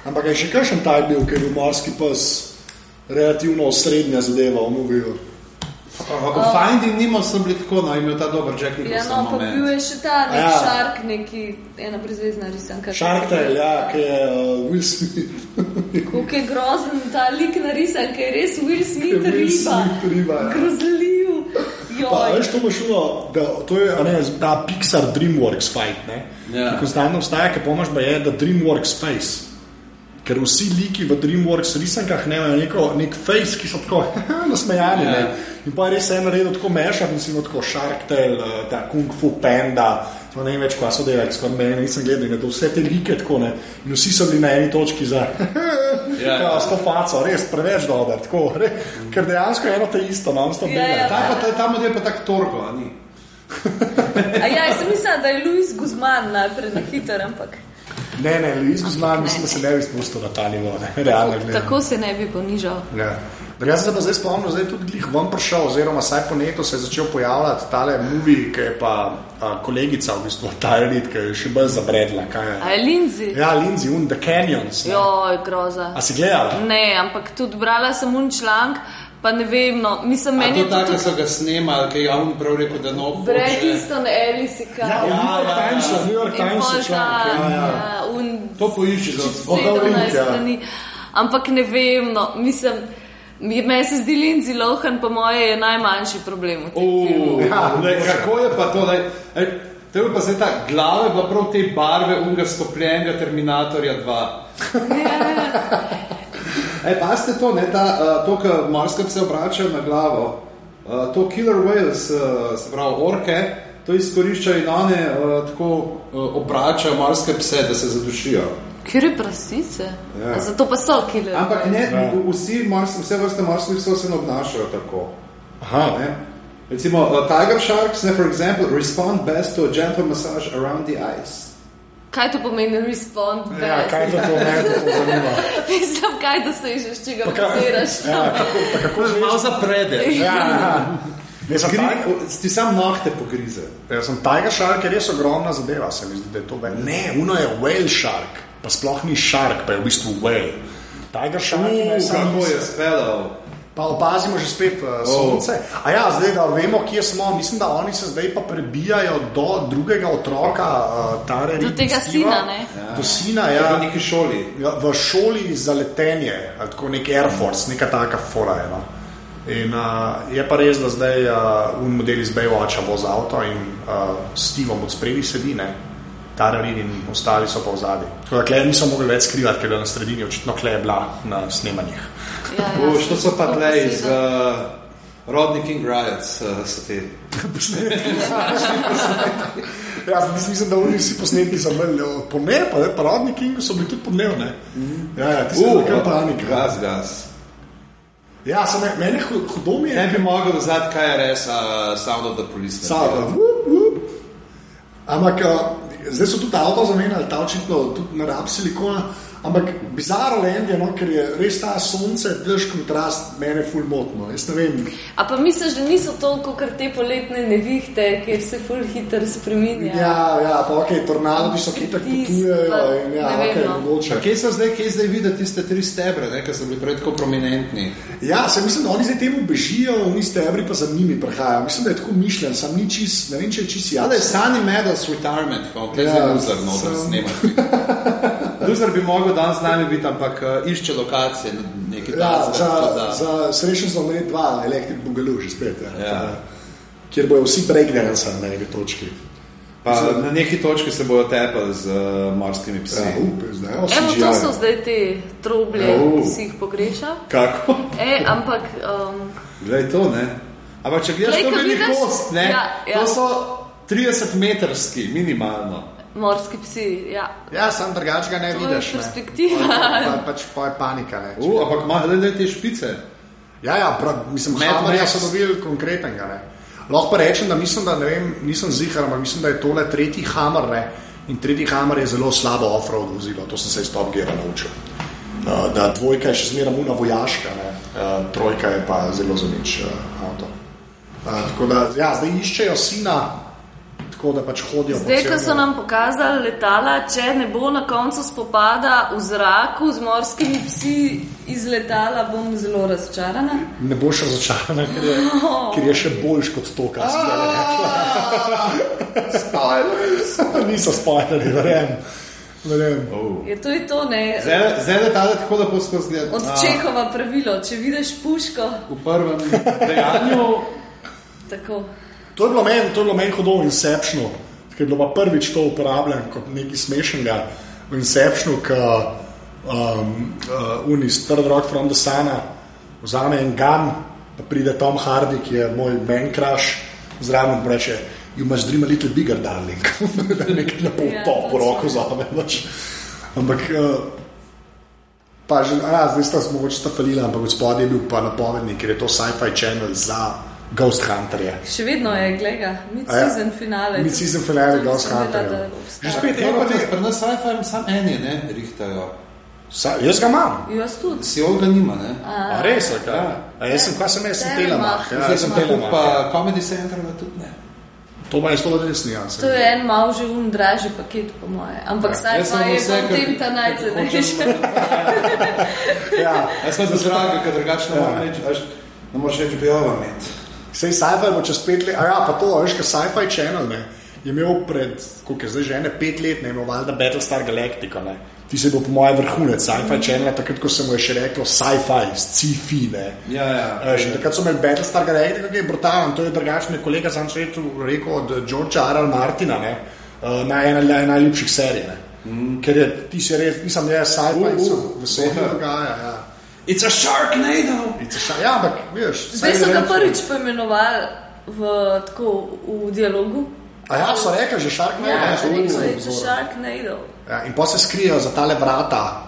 [SPEAKER 2] Ampak je še kakšen taj bil, ker je bil morski pes relativno osrednja No, zadeva v muviju.
[SPEAKER 4] Uh, v Finding Nemo sem bil tako, no, imel ta dober Jack
[SPEAKER 1] Oh. Ja,
[SPEAKER 4] Nicholson
[SPEAKER 1] no, pa
[SPEAKER 4] moment.
[SPEAKER 1] bil je še ta nek
[SPEAKER 2] Ja.
[SPEAKER 1] ja. šark, neki, ena brezvezna risanka.
[SPEAKER 2] Shark Tale, ja, ki je uh, Will Smith.
[SPEAKER 1] Kako je grozen ta lik narisan, ki je res Will Smith
[SPEAKER 2] Will
[SPEAKER 1] riba.
[SPEAKER 2] Smith riba, ja.
[SPEAKER 1] Grozljiv.
[SPEAKER 2] Pa,
[SPEAKER 1] Joj.
[SPEAKER 2] veš, to bo šlo, da to je a ne, ta Pixar Dreamworks fight. Ne?
[SPEAKER 4] Ja.
[SPEAKER 2] Ki Konstantno obstaja, ki pomoč pa je, da Dreamworks face. Ker vsi liki v Dreamworks risankah imajo neko, nek face, ki so tako nasmejani.
[SPEAKER 4] Ja.
[SPEAKER 2] Ja. In pa je res eno redo tako mešati, mislim, tako Shark Tale, eh, ta Kung Fu Panda. to Ne vem več, kaj so delali, skoraj meni nisem gledal, in da vse te like tako ne. In vsi so bili na eni točki za
[SPEAKER 4] Ja.
[SPEAKER 2] ja, ja. to faco, res preveč dobro, tako, re, ker dejansko je eno te isto, non stop.
[SPEAKER 1] Ja,
[SPEAKER 2] delajo.
[SPEAKER 1] ja.
[SPEAKER 4] Ta, pa, ta, ta model pa tako torko, a ni.
[SPEAKER 1] A ja, jaz sem mislila, da je Luis Guzman najprej na hitro, ampak
[SPEAKER 2] Ne, ne, Luis Guzman, mislim, da se ne bi spustil na ta nivo, ne, realno gledano.
[SPEAKER 1] tako se ne bi ponižal.
[SPEAKER 2] Ja. Drugače sem se pa zdaj spomnil, da je tudi glih ven prišel, oziroma vsaj po netu se je začel pojavljati tale movie, ki je pa a, kolegica, v bistvu Tyrid, ki je še bolj zabredla. kaj je.
[SPEAKER 1] A je Lindsay?
[SPEAKER 2] Ja, Lindsay, un The Canyons.
[SPEAKER 1] Ja.
[SPEAKER 2] ne.
[SPEAKER 1] Joj, groza.
[SPEAKER 2] A si gledala?
[SPEAKER 1] Ne, ampak tudi brala sem un članek, pa ne vem, no, mislim,
[SPEAKER 4] A
[SPEAKER 1] meni
[SPEAKER 4] to
[SPEAKER 1] je to
[SPEAKER 4] tako, ki
[SPEAKER 1] tudi
[SPEAKER 4] so ga snemali, ki je on prav rekel, da no. hoče.
[SPEAKER 1] Brad Easton Ellis, kaj.
[SPEAKER 2] Ja, v New York
[SPEAKER 4] ja, ja.
[SPEAKER 2] Timesu, v New York Timesu. je članek, ja, ja.
[SPEAKER 1] un
[SPEAKER 4] To poišči za
[SPEAKER 2] Boga v link,
[SPEAKER 1] 17
[SPEAKER 2] ja.
[SPEAKER 1] strani. Ampak ne vem, no, mislim, mi- meni se zdi Lindsay Lohan, po moje, je najmanjši problem v tem filmu.
[SPEAKER 2] Ja,
[SPEAKER 4] Lej, Kako je pa to? Lej, ej, to je pa zdaj ta glava, je bila prav te barve unga skopljenega Terminatorja 2. Ej, pazite to, ne, ta, uh, to, kar morska se obračajo na glavo. Uh, to killer whales, uh, se pravi orke, to izkoriščajo in one uh, tako uh, obračajo morske pse, da se zadušijo.
[SPEAKER 1] Kjer je prasice?
[SPEAKER 4] Ja.
[SPEAKER 1] A Zato pa so killer.
[SPEAKER 4] Ampak ne,
[SPEAKER 2] Ja.
[SPEAKER 4] v- vsi morski, vse vrste morskih psov se ne obnašajo tako.
[SPEAKER 2] Aha,
[SPEAKER 4] Ne? ja? Recimo, uh, tiger sharks, ne, for example, respond best to a gentle massage around the eyes.
[SPEAKER 1] Kaj to pomeni respond?
[SPEAKER 2] ja,
[SPEAKER 1] best?
[SPEAKER 2] kaj to to meni, to to zanima.
[SPEAKER 1] Mislim, kaj da se že, če ga
[SPEAKER 2] kaj-
[SPEAKER 1] poziraš.
[SPEAKER 2] Ja, kako, pa kako zveš?
[SPEAKER 4] zapredeš.
[SPEAKER 2] Ja, ja.
[SPEAKER 5] Jaz sem,
[SPEAKER 4] Gri,
[SPEAKER 5] taj,
[SPEAKER 4] ti sam nohte pogrize.
[SPEAKER 5] jaz sem Tiger Shark, je res ogromna zadeva, se mi zdi, da je to več. Ne, uno je whale shark, pa sploh ni shark, pa je v bistvu whale. Tiger Shark je naj
[SPEAKER 4] Uf,
[SPEAKER 5] samo
[SPEAKER 4] kako je
[SPEAKER 5] misel.
[SPEAKER 4] spelal.
[SPEAKER 5] Pa opazimo že spet uh, sonce. Oh. A ja, zdaj da vemo, kje smo. Mislim, da oni se zdaj pa prebijajo do drugega otroka, uh, Tare.
[SPEAKER 1] Do tega sina, ne?
[SPEAKER 5] Do sina,
[SPEAKER 4] Ja.
[SPEAKER 5] ja.
[SPEAKER 4] V neki šoli.
[SPEAKER 5] Ja, v šoli za letenje, ali tako nek Air Force, neka taka fora je. No. In, uh, je pa res, da zdaj uh, un model iz Baywatcha vozi avto in uh, Stevom od spredi sedi, ne. Tararin in ostali so pa v zadnji. Tako da klej niso mogli več skrivati, ker je na sredini očitno klej je bila na snemanjih.
[SPEAKER 1] Ja, ja,
[SPEAKER 4] Uš, to so pa
[SPEAKER 1] to
[SPEAKER 4] tle iz
[SPEAKER 1] posebno.
[SPEAKER 4] uh, Rodney King Riots, uh, so ti.
[SPEAKER 5] Ja, zdaj mislim, da oni vsi posnetki so bili od podneva, pa, pa rodni Kingu so bili tudi podnevne. Ja, ja, tisto je nekaj panika.
[SPEAKER 4] Gas, gas.
[SPEAKER 5] Ja, sem meni hu- hudo mi je.
[SPEAKER 4] Ne bi mogel vzati KRS, uh, Sound of the Police.
[SPEAKER 5] Sava, vup, vup. Ampak a, zdaj so tudi avto zamenjali, ta očitno tudi ne rab silikona. Ampak bizarno je, no, ker je res ta sonce, drž kontrast, mene fulmotno. Jaz ne vem,
[SPEAKER 1] A pa misliš, da niso toliko, ker te poletne nevihte, kjer se ful hitro spreminja.
[SPEAKER 5] ja, ja pa ok, tornado, ki so kitek
[SPEAKER 1] Pritisk,
[SPEAKER 5] potujejo
[SPEAKER 1] pa
[SPEAKER 5] in ja,
[SPEAKER 1] ne vem,
[SPEAKER 5] ok,
[SPEAKER 1] no.
[SPEAKER 5] mogoče.
[SPEAKER 4] Kje so zdaj, kje zdaj videti tiste tri stebre, ne, ki so bili prej tako prominentni?
[SPEAKER 5] Ja, se mislim, da oni zdaj temu bežijo, oni stebri pa za njimi prihajajo. Mislim, da je tako mišljen, sam ni čist, ne vem, če je čist
[SPEAKER 4] Ja,
[SPEAKER 5] jasno.
[SPEAKER 4] da je Sunny Meadows retirement, ko je zdaj
[SPEAKER 5] Ja,
[SPEAKER 4] loser, no, da
[SPEAKER 5] sem-
[SPEAKER 4] snemati. Loser bi mogel danes z nami biti, ampak uh, išče lokacije, nekaj
[SPEAKER 5] Ja, za,
[SPEAKER 4] da.
[SPEAKER 5] za srečen smo imeli dva elektrik bugalu, že spet. Ja.
[SPEAKER 4] Ja.
[SPEAKER 5] Kjer bojo vsi breakdancer na eni točki.
[SPEAKER 4] Pa, na neki točki se bojo tepali z uh, morskimi psi.
[SPEAKER 5] Ja, up, zdaj, o,
[SPEAKER 1] Evo,
[SPEAKER 5] CGI.
[SPEAKER 1] to so zdaj te troblje,
[SPEAKER 4] Ja,
[SPEAKER 1] ki
[SPEAKER 4] u.
[SPEAKER 1] si jih pogreša.
[SPEAKER 4] Kako?
[SPEAKER 1] E, ampak um,
[SPEAKER 4] Glej to, ne. Ampak če gledaš
[SPEAKER 1] Glej,
[SPEAKER 4] to
[SPEAKER 1] ko vidiš-
[SPEAKER 4] velikost, ne,
[SPEAKER 1] Ja, ja.
[SPEAKER 4] to so 30 metrski minimalno.
[SPEAKER 1] morski psi, ja,
[SPEAKER 5] Ja, sam drugače ga ne
[SPEAKER 1] To je
[SPEAKER 5] vidiš. ne.
[SPEAKER 1] perspektiva.
[SPEAKER 5] Pa, pač pa je panika. Ne.
[SPEAKER 4] U, ampak ima le te špice.
[SPEAKER 5] Ja, ja, prav, mislim,
[SPEAKER 4] Mad
[SPEAKER 5] Hamarja
[SPEAKER 4] Max.
[SPEAKER 5] so dobili konkretnega. Ne. Lahko pa rečem, da mislim, da ne vem, nisem zihar, ampak mislim, da je tole tretji hamar. Ne. In tretji hamar je zelo slabo offroad vozilo, to sem se iz Top Geara naučil. Uh, da dvojka je še zmeraj una vojaška, ne. uh, trojka je pa zelo zanič uh, avto. Uh, tako da ja, zdaj iščejo sina, tako da pač hodijo po
[SPEAKER 1] Zdaj, ko
[SPEAKER 5] celem-
[SPEAKER 1] so nam pokazali letala, če ne bo na koncu spopada v zraku z morskimi psi iz letala, bom zelo razočarana.
[SPEAKER 5] Ne boš razočaran, ker, je-
[SPEAKER 1] No.
[SPEAKER 5] ker je še boljš kot to, kar si ga rekel. Niso spoilerji, verjamem. verjamem.
[SPEAKER 1] Je to je to, ne?
[SPEAKER 4] Zdaj zdaj letale tako lepo skozi zgled.
[SPEAKER 1] Od Čehova pravilo, če vidiš puško,
[SPEAKER 4] V prvem dejanju
[SPEAKER 1] tako.
[SPEAKER 5] To je bilo meni, to je bilo meni hodov Inception, ker je bilo pa prvič to uporabljeno kot nekaj smešnega v Inceptionu, ki um, uh, unis Third Rock from the Sun vzame en gun, pa pride Tom Hardy, ki je moj men crush, zraven in reče. You must dream a little bigger, darling. Da Nekaj lepo
[SPEAKER 1] Ja,
[SPEAKER 5] yeah, top v roko vzame. pač. Ampak, uh, pa že, a, zdaj sta se mogoče sta falila, ampak od spodaj je bil pa napovednik, ker je to sci-fi channel za Ghost Hunterje.
[SPEAKER 1] Še vedno je, glega, mid-season finale.
[SPEAKER 5] Mid-season finale, Ghost
[SPEAKER 2] ja.
[SPEAKER 5] Hunterjev.
[SPEAKER 1] Že
[SPEAKER 5] Že
[SPEAKER 1] spet.
[SPEAKER 5] spet.
[SPEAKER 4] je Ja, pa res, pri nas sci-fi samo eni, ne, rihtajo.
[SPEAKER 5] Sa, jaz ga imam.
[SPEAKER 1] Jaz tudi.
[SPEAKER 4] Si olga nima, ne.
[SPEAKER 5] A, res je, kaj. A, jaz sem, kaj sem jaz, sem telemah.
[SPEAKER 1] Telemach.
[SPEAKER 5] Ja,
[SPEAKER 4] Zdaj
[SPEAKER 5] jaz
[SPEAKER 4] sem
[SPEAKER 5] sem
[SPEAKER 4] tako,
[SPEAKER 5] telemah. ja.
[SPEAKER 4] pa Comedy Central tudi ne.
[SPEAKER 5] To pa je stolo resni, ja.
[SPEAKER 1] To je en mal že un dražji paket, po moje. Ampak saj
[SPEAKER 4] Jaz
[SPEAKER 1] pa
[SPEAKER 4] sem
[SPEAKER 1] je pa
[SPEAKER 4] vse,
[SPEAKER 1] v
[SPEAKER 4] kar-
[SPEAKER 1] tem ta najcenejši.
[SPEAKER 5] Ja.
[SPEAKER 4] Jaz sem zraven, ker drugače ne morem reči, Ja, veš, ne moreš reči, bi ova imeti.
[SPEAKER 5] Sej sci-fi bo čez pet let, a ja, pa to, a veš, kaj sci-fi channel, ne, je imel pred, koliko je zdaj že ene pet let, ne, imel valjda Battlestar Galactica, ne. Ti se bo po mojem vrhunec sci-fi channel, takrat, ko se mu je še reklo sci-fi, sci-fi, ne.
[SPEAKER 4] Ja, ja.
[SPEAKER 5] A, Eh, Že takrat so imeli Battlestar Galactica, ki je brutalen, to je drugačen kolega, sam sem rekel od Georgea R. R. Martina, ne, uh, na ena naj- najljubših serij, ne.
[SPEAKER 4] Mhm.
[SPEAKER 5] Mm. Ker je, ti si res, nisem jaz sci-fi,
[SPEAKER 4] U, u,
[SPEAKER 5] uh, uh, veselje
[SPEAKER 4] super.
[SPEAKER 5] dogaja, ja.
[SPEAKER 4] It's a Sharknado!
[SPEAKER 5] It's a sci- Ja, ampak, veš,
[SPEAKER 1] Zdaj
[SPEAKER 5] sci-fi
[SPEAKER 1] so ga
[SPEAKER 5] channel-
[SPEAKER 1] prvič poimenovali v, tako, v dialogu.
[SPEAKER 5] A ja, so rekli, že šark ne,
[SPEAKER 1] Ja,
[SPEAKER 5] ne,
[SPEAKER 1] rekel je,
[SPEAKER 5] ne,
[SPEAKER 1] če šark ne idel.
[SPEAKER 5] Ja, in pa se skrijejo za tale vrata,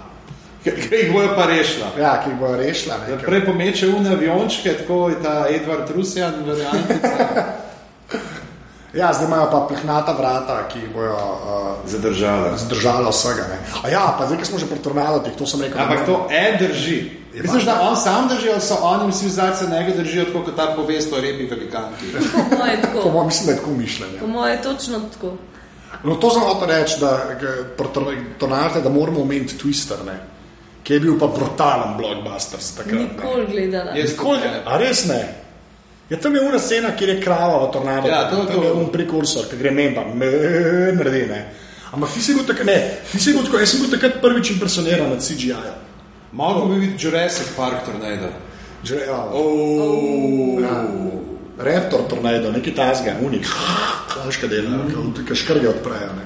[SPEAKER 4] Kaj jih bojo pa rešila?
[SPEAKER 5] ja, ki jih bojo rešila.
[SPEAKER 4] Ja,
[SPEAKER 5] Ne, ker-
[SPEAKER 4] Prej pomeče v aviončke, tako je ta Edward Rusjan, verjamem.
[SPEAKER 2] Ja, zdaj imajo pa plehnata vrata, ki jih bojo
[SPEAKER 5] eh,
[SPEAKER 2] uh,
[SPEAKER 6] Zadržala.
[SPEAKER 2] zdržala vsega. Ne. A ja, pa zdaj, ki smo že pri tornadotih, to sem rekel.
[SPEAKER 4] Ampak
[SPEAKER 2] ne.
[SPEAKER 4] to E drži. Misliš, da on sam drži, ali so oni vsi zadnji njega držijo, tako kot ta povest o rebi velikanki?
[SPEAKER 1] Po moje
[SPEAKER 2] Po
[SPEAKER 1] tako.
[SPEAKER 2] mojem, mislim, da je tako mišljenje.
[SPEAKER 1] Po moje točno tako.
[SPEAKER 2] No, to sem hotel reči, da, g- pri Tor- Tornadotih, da moramo omeniti Twister, ne, ki je bil pa brutalen blockbuster. Takrat, ne.
[SPEAKER 1] Nikoli gledala.
[SPEAKER 4] Jaz
[SPEAKER 2] Nikoli,
[SPEAKER 4] ne.
[SPEAKER 2] a res ne. Ja, tam je ura scena, kjer je krava v tornadu.
[SPEAKER 4] Ja, to je
[SPEAKER 2] tam
[SPEAKER 4] to.
[SPEAKER 2] je un prekursor, ki gre mem, pa me- naredi. Ne. Ampak ti si bil takrat, ne, ti si bil takrat, jaz sem bil takrat prvič impresioniran nad CGI-jem.
[SPEAKER 4] Moral bi biti Jurassic Park tornado.
[SPEAKER 2] Že, ja,
[SPEAKER 4] Oh.
[SPEAKER 2] ja. Raptor tornado, nekaj tasga, unik, kaška
[SPEAKER 4] ja.
[SPEAKER 2] dela, ki ja, škrge odprejo. Ne.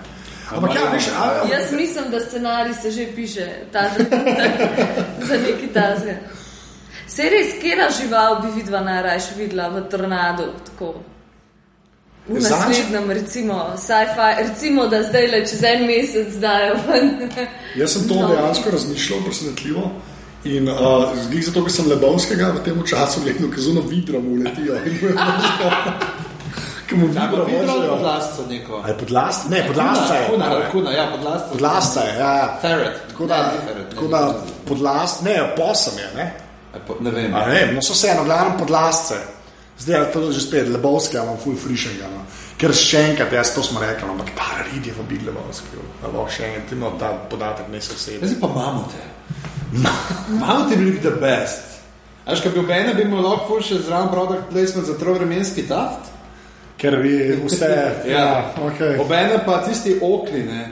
[SPEAKER 2] Ampak ja, veš, a,
[SPEAKER 1] Jaz mislim, da scenarij se že piše ta trenutek za neki tazge. Se res, kera žival bi vidva najrajš videla v tornadu? Tako. V
[SPEAKER 2] Zanj-
[SPEAKER 1] naslednjem, recimo, sci-fi, recimo, da zdaj le čez en mesec dajo ven.
[SPEAKER 2] Jaz sem to
[SPEAKER 1] No.
[SPEAKER 2] no. dejansko razmišljal, presenetljivo. In uh, zdi se, da sem Lebovskega v tem času gledal, ki zelo vidro mu letijo. Ki mu
[SPEAKER 4] Ja, pa
[SPEAKER 2] vidro
[SPEAKER 4] vidro ali
[SPEAKER 2] hočejo.
[SPEAKER 4] podlastca neko.
[SPEAKER 2] A je podlast? Ne, podlastca je.
[SPEAKER 4] Kuna,
[SPEAKER 2] a
[SPEAKER 4] kuna,
[SPEAKER 2] ne.
[SPEAKER 4] kuna, ja, podlastca.
[SPEAKER 2] Podlastca je, ja. ja.
[SPEAKER 4] Ferret.
[SPEAKER 2] Tako da,
[SPEAKER 4] Ne, ni ferret, ne,
[SPEAKER 2] tako
[SPEAKER 4] ni
[SPEAKER 2] da
[SPEAKER 4] ferret.
[SPEAKER 2] podlast, ne, posem je, ne.
[SPEAKER 4] A po- Ne vem.
[SPEAKER 2] A ne, no so vseeno, glavno podlastce. Zdaj je to že spet Lebovski, imam full frišenga. No. Ker še enkrat, jaz to smo rekli, ampak para rid je v Big Lebovski. Ampak še enkrat, ti imam ta podatek, ne se vse.
[SPEAKER 4] Jaz pa mamute. mamute bi bili the best. Až kaj bi bil mene, bi mu lahko ful še zraven product placement za trovremenski taft.
[SPEAKER 2] Ker vi vse, ja, okay.
[SPEAKER 4] Obene pa tisti okni, ne.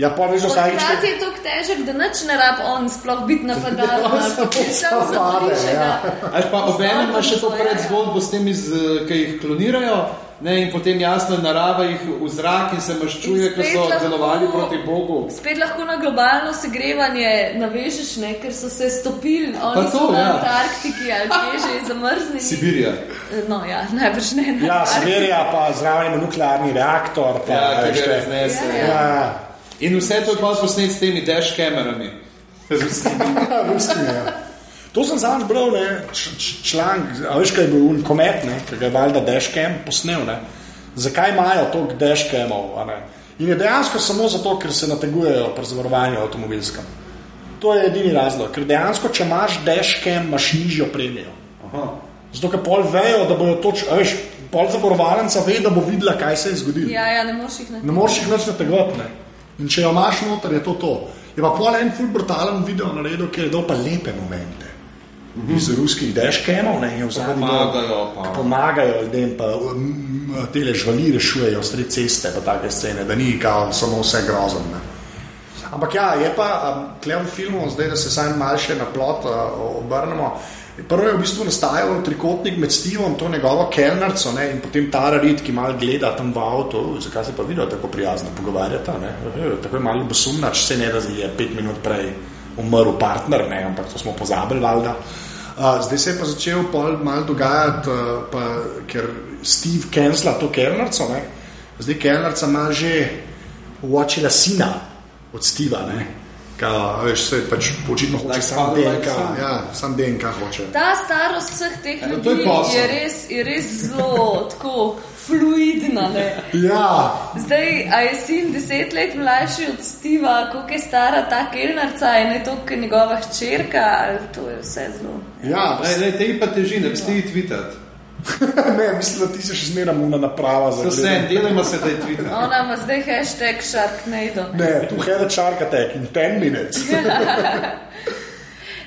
[SPEAKER 2] ja pa veš, da vsakič, ko-
[SPEAKER 1] Hkrati je tako težek, da nič ne rab on sploh biti napadal.
[SPEAKER 2] Ja, samo ja.
[SPEAKER 1] Samo za
[SPEAKER 2] pade,
[SPEAKER 1] prišega.
[SPEAKER 4] Až pa obenem ima še to
[SPEAKER 1] Svoje, ja.
[SPEAKER 4] predzgodbo s temi, z- ki jih klonirajo, ne, in potem jasno narava jih v zrak in se maščuje,
[SPEAKER 1] In
[SPEAKER 4] ker so
[SPEAKER 1] spet lahko-
[SPEAKER 4] delovali proti Bogu.
[SPEAKER 1] Spet lahko na globalno segrevanje navežeš, ne? ker so se stopili,
[SPEAKER 4] Pa
[SPEAKER 1] oni so
[SPEAKER 4] to,
[SPEAKER 1] na
[SPEAKER 4] ja.
[SPEAKER 1] Antarktiki ali kje že zamrznili.
[SPEAKER 4] Sibirija.
[SPEAKER 1] No, ja, najbrž ne. na
[SPEAKER 2] ja,
[SPEAKER 1] Antarktiki.
[SPEAKER 2] Sibirija, pa zraven ima nuklearni reaktor, pa
[SPEAKER 4] Ja, ki
[SPEAKER 2] veš,
[SPEAKER 4] ga
[SPEAKER 2] te-
[SPEAKER 4] raznese.
[SPEAKER 1] Ja, ja.
[SPEAKER 2] Ja,
[SPEAKER 4] In vse to je pa posnet s temi dash kamerami. Z vsemi.
[SPEAKER 2] ruski, ja. To sem zadnjič bral, ne, č- č- članek, a veš, kaj je bil un komet, ne, ki ga je valjda deškem posnel. Ne. Zakaj imajo toliko deškemov? a ne? In je dejansko samo zato, ker se nategujejo pri zavarovanju avtomobilskem. To je edini razlog, ker dejansko, če imaš deškem, imaš nižjo premijo.
[SPEAKER 4] Aha.
[SPEAKER 2] Zato, ker pol vejo, da bojo točno, veš, pol zavarovanca ve, da bo videla, kaj se je zgodilo.
[SPEAKER 1] ja, ja, ne moreš jih
[SPEAKER 2] Ne
[SPEAKER 1] napisati.
[SPEAKER 2] moreš jih več nategovati. ne. In če jo imaš noter, je to to. Je pa pol en full brutalen video naredil, ki je dal pa lepe momente. Iz ruskih deškemov, ne je vzadnji.
[SPEAKER 4] Pomagajo pa.
[SPEAKER 2] Pomagajo ljudem, pa um, te žvali rešujejo sred ceste, pa take scene, da ni kao, samo vse grozno. Ampak ja, je pa klem filmov, zdaj da se sam malo še na plot uh, obrnemo. Prvo je v bistvu nastajal trikotnik med Stevom, to njegovo kelnerco ne, in potem Tara Reid, ki malo gleda tam v avtu, "Uj, zakaj se pa vidijo tako prijazno pogovarjata. Ne? Eh, Tako je malo bosumna, če se ne da je pet minut prej umrl partner, ne, ampak to smo pozabili, valjda. Uh, zdaj se je pa začel pol malo dogajati, uh, pa, ker Steve kensla to kelnerco, ne. zdaj kelnerca ima že uočila sina od Steva. Ka, veš, se pač očitno hoče
[SPEAKER 4] Like
[SPEAKER 2] samo
[SPEAKER 4] father, like
[SPEAKER 2] DNK.
[SPEAKER 4] son.
[SPEAKER 2] Ja, sam DNK hoče.
[SPEAKER 1] Ta starost vseh teh
[SPEAKER 4] Ja, to je
[SPEAKER 1] ljudi
[SPEAKER 4] posel.
[SPEAKER 1] je res, je res zelo tako fluidna. Ne?
[SPEAKER 2] Ja,
[SPEAKER 1] Zdaj, a je sin deset let mlajši od Steva, koliko je stara ta kelnarca, je ne toliko kot njegova hčerka, ali to je vse zelo.
[SPEAKER 2] ja
[SPEAKER 4] Lej, lej, te pa teži, ne psti jih tvitati.
[SPEAKER 2] ne, mislim, da ti se še zmeraj umna naprava za
[SPEAKER 4] To se en,
[SPEAKER 2] gledanje.
[SPEAKER 4] delajmo se, da je tvitati.
[SPEAKER 1] Ona ima zdaj hashtag Sharknado.
[SPEAKER 2] Ne, tu hede čarkate in ten minut.
[SPEAKER 1] Ja.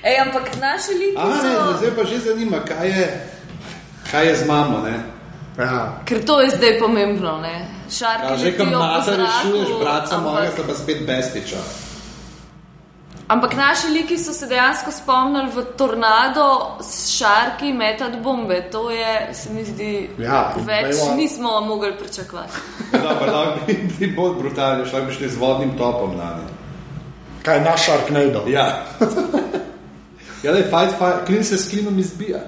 [SPEAKER 1] Ej, ampak naši liki
[SPEAKER 4] Aha, ne,
[SPEAKER 1] so...
[SPEAKER 4] zdaj pa že zanima, kaj je, kaj je z mamo, ne.
[SPEAKER 2] Ja.
[SPEAKER 1] Ker to je zdaj pomembno, ne? Šarki
[SPEAKER 4] Ja, že
[SPEAKER 1] letijo
[SPEAKER 4] kam
[SPEAKER 1] po
[SPEAKER 4] mata
[SPEAKER 1] zraku,
[SPEAKER 4] rešuješ, bratca mojega,
[SPEAKER 1] ampak,
[SPEAKER 4] sta pa spet bestiča.
[SPEAKER 1] ampak naši liki so se dejansko spomnili v tornado s šarki metati bombe. To je, se mi zdi,
[SPEAKER 2] Ja, in
[SPEAKER 1] več
[SPEAKER 2] Baywatch.
[SPEAKER 1] nismo mogli pričakovati.
[SPEAKER 4] Dobro, lahko bi bili bolj brutalni, šlo bi šli z vodnim topom na ne.
[SPEAKER 2] Kaj naš šark ne do.
[SPEAKER 4] Ja. Ja, le, fight, fight, klin se s klinom izbija.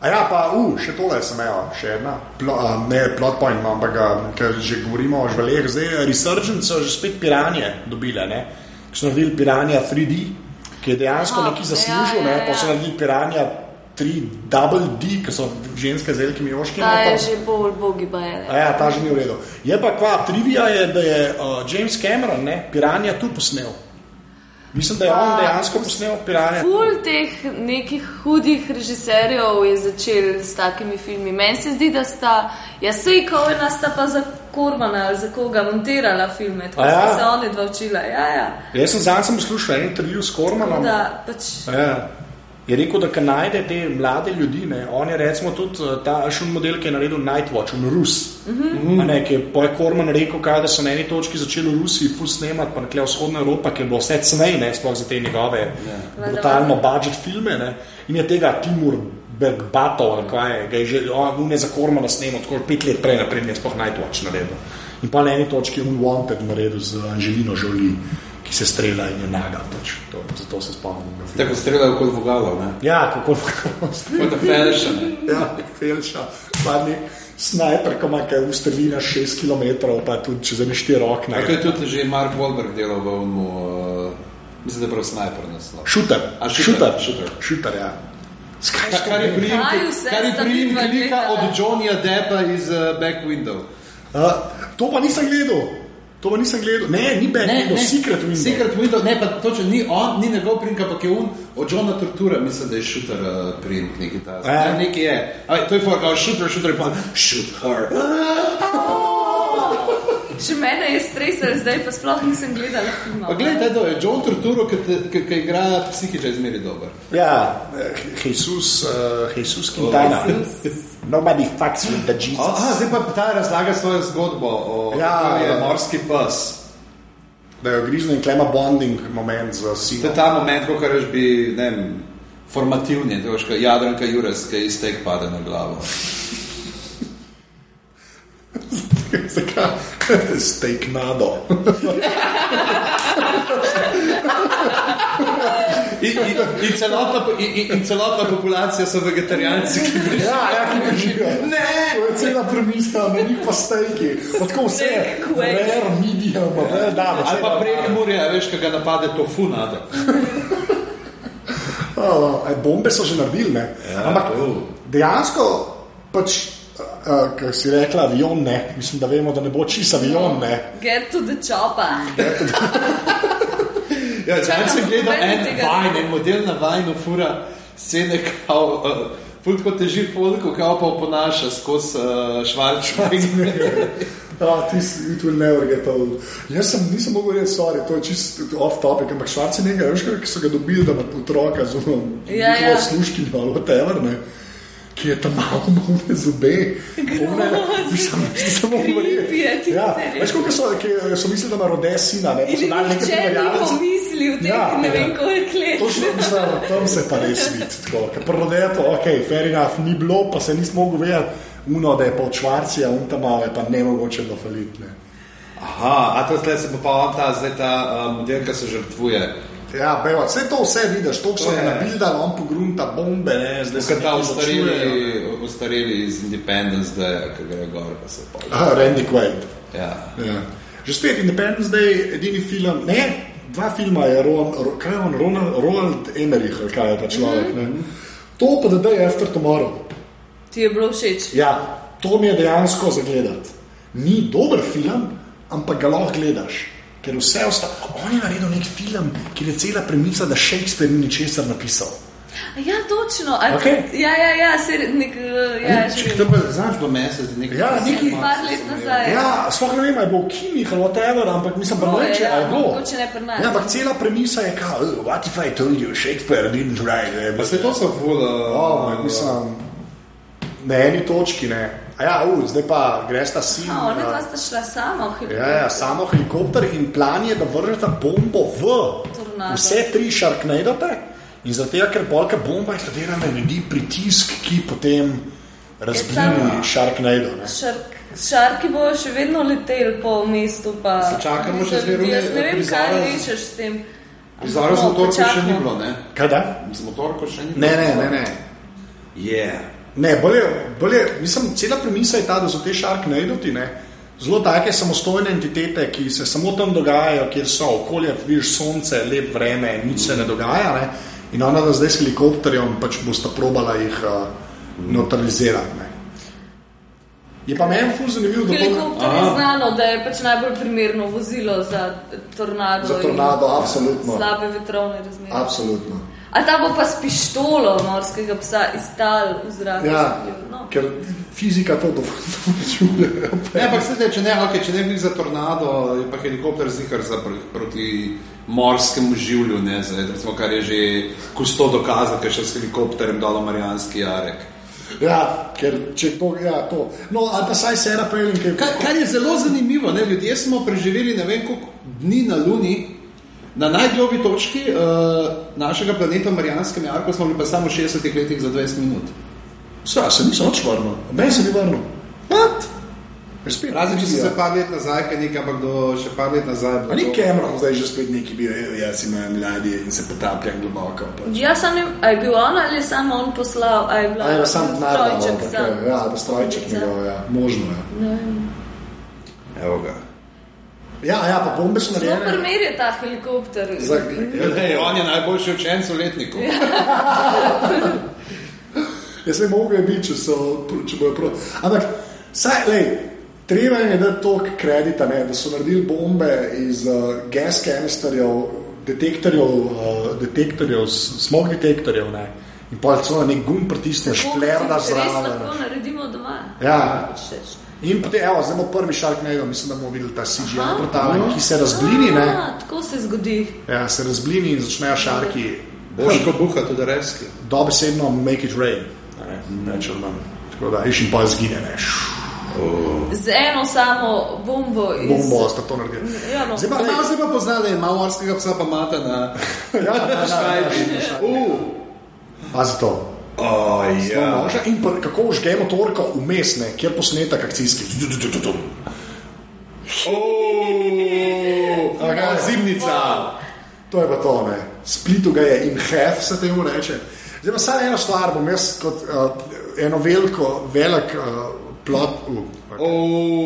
[SPEAKER 2] A ja, pa, u, še tole sem imel, še ena. Plo, a, ne, plot point, no, ampak a, ker že govorimo o žvaleh, zdaj je Resurgent so že spet piranje dobile, ne? Ki so naredili piranja 3D, ki je dejansko
[SPEAKER 1] Aha,
[SPEAKER 2] nekaj zaslužil,
[SPEAKER 1] ja, ja,
[SPEAKER 2] ne? Pa so
[SPEAKER 1] ja.
[SPEAKER 2] naredili piranja
[SPEAKER 5] tri double D, ki so ženske z velikimi oški.
[SPEAKER 2] no,
[SPEAKER 1] Ta je že bolj bogi bajele.
[SPEAKER 5] Ja, ta že ni v redu. Je pa kva trivija, je, da je uh, James Cameron, ne, Piranja tu posnel. Mislim, da je on dejansko posnel Piranja.
[SPEAKER 1] Ful teh nekih hudih režiserjev je začel s takimi filmi. Meni se zdi, da sta, ja, sej Kovena sta pa za Kormana ali za koga montirala filme, tako
[SPEAKER 5] A ja?
[SPEAKER 1] ja. se oni dva učila. Ja, ja.
[SPEAKER 5] Jaz sem zanj sem poslušal en intervju s Kormanom.
[SPEAKER 1] Da, pač,
[SPEAKER 5] Ja. Je rekel, da ko najde te mlade ljudi, ne, on je recimo tudi eh, ta šum model, ki je naredil Nightwatch, on Rus. Mm -hmm. ne, ki je poj Korman rekel, kaj, da so na eni točki začeli v Rusiji ful snemati, pa nekje vzhodna Evropa, ki je bila vse cnej, ne, sploh za te njegove yeah. brutalno budžet filme. Ne. In je tega Timur Bergbatov, ali kaj je, ga je že, on on je za Kormana snemal, tako pet let prej, naprej, je sploh Nightwatch naredil. In pa na eni točki je Unwanted naredil z Anželino Žoli, ki se strela in je naga. Pač. To, zato se spomnim. tega filma.
[SPEAKER 4] Tako streljajo kot vogalo, ne?
[SPEAKER 5] Ja, kako lahko stori.
[SPEAKER 4] Kot felšane.
[SPEAKER 5] Ja, felša, spadni snajper, ki ima kaj ustrelina 6 km, pa tudi čez ene 4 okna.
[SPEAKER 4] Tako je tudi že Mark Wahlberg delal v Unu, uh, mislim, da je prav snajper naslov.
[SPEAKER 5] Šuter,
[SPEAKER 4] A, šuter,
[SPEAKER 5] šuter,
[SPEAKER 4] šuter.
[SPEAKER 5] šuter, ja. Skaj,
[SPEAKER 4] Kar- Kar je
[SPEAKER 1] Kaj vse
[SPEAKER 4] priimek- kar je
[SPEAKER 1] sta
[SPEAKER 4] priimek
[SPEAKER 1] midva
[SPEAKER 4] lika
[SPEAKER 1] gledala?
[SPEAKER 4] od Johnnyja Deppa iz uh, Back Window.
[SPEAKER 5] uh, to pa nisem gledal, to pa nisem gledal. Ne, ni Ben, ne, ne. Secret Window.
[SPEAKER 4] No, Secret Window, ne, pa točno ni on, ni njegov priimek, ampak je un od Johna Tortura, mislim, da je šuter uh, priimek nekaj ta.
[SPEAKER 5] Ja.
[SPEAKER 4] Ja, nekaj je. Aj, to je for, kao šuter, šuter, pa shoot her.
[SPEAKER 1] še mene je stresel, zdaj pa sploh nisem gledala filma.
[SPEAKER 4] Pa gledaj, to je John Torturo, ki te- ki ki igra psihiča izmeri dober.
[SPEAKER 5] Ja, eh, Jesus, uh, Jesus
[SPEAKER 2] Oh, ja.
[SPEAKER 5] Quintana. Nobody fucks with the Jesus.
[SPEAKER 4] Aha, zdaj pa ta razlaga svojo zgodbo o
[SPEAKER 5] Ja.
[SPEAKER 4] kako je morski pes.
[SPEAKER 5] Da je grizno in klema bonding moment za
[SPEAKER 4] To
[SPEAKER 5] sina.
[SPEAKER 4] je ta moment, ko rečeš, bi ne vem, formativni, to je kot Jadranka Jures, ki iz teh pade na glavo.
[SPEAKER 5] Zakaj? Steak nado.
[SPEAKER 4] In, in, in, celotna, po- in, in- in celotna populacija so vegetarijanci, ki jih
[SPEAKER 5] Ja, ja, ki držijo. Ne, to je cela premisa, na njih pa stejki. Pa Tako vse je,
[SPEAKER 1] Steak, quack.
[SPEAKER 5] rare, medium, pa vse da.
[SPEAKER 4] Ali pa prek Murja, veš, kaj ga napade tofu nade.
[SPEAKER 5] Uh, bombe so že naredili, ne? Ja, Ampak
[SPEAKER 4] to.
[SPEAKER 5] dejansko pač. Uh, Ker si rekla avion, ne. mislim, da vemo, da ne bo čist avion. Ne.
[SPEAKER 1] Get to the chopa.
[SPEAKER 4] Ja, Zdaj sem gledal
[SPEAKER 1] noben
[SPEAKER 4] en
[SPEAKER 1] tega
[SPEAKER 4] vajen,
[SPEAKER 1] ne-
[SPEAKER 4] en model na vajnu fura scene, kao, uh, ful kot teži folko, kao pa oponaša skozi uh, švarčnega.
[SPEAKER 5] Ja, ti si it will never get old. Jaz sem, nisem mogel reči, sorry, to je čist off topic, ampak švarci nekaj, veš, kaj, ki so ga dobili, da ima otroka z umom,
[SPEAKER 1] Ja, ja.
[SPEAKER 5] služkinjo ali whatever, ne, ki je tam malo umne zube. Umne, mislim, samo
[SPEAKER 1] Creepy je, ti
[SPEAKER 5] Ja,
[SPEAKER 1] se
[SPEAKER 5] veš, koliko so, ki so mislili, da ima rode sina, ne, pa so
[SPEAKER 1] In
[SPEAKER 5] dali nekaj
[SPEAKER 1] nihče ni
[SPEAKER 5] primerjalec.
[SPEAKER 1] pomislil, da
[SPEAKER 5] Ja,
[SPEAKER 1] ja, ne
[SPEAKER 5] ja.
[SPEAKER 1] vem koliko let.
[SPEAKER 5] Točno, mislim, tam se pa res vidi. tako, ker Prvo je to, ok, fair enough, ni bilo, pa se nismo mogli vedeti, uno, da je pa od Švarcija, un tam malo je pa nemogoče do falitne.
[SPEAKER 4] Aha, a to zdaj se bo pa on ta, zdaj ta uh, model, ki se žrtvuje.
[SPEAKER 5] Ja, beva, vse to vse vidiš, to so
[SPEAKER 4] To je.
[SPEAKER 5] ga nabildali, on pogrunta bombe, ne, zdaj se
[SPEAKER 4] Kot ta
[SPEAKER 5] nekaj ločujejo.
[SPEAKER 4] ostareli, ostareli iz Independence Day, ki gre gor, pa se pa.
[SPEAKER 5] Aha, Randy Quaid.
[SPEAKER 4] Ja.
[SPEAKER 5] Ja. Že spet Independence Day, edini film, ne, dva filma je Ron, Ro, kaj je on, Ronald, Ronald Emmerich, ali kaj je ta človek. Mm -hmm. To pa da je After Tomorrow.
[SPEAKER 1] Ti je bilo všeč.
[SPEAKER 5] Ja, to mi je dejansko zagledati. Ni dober film, ampak ga lahko gledaš. Ker vse ostalo, on je naredil nek film, ki je cela premisa, da Shakespeare ni ničesar napisal.
[SPEAKER 1] Ja, točno. Ali,
[SPEAKER 5] Okej.
[SPEAKER 1] Ja, ja, ja, se nek, eh, ja, že
[SPEAKER 4] Če to pa znaš do mesec, nekaj.
[SPEAKER 5] Ja, nekaj-
[SPEAKER 1] par let nazaj.
[SPEAKER 5] Ja, sploh ne vem, ali bo v Kinih ali whatever, ampak mislim, da
[SPEAKER 1] Bilo je,
[SPEAKER 5] ne če
[SPEAKER 1] ja,
[SPEAKER 5] ali bo.
[SPEAKER 1] mogoče ne pri nas.
[SPEAKER 5] Ja, ampak cela premisa je, kao, "Oh, what if I told you Shakespeare didn't write? eh,
[SPEAKER 4] Pa
[SPEAKER 5] but-
[SPEAKER 4] se to so eh, vula.
[SPEAKER 1] Oh
[SPEAKER 4] Oh
[SPEAKER 5] O, Oh, mislim, na eni točki ne. A ja, uh, zdaj pa greš ta sin.
[SPEAKER 1] A, No, Ona
[SPEAKER 5] ja.
[SPEAKER 1] dva sta šla sama v helikopter.
[SPEAKER 5] Ja, ja, samo helikopter in plan je, da vržete bombo v
[SPEAKER 1] Tornado.
[SPEAKER 5] vse tri šarknejdete in zato, ker polka bomba eksplodira na ljudi, pritisk, ki potem razblini
[SPEAKER 1] samo-
[SPEAKER 5] šarknejdo.
[SPEAKER 1] Šark, šarki bojo še vedno leteli po mestu. Pa,
[SPEAKER 4] Se čakamo še
[SPEAKER 1] Za ljudi.
[SPEAKER 4] zmeraj,
[SPEAKER 1] Jaz ne vem,
[SPEAKER 4] prizora-
[SPEAKER 1] kaj rečeš s tem.
[SPEAKER 4] Prizora z
[SPEAKER 1] No,
[SPEAKER 4] motorko še
[SPEAKER 1] počakamo.
[SPEAKER 4] ni bilo, ne?
[SPEAKER 5] Kaj da?
[SPEAKER 4] Z motorko še ni bilo.
[SPEAKER 5] Ne, ne, ne. ne.
[SPEAKER 4] Je.
[SPEAKER 5] Ne, bolje, bolje, mislim, cela premisa je ta, da so te šarknejdoti ne, zelo take samostojne entitete, ki se samo tam dogajajo, kjer so okolje, vidiš sonce, lep vreme, nič se ne dogaja. Ne. In ona zdaj s helikopterjem pač bosta probala jih uh, neutralizirati. Ne. Je pa meni fuz zanimivo, da bo
[SPEAKER 1] Helikopter je znano, da je pač najbolj primerno vozilo za tornado.
[SPEAKER 5] za tornado, no.
[SPEAKER 1] in
[SPEAKER 5] absolutno.
[SPEAKER 1] Slabe vetrovne razmere.
[SPEAKER 5] Absolutno.
[SPEAKER 1] A ta bo pa s pištolo morskega psa iz tal v zraku.
[SPEAKER 5] Ja,
[SPEAKER 1] izstrelil, no.
[SPEAKER 5] ker fizika to dovoljuje.
[SPEAKER 4] Ne, ampak se zdaj, če ne, okay, če ne bi bil za tornado, je pa helikopter znikar za pr proti morskemu življu, ne, zdaj, recimo, kar je že kusto dokazal, ker še s helikopterjem dalo Marijanski jarek.
[SPEAKER 5] Ja, ker če to, ja, to. No, ali pa saj se rapelin, ker
[SPEAKER 4] Kar, kar je zelo zanimivo, ne? ljudje smo preživeli ne vem koliko dni na Luni. Na najgloblji točki uh, našega planeta, Marijanskem jarku, smo bili pa samo v 60 letih za 20 minut.
[SPEAKER 5] ja, se nisem več vrnil. Ne, se ni vrnil. What? Spet,
[SPEAKER 4] Razen če si
[SPEAKER 5] ja.
[SPEAKER 4] se par let nazaj, kaj nekaj, ampak do še par let nazaj. je bilo
[SPEAKER 5] A ni
[SPEAKER 4] to-
[SPEAKER 5] Cameron zdaj že spet neki bil, "Evo, jaz imam mladi in se potapljam globoko. Pač.
[SPEAKER 1] Ja, sam ne, a je bil on ali je samo on poslal, a je bila
[SPEAKER 5] Ali pa sam denar,
[SPEAKER 1] strojček sam.
[SPEAKER 5] ja, da strojček njegov, ja, možno je.
[SPEAKER 4] Evo ga.
[SPEAKER 5] Ja, ja, pa bombe so
[SPEAKER 1] Zelo
[SPEAKER 5] narejene.
[SPEAKER 1] primer je ta helikopter.
[SPEAKER 5] Za-
[SPEAKER 4] Glede, on je najboljši učenec v letniku.
[SPEAKER 5] Jaz ne mogo je biti, če, so, če bojo proti. Ampak, saj, lej, treba jim je dati toliko kredita, ne, da so naredili bombe iz uh, gas kanisterjev, detektorjev, uh, detektorjev, s- smog detektorjev. Ne. In pa celo nek gum pritisneš, flerda
[SPEAKER 1] Res
[SPEAKER 5] zraven.
[SPEAKER 1] lahko naredimo doma.
[SPEAKER 5] Ja.
[SPEAKER 1] Všeč.
[SPEAKER 5] In potem, evo, zdaj bo prvi šark najdel, mislim, da bomo videli ta CGI portal, ki se razblini, ne.
[SPEAKER 1] A, Ja, tako se zgodi.
[SPEAKER 5] Ja, se razblini in začnejo šarki
[SPEAKER 4] Božko buha tudi reski.
[SPEAKER 5] dobesedno make it rain. a Ne, več ali manj. Tako da, iš in pa zgine, ne. Šš.
[SPEAKER 1] Z eno samo bombo iz...
[SPEAKER 5] bombo, sta to naredili.
[SPEAKER 1] Ja, no.
[SPEAKER 5] Zdaj pa
[SPEAKER 4] Malo
[SPEAKER 5] ne,
[SPEAKER 4] se pa poznali, ima morskega psa pa mata na
[SPEAKER 5] ja, ja,
[SPEAKER 4] štajbi.
[SPEAKER 5] A zato.
[SPEAKER 4] Ja.
[SPEAKER 5] Noža in pa kako užge motorko vmes, ne, kjer posnetek akcijski.
[SPEAKER 4] Ja, zimnica.
[SPEAKER 5] To je pa to, ne. Splitu ga je in hef se temu reče. Zdaj pa samo eno stvar bom jaz kot uh, eno veliko, velik uh, plot, uh,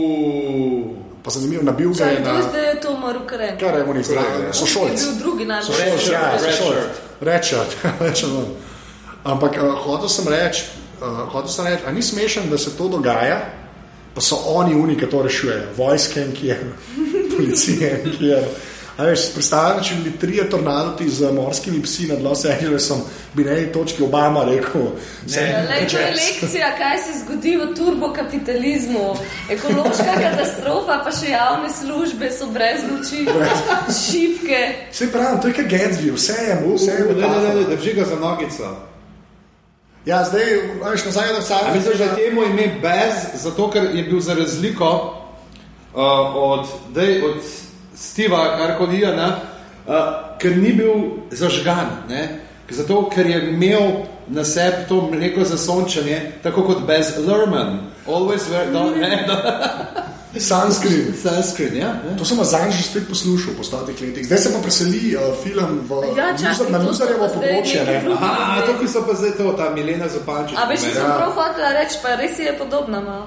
[SPEAKER 4] Oh.
[SPEAKER 5] pa zanimiv, nabil ga
[SPEAKER 1] Kaj
[SPEAKER 5] je
[SPEAKER 1] je
[SPEAKER 5] na
[SPEAKER 1] to, da je to Marukarenko?
[SPEAKER 5] kar je mu ni zdravil,
[SPEAKER 1] Je
[SPEAKER 5] sošolci.
[SPEAKER 1] bil drugi najbolj
[SPEAKER 5] Sošolci, ja,
[SPEAKER 4] Redshirt,
[SPEAKER 5] sošolci.
[SPEAKER 4] redshirt.
[SPEAKER 5] Redshirt, rečem vam. Ampak uh, hotel sem reči, uh, hotel sem reči, a ni smešen, da se to dogaja, pa so oni uni, ki to rešujejo, vojske, ki je, policije, ki je. A veš, predstavljam, če bi bili trije tornadoti z morskimi psi nad Los Angelesom, bi na eni točki Obama rekel,
[SPEAKER 1] Ja, lej, To je lekcija, kaj se zgodi v turbokapitalizmu. Ekološka katastrofa, pa še javne službe so brez moči, šipke.
[SPEAKER 5] Vse pravi, to je kot Gatsby, vse je, vse
[SPEAKER 4] Ne, ne,
[SPEAKER 5] je.
[SPEAKER 4] ne, ne,
[SPEAKER 5] metafora.
[SPEAKER 4] drži ga za nogico.
[SPEAKER 5] Ja, zdaj, a veš, nazaj na vsak.
[SPEAKER 4] A misliš, da je temu ime Bez, zato ker je bil za razliko uh, od, dej, od Steva, kar koli je, uh, ker ni bil zažgan. Ne? Zato, ker je imel na sebi to mleko za sončenje, tako kot Bez Lerman. Always wear the ne, da-
[SPEAKER 5] Sanskrit.
[SPEAKER 4] sunscreen. Ja, ne?
[SPEAKER 5] To sem zdaj že spet poslušal po stotih letih. Zdaj se pa preseli uh, film v,
[SPEAKER 1] Ja, čakaj,
[SPEAKER 5] Luzar- na
[SPEAKER 1] to so
[SPEAKER 5] Luzarjevo
[SPEAKER 1] pa zdaj
[SPEAKER 5] področje.
[SPEAKER 1] neki
[SPEAKER 5] ne.
[SPEAKER 1] drugi.
[SPEAKER 4] Aha, to, ki so pa zdaj to, ta Milena Zupančič.
[SPEAKER 1] A veš,
[SPEAKER 4] ne?
[SPEAKER 1] sem prav hotela reči, pa res je podobna no. malo.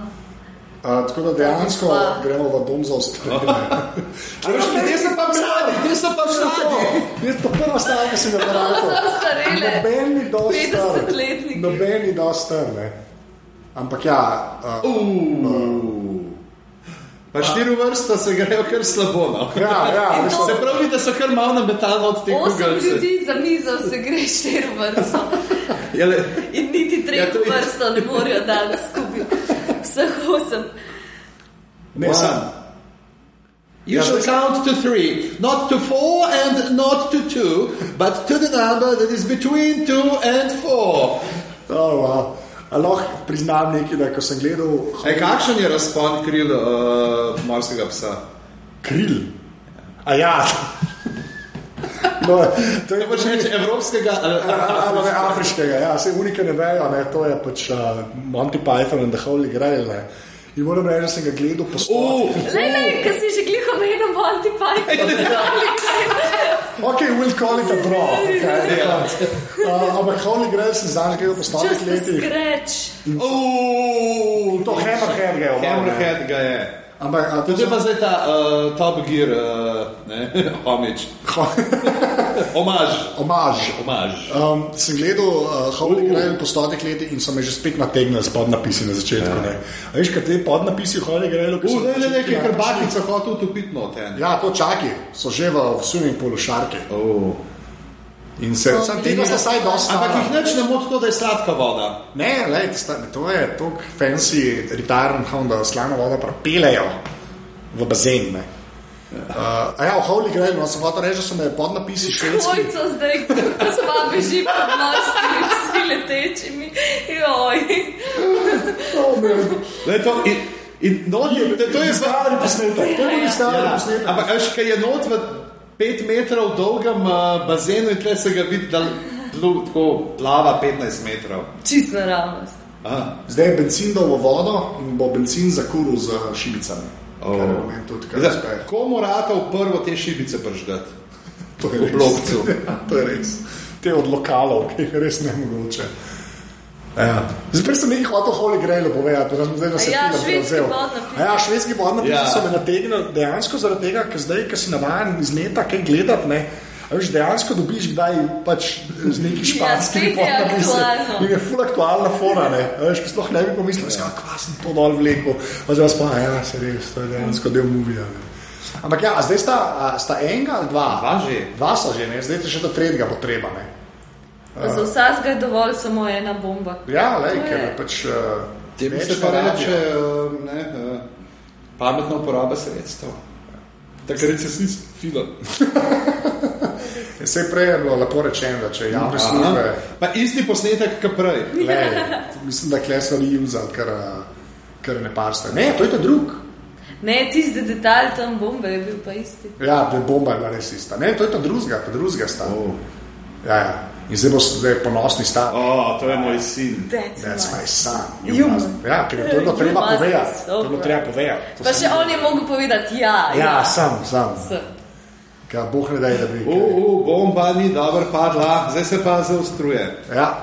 [SPEAKER 5] Uh, tako da dejansko
[SPEAKER 1] Pa.
[SPEAKER 5] gremo v dom za ostrojene.
[SPEAKER 4] A veš, Ljudje so pa mladi, ljudje so pa mladi.
[SPEAKER 5] Jaz pa prva stvar, ki sem jo naredil.
[SPEAKER 1] Zastarele.
[SPEAKER 5] Noben ni dosti star.
[SPEAKER 1] 50-letniki.
[SPEAKER 5] Noben ni dosti star, ne. Ampak ja, uh,
[SPEAKER 4] Pa štiri vrsta se grejo kar slabo. No.
[SPEAKER 5] ja, ja,
[SPEAKER 1] In
[SPEAKER 5] mislim,
[SPEAKER 1] to-
[SPEAKER 4] Se pravi, da so kar malo nametali od teh
[SPEAKER 1] Osem
[SPEAKER 4] kugelcev.
[SPEAKER 1] ljudi za mizo se gre štiri vrsto
[SPEAKER 4] Jele,
[SPEAKER 1] in niti treh
[SPEAKER 4] Ja, to je-
[SPEAKER 1] vrsto ne morejo dati skupaj. Vseh osem.
[SPEAKER 5] ne sam.
[SPEAKER 4] You shall count to three, not to four and not to two, but to the number that is between two and four.
[SPEAKER 5] Oh, wow. A Lahko priznam nekaj, da ko sem gledal
[SPEAKER 4] E, kakšen je razpon kril uh, morskega psa?
[SPEAKER 5] kril. A ja. No, to je
[SPEAKER 4] Ne boš reči evropskega, ali
[SPEAKER 5] Ali ne afriškega, ja, se unike ne vejo, ne, to je pač uh, Monty Python in the Holy Grail. Ne. In moram reči, da sem ga gledal po svetu.
[SPEAKER 1] Lej, lej, ki si že gliho omenil, Monty Python.
[SPEAKER 5] Ok, we'll call it a bro. Okay,
[SPEAKER 4] Ja.
[SPEAKER 5] uh, ampak Holy Grail sem zdaj gledal po
[SPEAKER 1] Just
[SPEAKER 5] stotih
[SPEAKER 1] a
[SPEAKER 5] letih.
[SPEAKER 1] scratch.
[SPEAKER 4] Oh,
[SPEAKER 5] To Hammerhead je.
[SPEAKER 4] Hammerhead ga je.
[SPEAKER 5] Ampak a, to
[SPEAKER 4] Tudi
[SPEAKER 5] je
[SPEAKER 4] e, pa zdaj ta uh, Top Gear, uh, ne, homič.
[SPEAKER 5] pa.
[SPEAKER 4] Omaž.
[SPEAKER 5] Omaž.
[SPEAKER 4] Omaž.
[SPEAKER 5] Um, sem gledal uh, Holy Grail po stotih letih in so me že spet nategnili s podnapisi na začetku. ne. A Veš, kaj te podnapisi v Holy Grailu? ki so
[SPEAKER 4] Ja. Uh,
[SPEAKER 5] na
[SPEAKER 4] ne, ne, ne,
[SPEAKER 5] začetku
[SPEAKER 4] ki je kar
[SPEAKER 5] napisani-
[SPEAKER 4] bakica hotel utopiti noter.
[SPEAKER 5] Ja, to čaki, so že v swimming poolu šarke.
[SPEAKER 4] Oh.
[SPEAKER 5] In se sam tega sta saj dosta.
[SPEAKER 4] Ampak jih nič ne moti to, da je sladka voda.
[SPEAKER 5] Ne, lej, sta, to je tako fancy, retirement hound, da slano vodo propelejo v bazen. ne. Uh, a ja, v Holy Grail, no, sem hotel reči, da so me podnapisi švedski.
[SPEAKER 1] Svojco zdaj, ko sva beži pod mostimi, vsi letečimi. Joj.
[SPEAKER 4] Lej, to, in, in not, je, to je zelo.
[SPEAKER 5] stari posnetek, to je bil stari
[SPEAKER 4] Ja,
[SPEAKER 5] posnetek.
[SPEAKER 4] ampak veš, kaj je not v 5 metrov dolgem uh, bazenu in tle se ga vidi, da plu- tako plava 15 metrov.
[SPEAKER 1] Čist naravnost.
[SPEAKER 4] Ah.
[SPEAKER 5] Zdaj je bencin dal v vodo in bo bencin zakuril z šibicami.
[SPEAKER 4] Oh.
[SPEAKER 5] Kar je meni tudi kar
[SPEAKER 4] Zdaj,
[SPEAKER 5] uspeh.
[SPEAKER 4] Ko morate v prvo te šibice pržgati?
[SPEAKER 5] To je
[SPEAKER 4] v
[SPEAKER 5] res. Ja,
[SPEAKER 4] blokcu.
[SPEAKER 5] to je res. Te od lokalov, ki jih res ne mogoče. Ja. Zdaj prej sem nekaj hotel Holy Grailu povedati, da sem zdaj na
[SPEAKER 1] A ja, švedski podnapis.
[SPEAKER 5] A Ja, švedski podnapis
[SPEAKER 4] Ja.
[SPEAKER 5] ja. so me nategnili dejansko zaradi tega, ker zdaj, ker si navaden iz leta, kaj gledati, ne. a Veš, dejansko dobiš kdaj pač z neki španskimi
[SPEAKER 1] Ja, spet je
[SPEAKER 5] podnapisi.
[SPEAKER 1] aktualno.
[SPEAKER 5] In je ful aktualna fora, ne. A Veš, ki sploh ne bi pomislil, ja. kva sem to dol vlekel. Oziroma, pa ja, se res, to je dejansko del muvija. Ampak ja, a zdaj sta, a sta enega ali dva?
[SPEAKER 4] Dva že.
[SPEAKER 5] Dva so že, ne? zdaj še do tretjega bo treba. Ne?
[SPEAKER 1] Za vsakega je dovolj samo ena bomba.
[SPEAKER 5] Ja,
[SPEAKER 1] To
[SPEAKER 5] lej,
[SPEAKER 1] je.
[SPEAKER 5] ker je pač. Uh,
[SPEAKER 4] Temu
[SPEAKER 5] več
[SPEAKER 4] se pa
[SPEAKER 5] narabijo.
[SPEAKER 4] reče eh, ne, eh, pametna uporaba sredstev. Takrat se snis filo.
[SPEAKER 5] Ja, Saj prej je bilo lepo rečeno, da če javne službe.
[SPEAKER 4] Aha. Pa isti posnetek, kot prej.
[SPEAKER 5] Lej, mislim, da klesno ni juzal, ker, eh, ker ne parste. Ne, to je ta drug.
[SPEAKER 1] Ne, tisti detalj tam bombe je bil pa isti.
[SPEAKER 5] Ja, da je bomba je bila res ista. Ne, to je ta drugega, ta drugega sta. Oh. Ja, ja. In zdaj bo zdaj ponosni sta.
[SPEAKER 4] O, oh, to je moj sin.
[SPEAKER 1] That's
[SPEAKER 5] That's my
[SPEAKER 1] nice.
[SPEAKER 5] son. You
[SPEAKER 1] You
[SPEAKER 5] must-
[SPEAKER 1] must-
[SPEAKER 5] Ja, ker je to bilo
[SPEAKER 1] You
[SPEAKER 5] treba
[SPEAKER 1] must be
[SPEAKER 5] povedati.
[SPEAKER 1] so
[SPEAKER 5] To je bilo
[SPEAKER 1] proud.
[SPEAKER 5] treba povedati. To
[SPEAKER 1] Pa
[SPEAKER 5] sem-
[SPEAKER 1] še on je mogel povedati, ja,
[SPEAKER 5] Ja, sam, sam.
[SPEAKER 1] Sem.
[SPEAKER 5] Kaj, Bog ne da, da bi.
[SPEAKER 4] U, u, bomba ni dobro padla, zdaj se pa zaostruje.
[SPEAKER 5] Ja.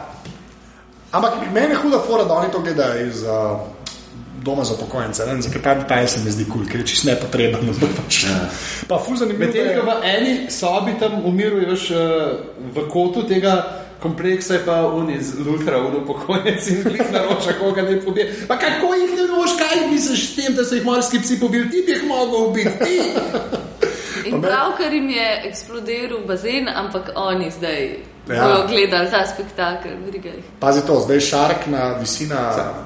[SPEAKER 5] Ampak meni je huda fora, da oni to gledajo iz uh, doma za pokojnice. Ne vem, zakaj pravi, ta je se mi zdi kul, cool, ker je čist nepotreben. Pač. Ja. Pa fuz zanimivo.
[SPEAKER 4] Medtem
[SPEAKER 5] da
[SPEAKER 4] ko
[SPEAKER 5] je-
[SPEAKER 4] v eni sobi tam umiruje veš, eh, v kotu tega kompleksa, je pa oni z ultra upokojenci in jih naroča, koga ne pobije. Pa kako jih ne boš, kaj misliš s tem, da so jih morski psi pobili, ti bi jih mogel ubiti, ti.
[SPEAKER 1] In pravkar jim je eksplodiral bazen, ampak oni zdaj
[SPEAKER 5] Ja.
[SPEAKER 1] ja. bodo gledali ta spektakel, briga jih.
[SPEAKER 5] Pazi to, zdaj šark na visina.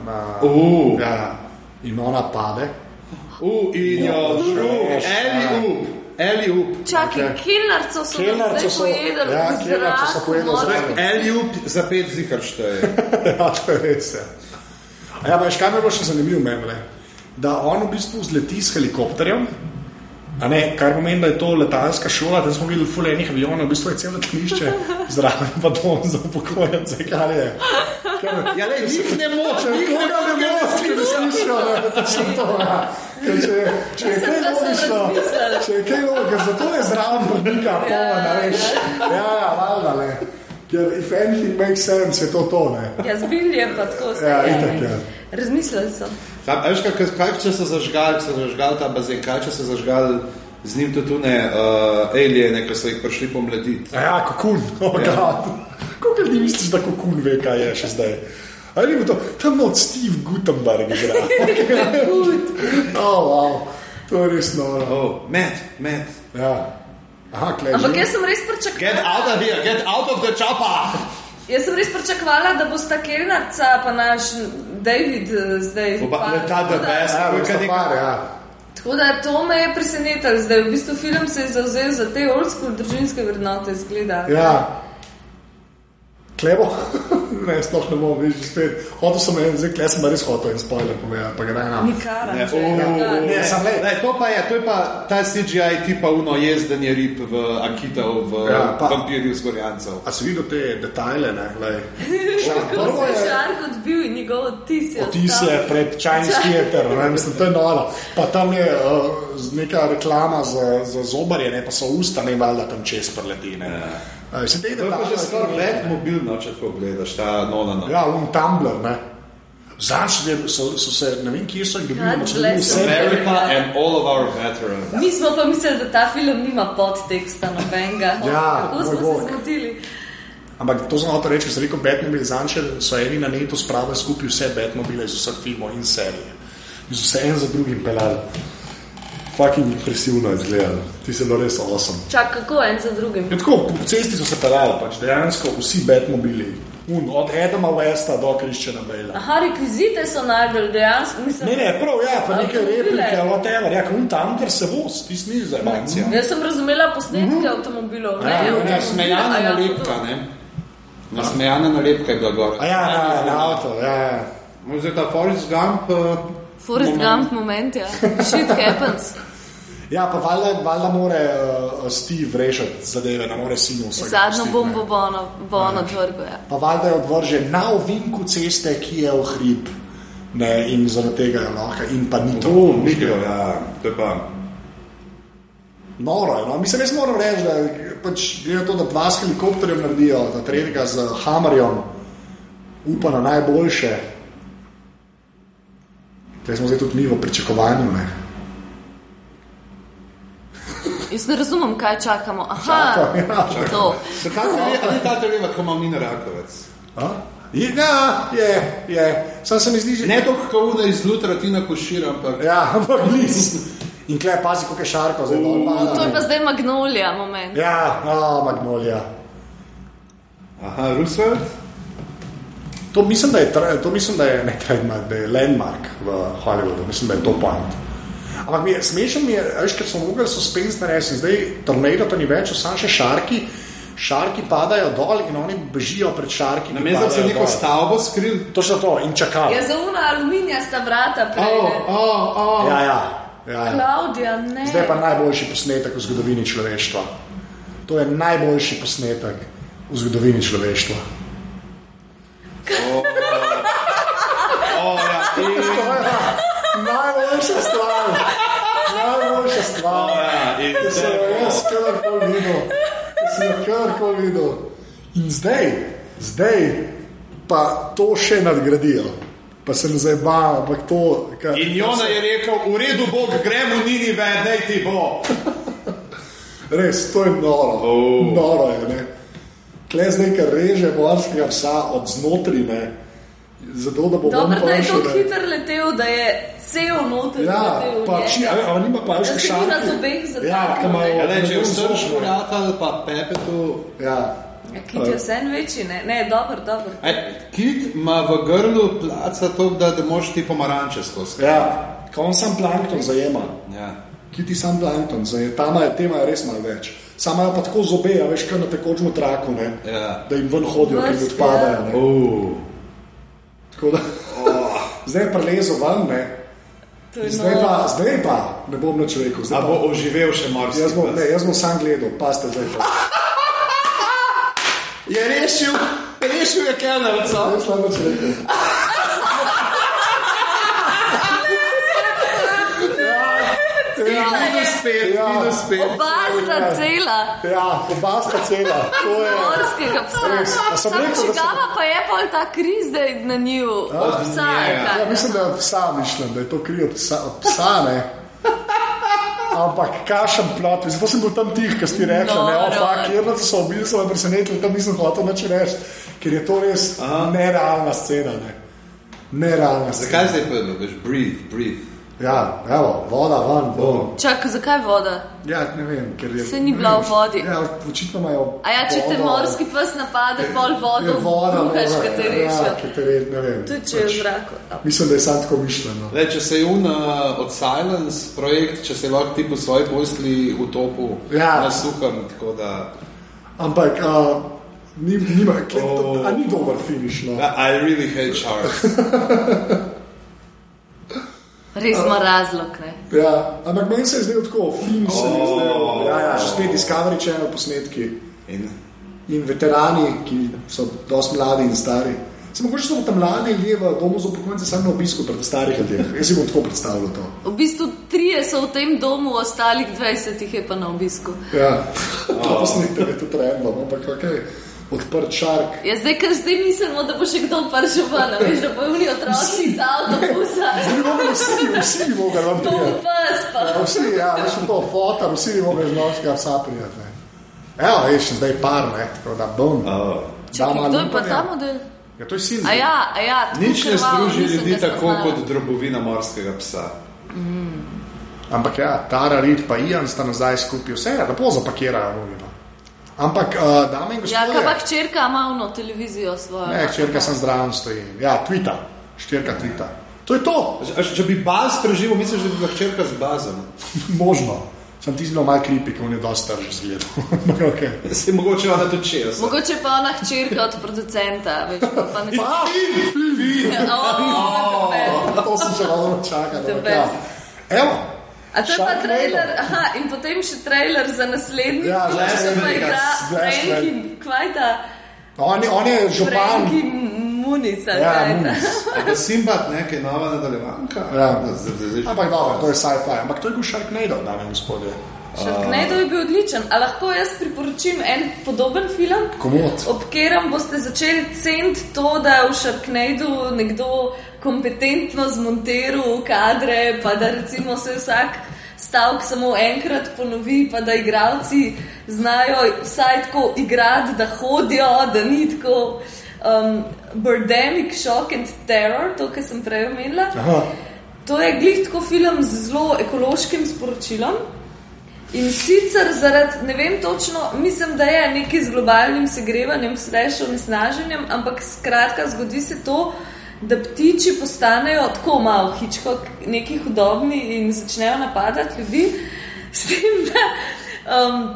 [SPEAKER 5] Na,
[SPEAKER 4] Uh.
[SPEAKER 5] ja, in ona pade.
[SPEAKER 4] U, in jo, u, eli up, eli up.
[SPEAKER 1] Čakaj,
[SPEAKER 5] Ok.
[SPEAKER 1] okay. kelnarco so
[SPEAKER 5] Kelnarco
[SPEAKER 1] kelnarco
[SPEAKER 5] so-
[SPEAKER 1] zdaj pojedali,
[SPEAKER 5] ja,
[SPEAKER 1] v
[SPEAKER 5] kelnarco so
[SPEAKER 1] zrak,
[SPEAKER 5] pojedli v
[SPEAKER 1] vodo.
[SPEAKER 5] zrak.
[SPEAKER 4] Eli up za pet zihar šteje.
[SPEAKER 5] ja, to je res. Ja, A ja pa veš, kaj me je bilo še zanimivo, memle? da on v bistvu vzleti s helikopterjem. a Ne, kar pomeni, da je to letalska šola, tam smo videli fulejnih avionov, v bistvu je celo letališče, zraven pa dom za upokojence, kar je. Kar,
[SPEAKER 4] Ja, le, jih ne moče,
[SPEAKER 5] Če
[SPEAKER 4] jih ne
[SPEAKER 5] koga ne
[SPEAKER 4] moče.
[SPEAKER 5] boš, ki ne slišijo, da točno to ja. Ker Če, če je kaj
[SPEAKER 1] Mislim, da so
[SPEAKER 5] logično,
[SPEAKER 1] razmislili.
[SPEAKER 5] če je kaj logično, ker zato je zraven vrnika, polna, veš. Ja, ja, valjda, ne. Ker if anything makes sense, je to to, ne.
[SPEAKER 1] Ja, zbil je pa tako zdaj.
[SPEAKER 5] Ja, itak, ja.
[SPEAKER 1] Razmislili so.
[SPEAKER 4] Sam, a veš, kaj, kaj če so zažgali, so zažgali ta bazen, kaj če so zažgali z njim tudi tune uh, aliene, ki so jih prišli pomladiti.
[SPEAKER 5] A Ja, kokun, oh,
[SPEAKER 4] Ja.
[SPEAKER 5] ja. Kako ljudi misliš, da kokun ve, kaj je še zdaj? Ali je to, tam od Steve Gutenberg igra. oh, wow. To je res noro.
[SPEAKER 4] Oh, met, met.
[SPEAKER 5] Ja. Aha, klej.
[SPEAKER 1] Ampak
[SPEAKER 5] že.
[SPEAKER 1] jaz sem res
[SPEAKER 4] Get
[SPEAKER 1] pričakovala.
[SPEAKER 4] out of here, get out of the chopper!
[SPEAKER 1] Jaz sem res pričakovala, da bosta Kelnarca pa naš David eh, zdaj.
[SPEAKER 4] Oba-
[SPEAKER 1] pa-
[SPEAKER 4] ne, ta
[SPEAKER 1] tako
[SPEAKER 4] the
[SPEAKER 1] da-
[SPEAKER 4] best.
[SPEAKER 5] Ja, bosta par, ja.
[SPEAKER 1] Tako da to me je presenetilo, zdaj v bistvu film se je zauzel za te oldschools družinske vrednote, zgleda.
[SPEAKER 5] Ja. Klebo, ne, sploh ne bom več že spet. Hotel sem en, zdaj klej sem pa res hotel en spoiler povedati, pa ga ne nam.
[SPEAKER 1] Nikara.
[SPEAKER 4] Ne,
[SPEAKER 1] če je tako.
[SPEAKER 5] Ne, samo glej.
[SPEAKER 4] ne, to pa je, to je pa ta CGI tipa uno jezdenje rib v Akitov, v
[SPEAKER 5] Ja,
[SPEAKER 4] ja,
[SPEAKER 5] pa-
[SPEAKER 4] vampirju z gorjancev.
[SPEAKER 5] A si videl te detajle, ne? Lej.
[SPEAKER 1] Kako
[SPEAKER 5] Prvo
[SPEAKER 1] se je
[SPEAKER 5] je-
[SPEAKER 1] Šark odbil in njegov odtis je.
[SPEAKER 5] Otis je pred Chinese Theater, ne, mislim, to je noro. Pa tam je uh, z- neka reklama za, za zobarje, ne, pa so usta ne valjda tam čez preleti. Ne. Ja. Se te
[SPEAKER 4] To je pa
[SPEAKER 5] detajle,
[SPEAKER 4] že skoraj med mobilno, če to gledaš, ta nonana.
[SPEAKER 5] Ja, um Tumblr, ne. Zanj so, so, so se, ne vem, kje so jih dobili,
[SPEAKER 1] God
[SPEAKER 5] ampak so
[SPEAKER 1] bless
[SPEAKER 5] dobili vse.
[SPEAKER 1] them.
[SPEAKER 7] America and all of our veterans.
[SPEAKER 1] Mi smo pa mislili, da ta film nima podteksta nobenega.
[SPEAKER 5] Ja,
[SPEAKER 1] Kako smo
[SPEAKER 5] moj bog.
[SPEAKER 1] se zmotili?
[SPEAKER 5] Ampak to znamo reči, ker sem rekel, Batmobile zanče so eni na netu spravili skupaj vse Batmobile iz vseh filmov in serije. In so se en za drugim pelali. Fucking impresivno je izgledalo, ti se bilo res osem. Awesome.
[SPEAKER 1] Čak, kako en za drugim?
[SPEAKER 5] Je tako, po cesti so se pelali, pač dejansko vsi Batmobili. Un, od Adama Westa do Kriščana Bela.
[SPEAKER 1] Aha, rekvizite so najdel dejansko, mislim.
[SPEAKER 5] Ne, ne, prav, ja, pa nekaj
[SPEAKER 1] Avtomobile.
[SPEAKER 5] replike, whatever, ja, un tam, ker se voz, ti si ni za emancija.
[SPEAKER 1] Jaz sem razumela posnetke avtomobilov.
[SPEAKER 5] Ja,
[SPEAKER 1] Ne,
[SPEAKER 5] ja,
[SPEAKER 1] avtomobile,
[SPEAKER 4] Nasmejana
[SPEAKER 1] a ja,
[SPEAKER 4] nalepka, ne? Nasmejana nalepka je bila gor.
[SPEAKER 5] A ja, na, na avto, ja, ja.
[SPEAKER 4] Zdaj ta Forrest Gump. Uh,
[SPEAKER 1] Forrest Gump moment, ja. Shit happens.
[SPEAKER 5] Ja, pa valjda, valjda mora uh, Steve rešiti zadeve, ne more sinu vse.
[SPEAKER 1] Zadnjo bombo bo ono, bo ono odvrgel. Ja.
[SPEAKER 5] Pa valjda jo odvrže na ovinku ceste, ki je v hrib. Ne, in zaradi tega je lahko, in pa ni to.
[SPEAKER 7] Tu, Mikijo, ja, to je pa.
[SPEAKER 5] Noro je. No. Mislim, jaz moram reči, da pač, glede na to, da dva s helikopterjem naredijo, da tretjega z hamerjem, upa na najboljše. Te smo zdaj tudi mi v pričakovanju. Ne.
[SPEAKER 1] Jaz ne razumem, kaj čakamo. Aha,
[SPEAKER 5] Čakam, ja.
[SPEAKER 1] to.
[SPEAKER 4] Se ta tele- No, ali je ta televa, ko ima Mina Rakovec.
[SPEAKER 5] A? Ja, je, je. Sam se mi zdi, že
[SPEAKER 4] Ne toliko kot una iz Lutra, Tina Košira, ampak
[SPEAKER 5] Ja, ampak blizu. In klej pazi, kako je šarko zdaj dol. pada.
[SPEAKER 1] To je pa zdaj magnolija moment.
[SPEAKER 5] Ja, no, magnolija.
[SPEAKER 7] Aha, Roosevelt?
[SPEAKER 5] To mislim, da je, tra- to mislim, da je ne trademark, da je landmark v Hollywoodu, mislim, da je to point. Ampak mi je smešno, mi je, a veš, ker smo mogli suspenz narediti, in zdaj tornado to ni več, so samo še šarki, šarki padajo dol in oni bežijo pred šarki. ki
[SPEAKER 4] namesto da se
[SPEAKER 5] padajo
[SPEAKER 4] neko
[SPEAKER 5] dol.
[SPEAKER 4] stavbo skril.
[SPEAKER 5] Točno to, in čakajo.
[SPEAKER 1] Ja, za uma aluminijasta
[SPEAKER 5] Oh,
[SPEAKER 1] vrata
[SPEAKER 4] O,
[SPEAKER 1] prejde.
[SPEAKER 4] o, o.
[SPEAKER 5] Ja, ja, ja, ja.
[SPEAKER 1] Klaudija, ne.
[SPEAKER 5] Zdaj pa najboljši posnetek v zgodovini človeštva. To je najboljši posnetek v zgodovini človeštva.
[SPEAKER 4] O, ja.
[SPEAKER 5] To je najboljša stvar, najboljša stvar.
[SPEAKER 4] ja,
[SPEAKER 7] in
[SPEAKER 5] Ki sem jo jaz karkoli videl, ki sem jo karkoli videl. In zdaj, zdaj pa to še nadgradijo. Pa se ne zabavajo, ampak to, kar
[SPEAKER 7] In Jona je rekel, v redu, Bog, gremo, ni ni več, daj ti bo.
[SPEAKER 5] Res, to je noro.
[SPEAKER 7] Oh.
[SPEAKER 5] Noro je. Ne? Klej zdaj, ker reže morskega psa od znotraj, ne. Zato, da bo
[SPEAKER 1] Dobro,
[SPEAKER 5] on
[SPEAKER 1] da je
[SPEAKER 5] prišel,
[SPEAKER 1] tako
[SPEAKER 5] ne.
[SPEAKER 1] hitro letel, da je cel noter
[SPEAKER 5] Ja,
[SPEAKER 1] letel.
[SPEAKER 5] pa či, ali, ali nima pa
[SPEAKER 1] Ja,
[SPEAKER 5] več
[SPEAKER 1] se ni
[SPEAKER 5] šarki?
[SPEAKER 1] nas obeh zataknil,
[SPEAKER 5] Ja, ki imajo
[SPEAKER 1] ne.
[SPEAKER 4] Le, če je ja.
[SPEAKER 5] obeh
[SPEAKER 4] vsrš
[SPEAKER 5] zob, ne.
[SPEAKER 4] vrata ali pa pepetu.
[SPEAKER 5] Ja.
[SPEAKER 1] Ki ti je vse en večji, ne? Ne, dobro, dobro.
[SPEAKER 4] Ej, E, Kit ima v grlu placa to, da, da moš ti pomaranče skozi.
[SPEAKER 5] ja, ko on sam plankton zajema,
[SPEAKER 4] Ja.
[SPEAKER 5] ki ti sam plankton zajema, tam je tema je res malo več. Sama je pa tako zobe, a veš, kaj na tekočem traku, ne,
[SPEAKER 4] Ja.
[SPEAKER 5] da jim ven hodijo, da jim
[SPEAKER 1] Vrst,
[SPEAKER 5] odpadajo. ne.
[SPEAKER 4] Uh.
[SPEAKER 5] Tako Da, zdaj je prelezel ven, ne.
[SPEAKER 1] To je no.
[SPEAKER 5] Zdaj
[SPEAKER 1] noro.
[SPEAKER 5] pa, zdaj pa, ne bom več rekel. zdaj
[SPEAKER 7] A
[SPEAKER 5] pa-
[SPEAKER 7] bo oživel še morski?
[SPEAKER 5] Jaz bom,
[SPEAKER 7] pes?
[SPEAKER 5] ne, jaz bom sam gledal, paste zdaj pa.
[SPEAKER 4] Je rešil, rešil je kelnerca.
[SPEAKER 5] Jaz sem več rekel.
[SPEAKER 4] Ja, minus pet,
[SPEAKER 5] Ja.
[SPEAKER 4] minus pet.
[SPEAKER 1] Oba sta cela.
[SPEAKER 5] Ja, oba sta cela, to je.
[SPEAKER 1] Morskega
[SPEAKER 5] Res, a
[SPEAKER 1] psa.
[SPEAKER 5] sem
[SPEAKER 1] Sam
[SPEAKER 5] rekel, da sem-
[SPEAKER 1] čigava pa je pol ta kriz, da je na nju. Od psa je
[SPEAKER 4] nje,
[SPEAKER 5] Ja,
[SPEAKER 1] ta.
[SPEAKER 5] mislim, da je psa mišljen, da je to kriv od psa, od psa ne. Ampak kašem plot, zato sem bil tam tih, ki si rekel, no, ne,
[SPEAKER 1] Noro.
[SPEAKER 5] opak, kjer da so bili, so me presenetili, tam nisem hotel več reči, ker je to res Aha. nerealna scena. Ne. Nerealna scena.
[SPEAKER 4] Zakaj zdaj pojdo, veš, breathe, breathe.
[SPEAKER 5] Ja, evo, voda ven, bom.
[SPEAKER 1] Čak, zakaj voda?
[SPEAKER 5] Ja, ne vem, ker je.
[SPEAKER 1] Saj ni bila v vodi.
[SPEAKER 5] Ja, očitno imajo.
[SPEAKER 1] A ja, če te
[SPEAKER 5] vodo.
[SPEAKER 1] morski pes napade, pol
[SPEAKER 5] Je
[SPEAKER 1] vodo,
[SPEAKER 5] voda,
[SPEAKER 1] kuhaš,
[SPEAKER 5] voda,
[SPEAKER 1] kaj te
[SPEAKER 5] ja, Pač.
[SPEAKER 1] reši.
[SPEAKER 5] kateri, ne vem.
[SPEAKER 1] Tudi če je v zraku. ja.
[SPEAKER 5] Mislim, da je sam tako mišljeno.
[SPEAKER 4] Le, če se je un uh, od Silence projekt, če se lahko ti po svoji posli utopu
[SPEAKER 5] Ja.
[SPEAKER 4] na suhem, tako da...
[SPEAKER 5] Ampak uh, ni, nima, kje, oh. a ni dober finiš. No.
[SPEAKER 4] Ja, I really hate sharks.
[SPEAKER 1] Res ima razlog, ne?
[SPEAKER 5] Ja, ampak meni se je zdel tako, film se mi je zdel. Ja, ja, že spet Discovery Channel posnetki
[SPEAKER 4] In
[SPEAKER 5] in veterani, ki so dosti mladi in stari. Se mogoče so tam mladi ljudje v domu za upokojence samo na obisku pred starih ljudeh. Jaz si bom tako predstavljal to.
[SPEAKER 1] V bistvu trije so v tem domu, ostalih 20 jih je pa na obisku.
[SPEAKER 5] Ja, to posnetek je tudi random, no, ampak ok. odprt šark.
[SPEAKER 1] Jaz Ja, zdaj, ker zdaj mislimo, da bo še kdo prišel ven, a veš, da bo vni otroci iz avtobusa.
[SPEAKER 5] Zdaj bomo vsi, vsi bomo ga vam
[SPEAKER 1] To bo
[SPEAKER 5] prijeti.
[SPEAKER 1] pes pa.
[SPEAKER 5] Ja, Vsi, ja, veš, to fotar, vsi bomo ga žnovskega psa prijeti. ne. Evo, veš, zdaj par, ne, tako da bom.
[SPEAKER 4] eh,
[SPEAKER 1] Čakaj, kdo je pa ta model?
[SPEAKER 5] Ja, to je sin.
[SPEAKER 1] A ja, a ja, tako
[SPEAKER 7] Nič ne
[SPEAKER 1] krvavo,
[SPEAKER 7] združi
[SPEAKER 1] nisem
[SPEAKER 7] ljudi
[SPEAKER 1] ga
[SPEAKER 7] tako
[SPEAKER 1] spoznala.
[SPEAKER 7] kot drobovina morskega psa.
[SPEAKER 5] Ampak ja, Tara Reid pa Ian sta nazaj skupaj, vse ja, je lepo zapakirajo. Novino. Ampak, uh, dame in
[SPEAKER 1] Ja, kaj pa
[SPEAKER 5] gospodje,
[SPEAKER 1] hčerka ima ono televizijo svojo.
[SPEAKER 5] ne, črka sem zdrav stoji. Ja, tvita, štirka tvita. To je to,
[SPEAKER 7] A Če če bi baz preživel, misliš, da bi bila hčerka z bazom.
[SPEAKER 5] možno. Sem ti zelo malo kripi, ker on je dosta že zgledal. okay.
[SPEAKER 7] Se mogoče ona tudi čejo.
[SPEAKER 1] Mogoče pa ona hčerka od producenta, veš, pa, pa ne
[SPEAKER 5] Pa,
[SPEAKER 1] Oh,
[SPEAKER 5] to sem še malo čakal.
[SPEAKER 1] The
[SPEAKER 5] ampak
[SPEAKER 1] best.
[SPEAKER 5] Ja. Evo,
[SPEAKER 1] A to je pa
[SPEAKER 5] Sharknado.
[SPEAKER 1] trailer, aha, in potem še trailer za naslednji,
[SPEAKER 5] Ja,
[SPEAKER 1] ki
[SPEAKER 5] Last
[SPEAKER 1] pa
[SPEAKER 5] Vegas,
[SPEAKER 1] igra
[SPEAKER 5] Last
[SPEAKER 1] Franki,
[SPEAKER 5] Vegas.
[SPEAKER 1] kvajta,
[SPEAKER 5] on, je- on je župan.
[SPEAKER 1] Franki Munica.
[SPEAKER 5] Ja,
[SPEAKER 1] kaj je ta?
[SPEAKER 5] Muniz.
[SPEAKER 7] Simbat, nekaj nova nadaljevanka.
[SPEAKER 5] Ja.
[SPEAKER 7] Zdaj- zdaj- zdaj-
[SPEAKER 5] Ampak dobro, to je sci-fi. Ampak to je bil Sharknado, dame in gospodje.
[SPEAKER 1] Sharknado je bil odličen. A lahko jaz priporočim en podoben film,
[SPEAKER 5] Komot.
[SPEAKER 1] ob katerem boste začeli ceniti to, da je v Sharknadu nekdo kompetentno zmontiral kadre, pa da recimo se vsak stavek samo enkrat ponovi, pa da igravci znajo vsaj tako igrati, da hodijo, da ni tako. Um, Birdemic Shock and Terror, to, kar sem prej omenila.
[SPEAKER 5] Aha.
[SPEAKER 1] To je glih tako film z zelo ekološkim sporočilom. In sicer zaradi, ne vem točno, mislim, da je nekaj z globalnim segrevanjem, slash onesnaženjem, ampak skratka zgodi se to, da ptiči postanejo tako malo hičko, neki hudobni in začnejo napadati ljudi. S tem, da um,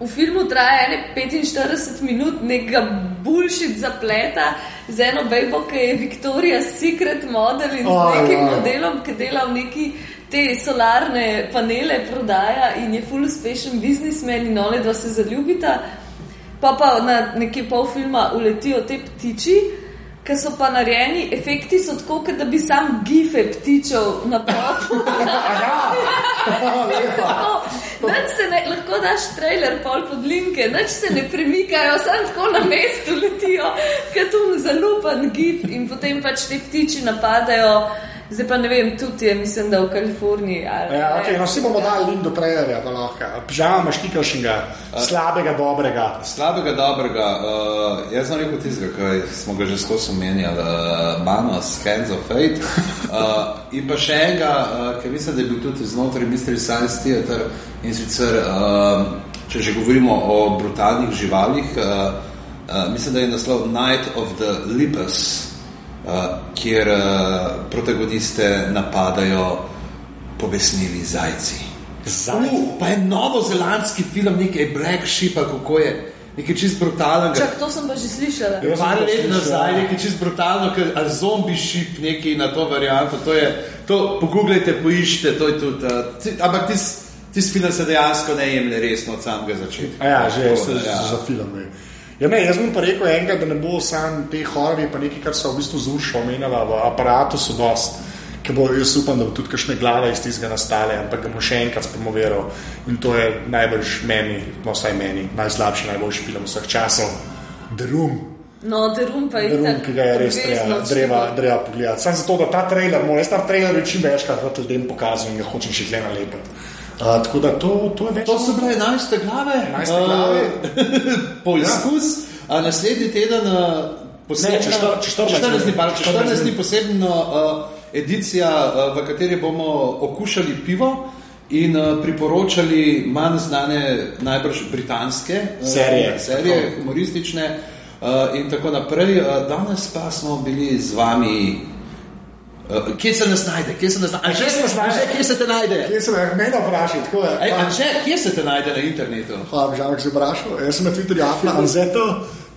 [SPEAKER 1] V filmu traja ene 45 minut nekega bullshit zapleta z eno bejbo, ki je Victoria's Secret model in
[SPEAKER 5] Oj,
[SPEAKER 1] z nekim
[SPEAKER 5] oj.
[SPEAKER 1] modelom, ki dela v neki te solarne panele, prodaja in je full uspešen biznismen in one dva se zaljubita. Pa pa na nekje pol filma uletijo te ptiči, ki so pa narejeni, efekti so tako, kot da bi sam gife ptičev na propu. Tako, Nič se ne, lahko daš trailer pol pod linke, nič se ne premikajo, samo tako na mestu letijo, kot um zalupan gib in potem pač te ptiči napadajo. Zdaj pa ne vem, tudi je, mislim, da v Kaliforniji. Ali,
[SPEAKER 5] Ja,
[SPEAKER 1] ne.
[SPEAKER 5] okay, no, vsi bomo dali link do trailerja, pa lahko. Žal imaš ti kakšnega slabega, dobrega.
[SPEAKER 4] Slabega, dobrega, uh, jaz sem rekel tistega, ki smo ga že skozi omenjali, uh, Manos, Hands of Fate. Uh, in pa še enega, uh, ki mislim, da je bil tudi znotraj Mystery Science Theater in sicer, uh, če že govorimo o brutalnih živalih, uh, uh, mislim, da je naslov Night of the Lipas, uh, kjer uh, protagoniste napadajo pobesnili zajci.
[SPEAKER 5] Zaj.
[SPEAKER 4] Uh, pa je novozelandski film, nekaj Black Sheep, ali kako je, nekaj čist brutalnega.
[SPEAKER 1] Čak, to sem pa že slišala.
[SPEAKER 5] Ja.
[SPEAKER 4] Par let
[SPEAKER 5] Slišal,
[SPEAKER 4] nazaj,
[SPEAKER 5] ja.
[SPEAKER 4] nekaj čist brutalno, ker- ali zombi šip, nekaj na to varianto. To je, to pogooglejte, poiščite, to je tudi. Uh, ti, ampak tisti tis film se dejansko ne jemlje resno od samega začetka.
[SPEAKER 5] Ja, že
[SPEAKER 4] Tako
[SPEAKER 5] se
[SPEAKER 4] da,
[SPEAKER 5] ja. za film. Ne. Ja, ne, jaz bom pa rekel enega, da ne bo sam te hororje, pa nekaj, kar so v bistvu z Uršo omenjala v aparatu, so dost. Ki bo, jaz upam, da bo tudi kakšne glave iz tistega nastale, ampak ga bom še enkrat promoviral. In to je najbolj meni, no vsaj meni, najslabši, najboljši film vseh časov. Drum.
[SPEAKER 1] No, Derum pa je
[SPEAKER 5] Drum,
[SPEAKER 1] itak
[SPEAKER 5] ki ga je res
[SPEAKER 1] obvezno
[SPEAKER 5] treba,
[SPEAKER 1] odštudiral.
[SPEAKER 5] treba, treba pogledati. Sam zato, da ta trailer, moj, jaz ta trailer večin večkrat rad ljudem pokazujem in ga hočem še gledati lepet. Uh, tako da to, to je več.
[SPEAKER 4] To so bile 11 glave,
[SPEAKER 5] 11. glave.
[SPEAKER 4] poizkus. Ja. Naslednji teden uh, posebno,
[SPEAKER 5] Ne, čez četor- čez 14 dni.
[SPEAKER 4] 14 dni, pardon, čez 14
[SPEAKER 5] 14 dni.
[SPEAKER 4] dni posebno uh, edicija, uh, v kateri bomo okušali pivo. In uh, priporočali manj znane, najbrž britanske uh,
[SPEAKER 5] Serije.
[SPEAKER 4] serije humoristične uh, in tako naprej. Uh, danes pa smo bili z vami, uh, kje se nas najde, kje se nas najde,
[SPEAKER 5] Kje se nas najde?
[SPEAKER 4] Anže, kje se te najde,
[SPEAKER 5] Jaz sem meni vprašal, tako je.
[SPEAKER 4] Ej,
[SPEAKER 5] Pa-
[SPEAKER 4] Anže, kje se te najde na internetu?
[SPEAKER 5] Hvala, Žavek, si vprašal. Jaz sem na Twitterju afna Anzeto,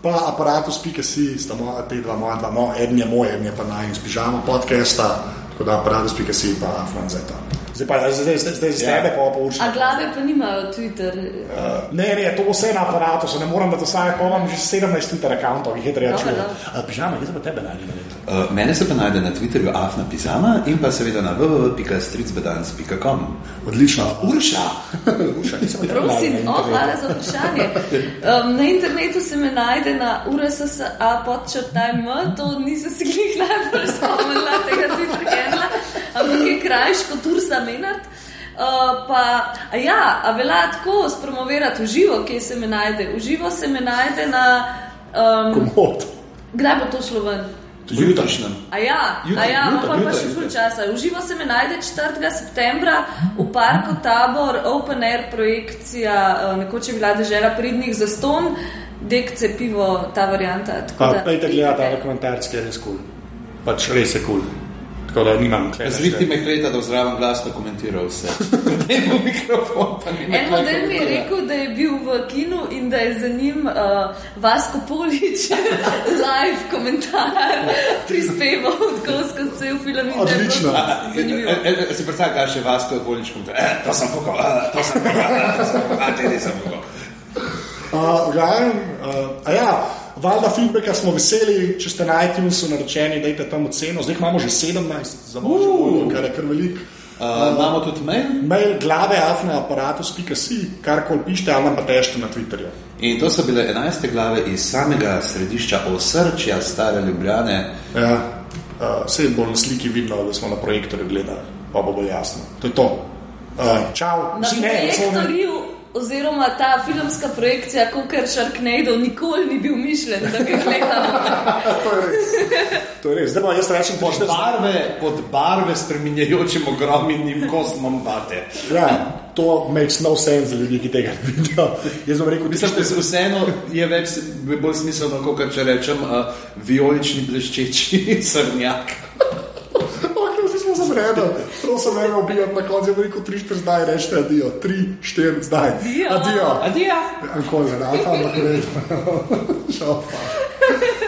[SPEAKER 5] pa aparatus.si, sta moja, te dva moja, dva, no, eden je moj, eden je pa naj iz pižama podcasta, tako da aparatus.si pa afna Anzeto. Zdaj pa zdaj, zdaj, zdaj z tebe, pa pa
[SPEAKER 1] A
[SPEAKER 5] učim.
[SPEAKER 1] glave pa nimajo Twitter.
[SPEAKER 5] Ne, ne, to bo vse na aparatu, se ne moram, da to vsak, ko imam že 17 Twitter akantov, jih je treba
[SPEAKER 1] Dobro,
[SPEAKER 5] čuvati.
[SPEAKER 1] dobro.
[SPEAKER 5] A, Pižama, kje so pa tebe dali?
[SPEAKER 4] Uh, mene se pa najde na Twitterju afna pizama in pa seveda na www.stricbedans.com.
[SPEAKER 2] Odlično.
[SPEAKER 4] Urša!
[SPEAKER 1] Prosim, o, hvala za vprašanje. Um, na internetu se me najde na urssa podčrtajm, to nisem si jih najbolj spomnila, tega Twitter hendla, ampak je krajš kot Ursa Menard. Uh, pa, a ja, a velja tako spromovirati v živo, kje se me najde. V živo se me najde na. Um,
[SPEAKER 2] Komod.
[SPEAKER 1] kdaj bo to šlo ven?
[SPEAKER 4] Jutrišnjem.
[SPEAKER 1] A ja,
[SPEAKER 5] Jutri,
[SPEAKER 1] a ja, imam
[SPEAKER 5] jutri,
[SPEAKER 1] pa, pa
[SPEAKER 5] jutri,
[SPEAKER 1] še ful
[SPEAKER 5] jutri.
[SPEAKER 1] časa. Uživo se mi najde 4. septembra v parku Tabor, Open Air projekcija eh, nekoč je bila država pridnih za ston, dekce pivo, ta varianta. tako da-
[SPEAKER 5] Pejte gledati ta dokumentarski, je res kul. Cool. Pač res je kul. Cool. Tako da nimam kaj. ja.
[SPEAKER 4] Zlihti me hleta, da v zdravem glasu komentiral vse. Ne bo mikrofon, pa ne
[SPEAKER 1] En model mi je
[SPEAKER 4] ja.
[SPEAKER 1] rekel, da je bil v kinu in da je za njim uh, Vasko Polič live komentar prispeval tako skozi cel film. in da je bilo
[SPEAKER 2] Odlično.
[SPEAKER 4] Ja, E,
[SPEAKER 1] Zanimivo.
[SPEAKER 4] Si predstavljaj, kaj še vas kot voličkom. Eh, to sem pokal, eh, to sem pokal, eh, to sem pokal, te nisem pokal.
[SPEAKER 5] Uh, glavnem, uh, a ja, valjda feedbacka smo veseli, če ste na iTunesu naročeni, dajte tam oceno. Zdaj jih imamo že 17, za božjo
[SPEAKER 4] Uh.
[SPEAKER 5] voljo, kar je kar veliko.
[SPEAKER 4] Uh, Imamo tudi mail
[SPEAKER 5] Mail glave afne aparatus.si, kar kol pišete, ali nam pa tešte na Twitterju.
[SPEAKER 4] in to so bile 11 glave iz samega središča osrčja stare Ljubljane.
[SPEAKER 5] Ja. Uh, Vse je bolj na sliki vidno, da smo na projektorju gledali, pa bo bolj jasno. To je to. Uh, čau,
[SPEAKER 1] Na
[SPEAKER 5] vsi ne, samo ne.
[SPEAKER 1] projektorju, oziroma ta filmska projekcija, kot je Sharknado, nikoli ni bil mišljen, da bi gledal.
[SPEAKER 5] To je res. To je res. Zdaj pa jaz rečem, pošte z
[SPEAKER 4] Barve pod barve spreminjajočim ogromnim kosmom bate.
[SPEAKER 5] Ja, to makes no sense za ljudi, ki tega ne vidijo. Jaz bom rekel,
[SPEAKER 4] Mislim,
[SPEAKER 5] tisto,
[SPEAKER 4] da se vseeno je več, bi bolj smiselno, kot če rečem, uh, vijolični bleščeči srnjak.
[SPEAKER 5] Ok, vsi smo se zredili, to se ne ubijam na koncu, jaz rekel 3-4 zdaj, rečete adijo, 3-4 zdaj.
[SPEAKER 1] Adijo.
[SPEAKER 5] Adijo.
[SPEAKER 4] Adijo!
[SPEAKER 5] Ankoli, da, ampak v redu. Šel pa.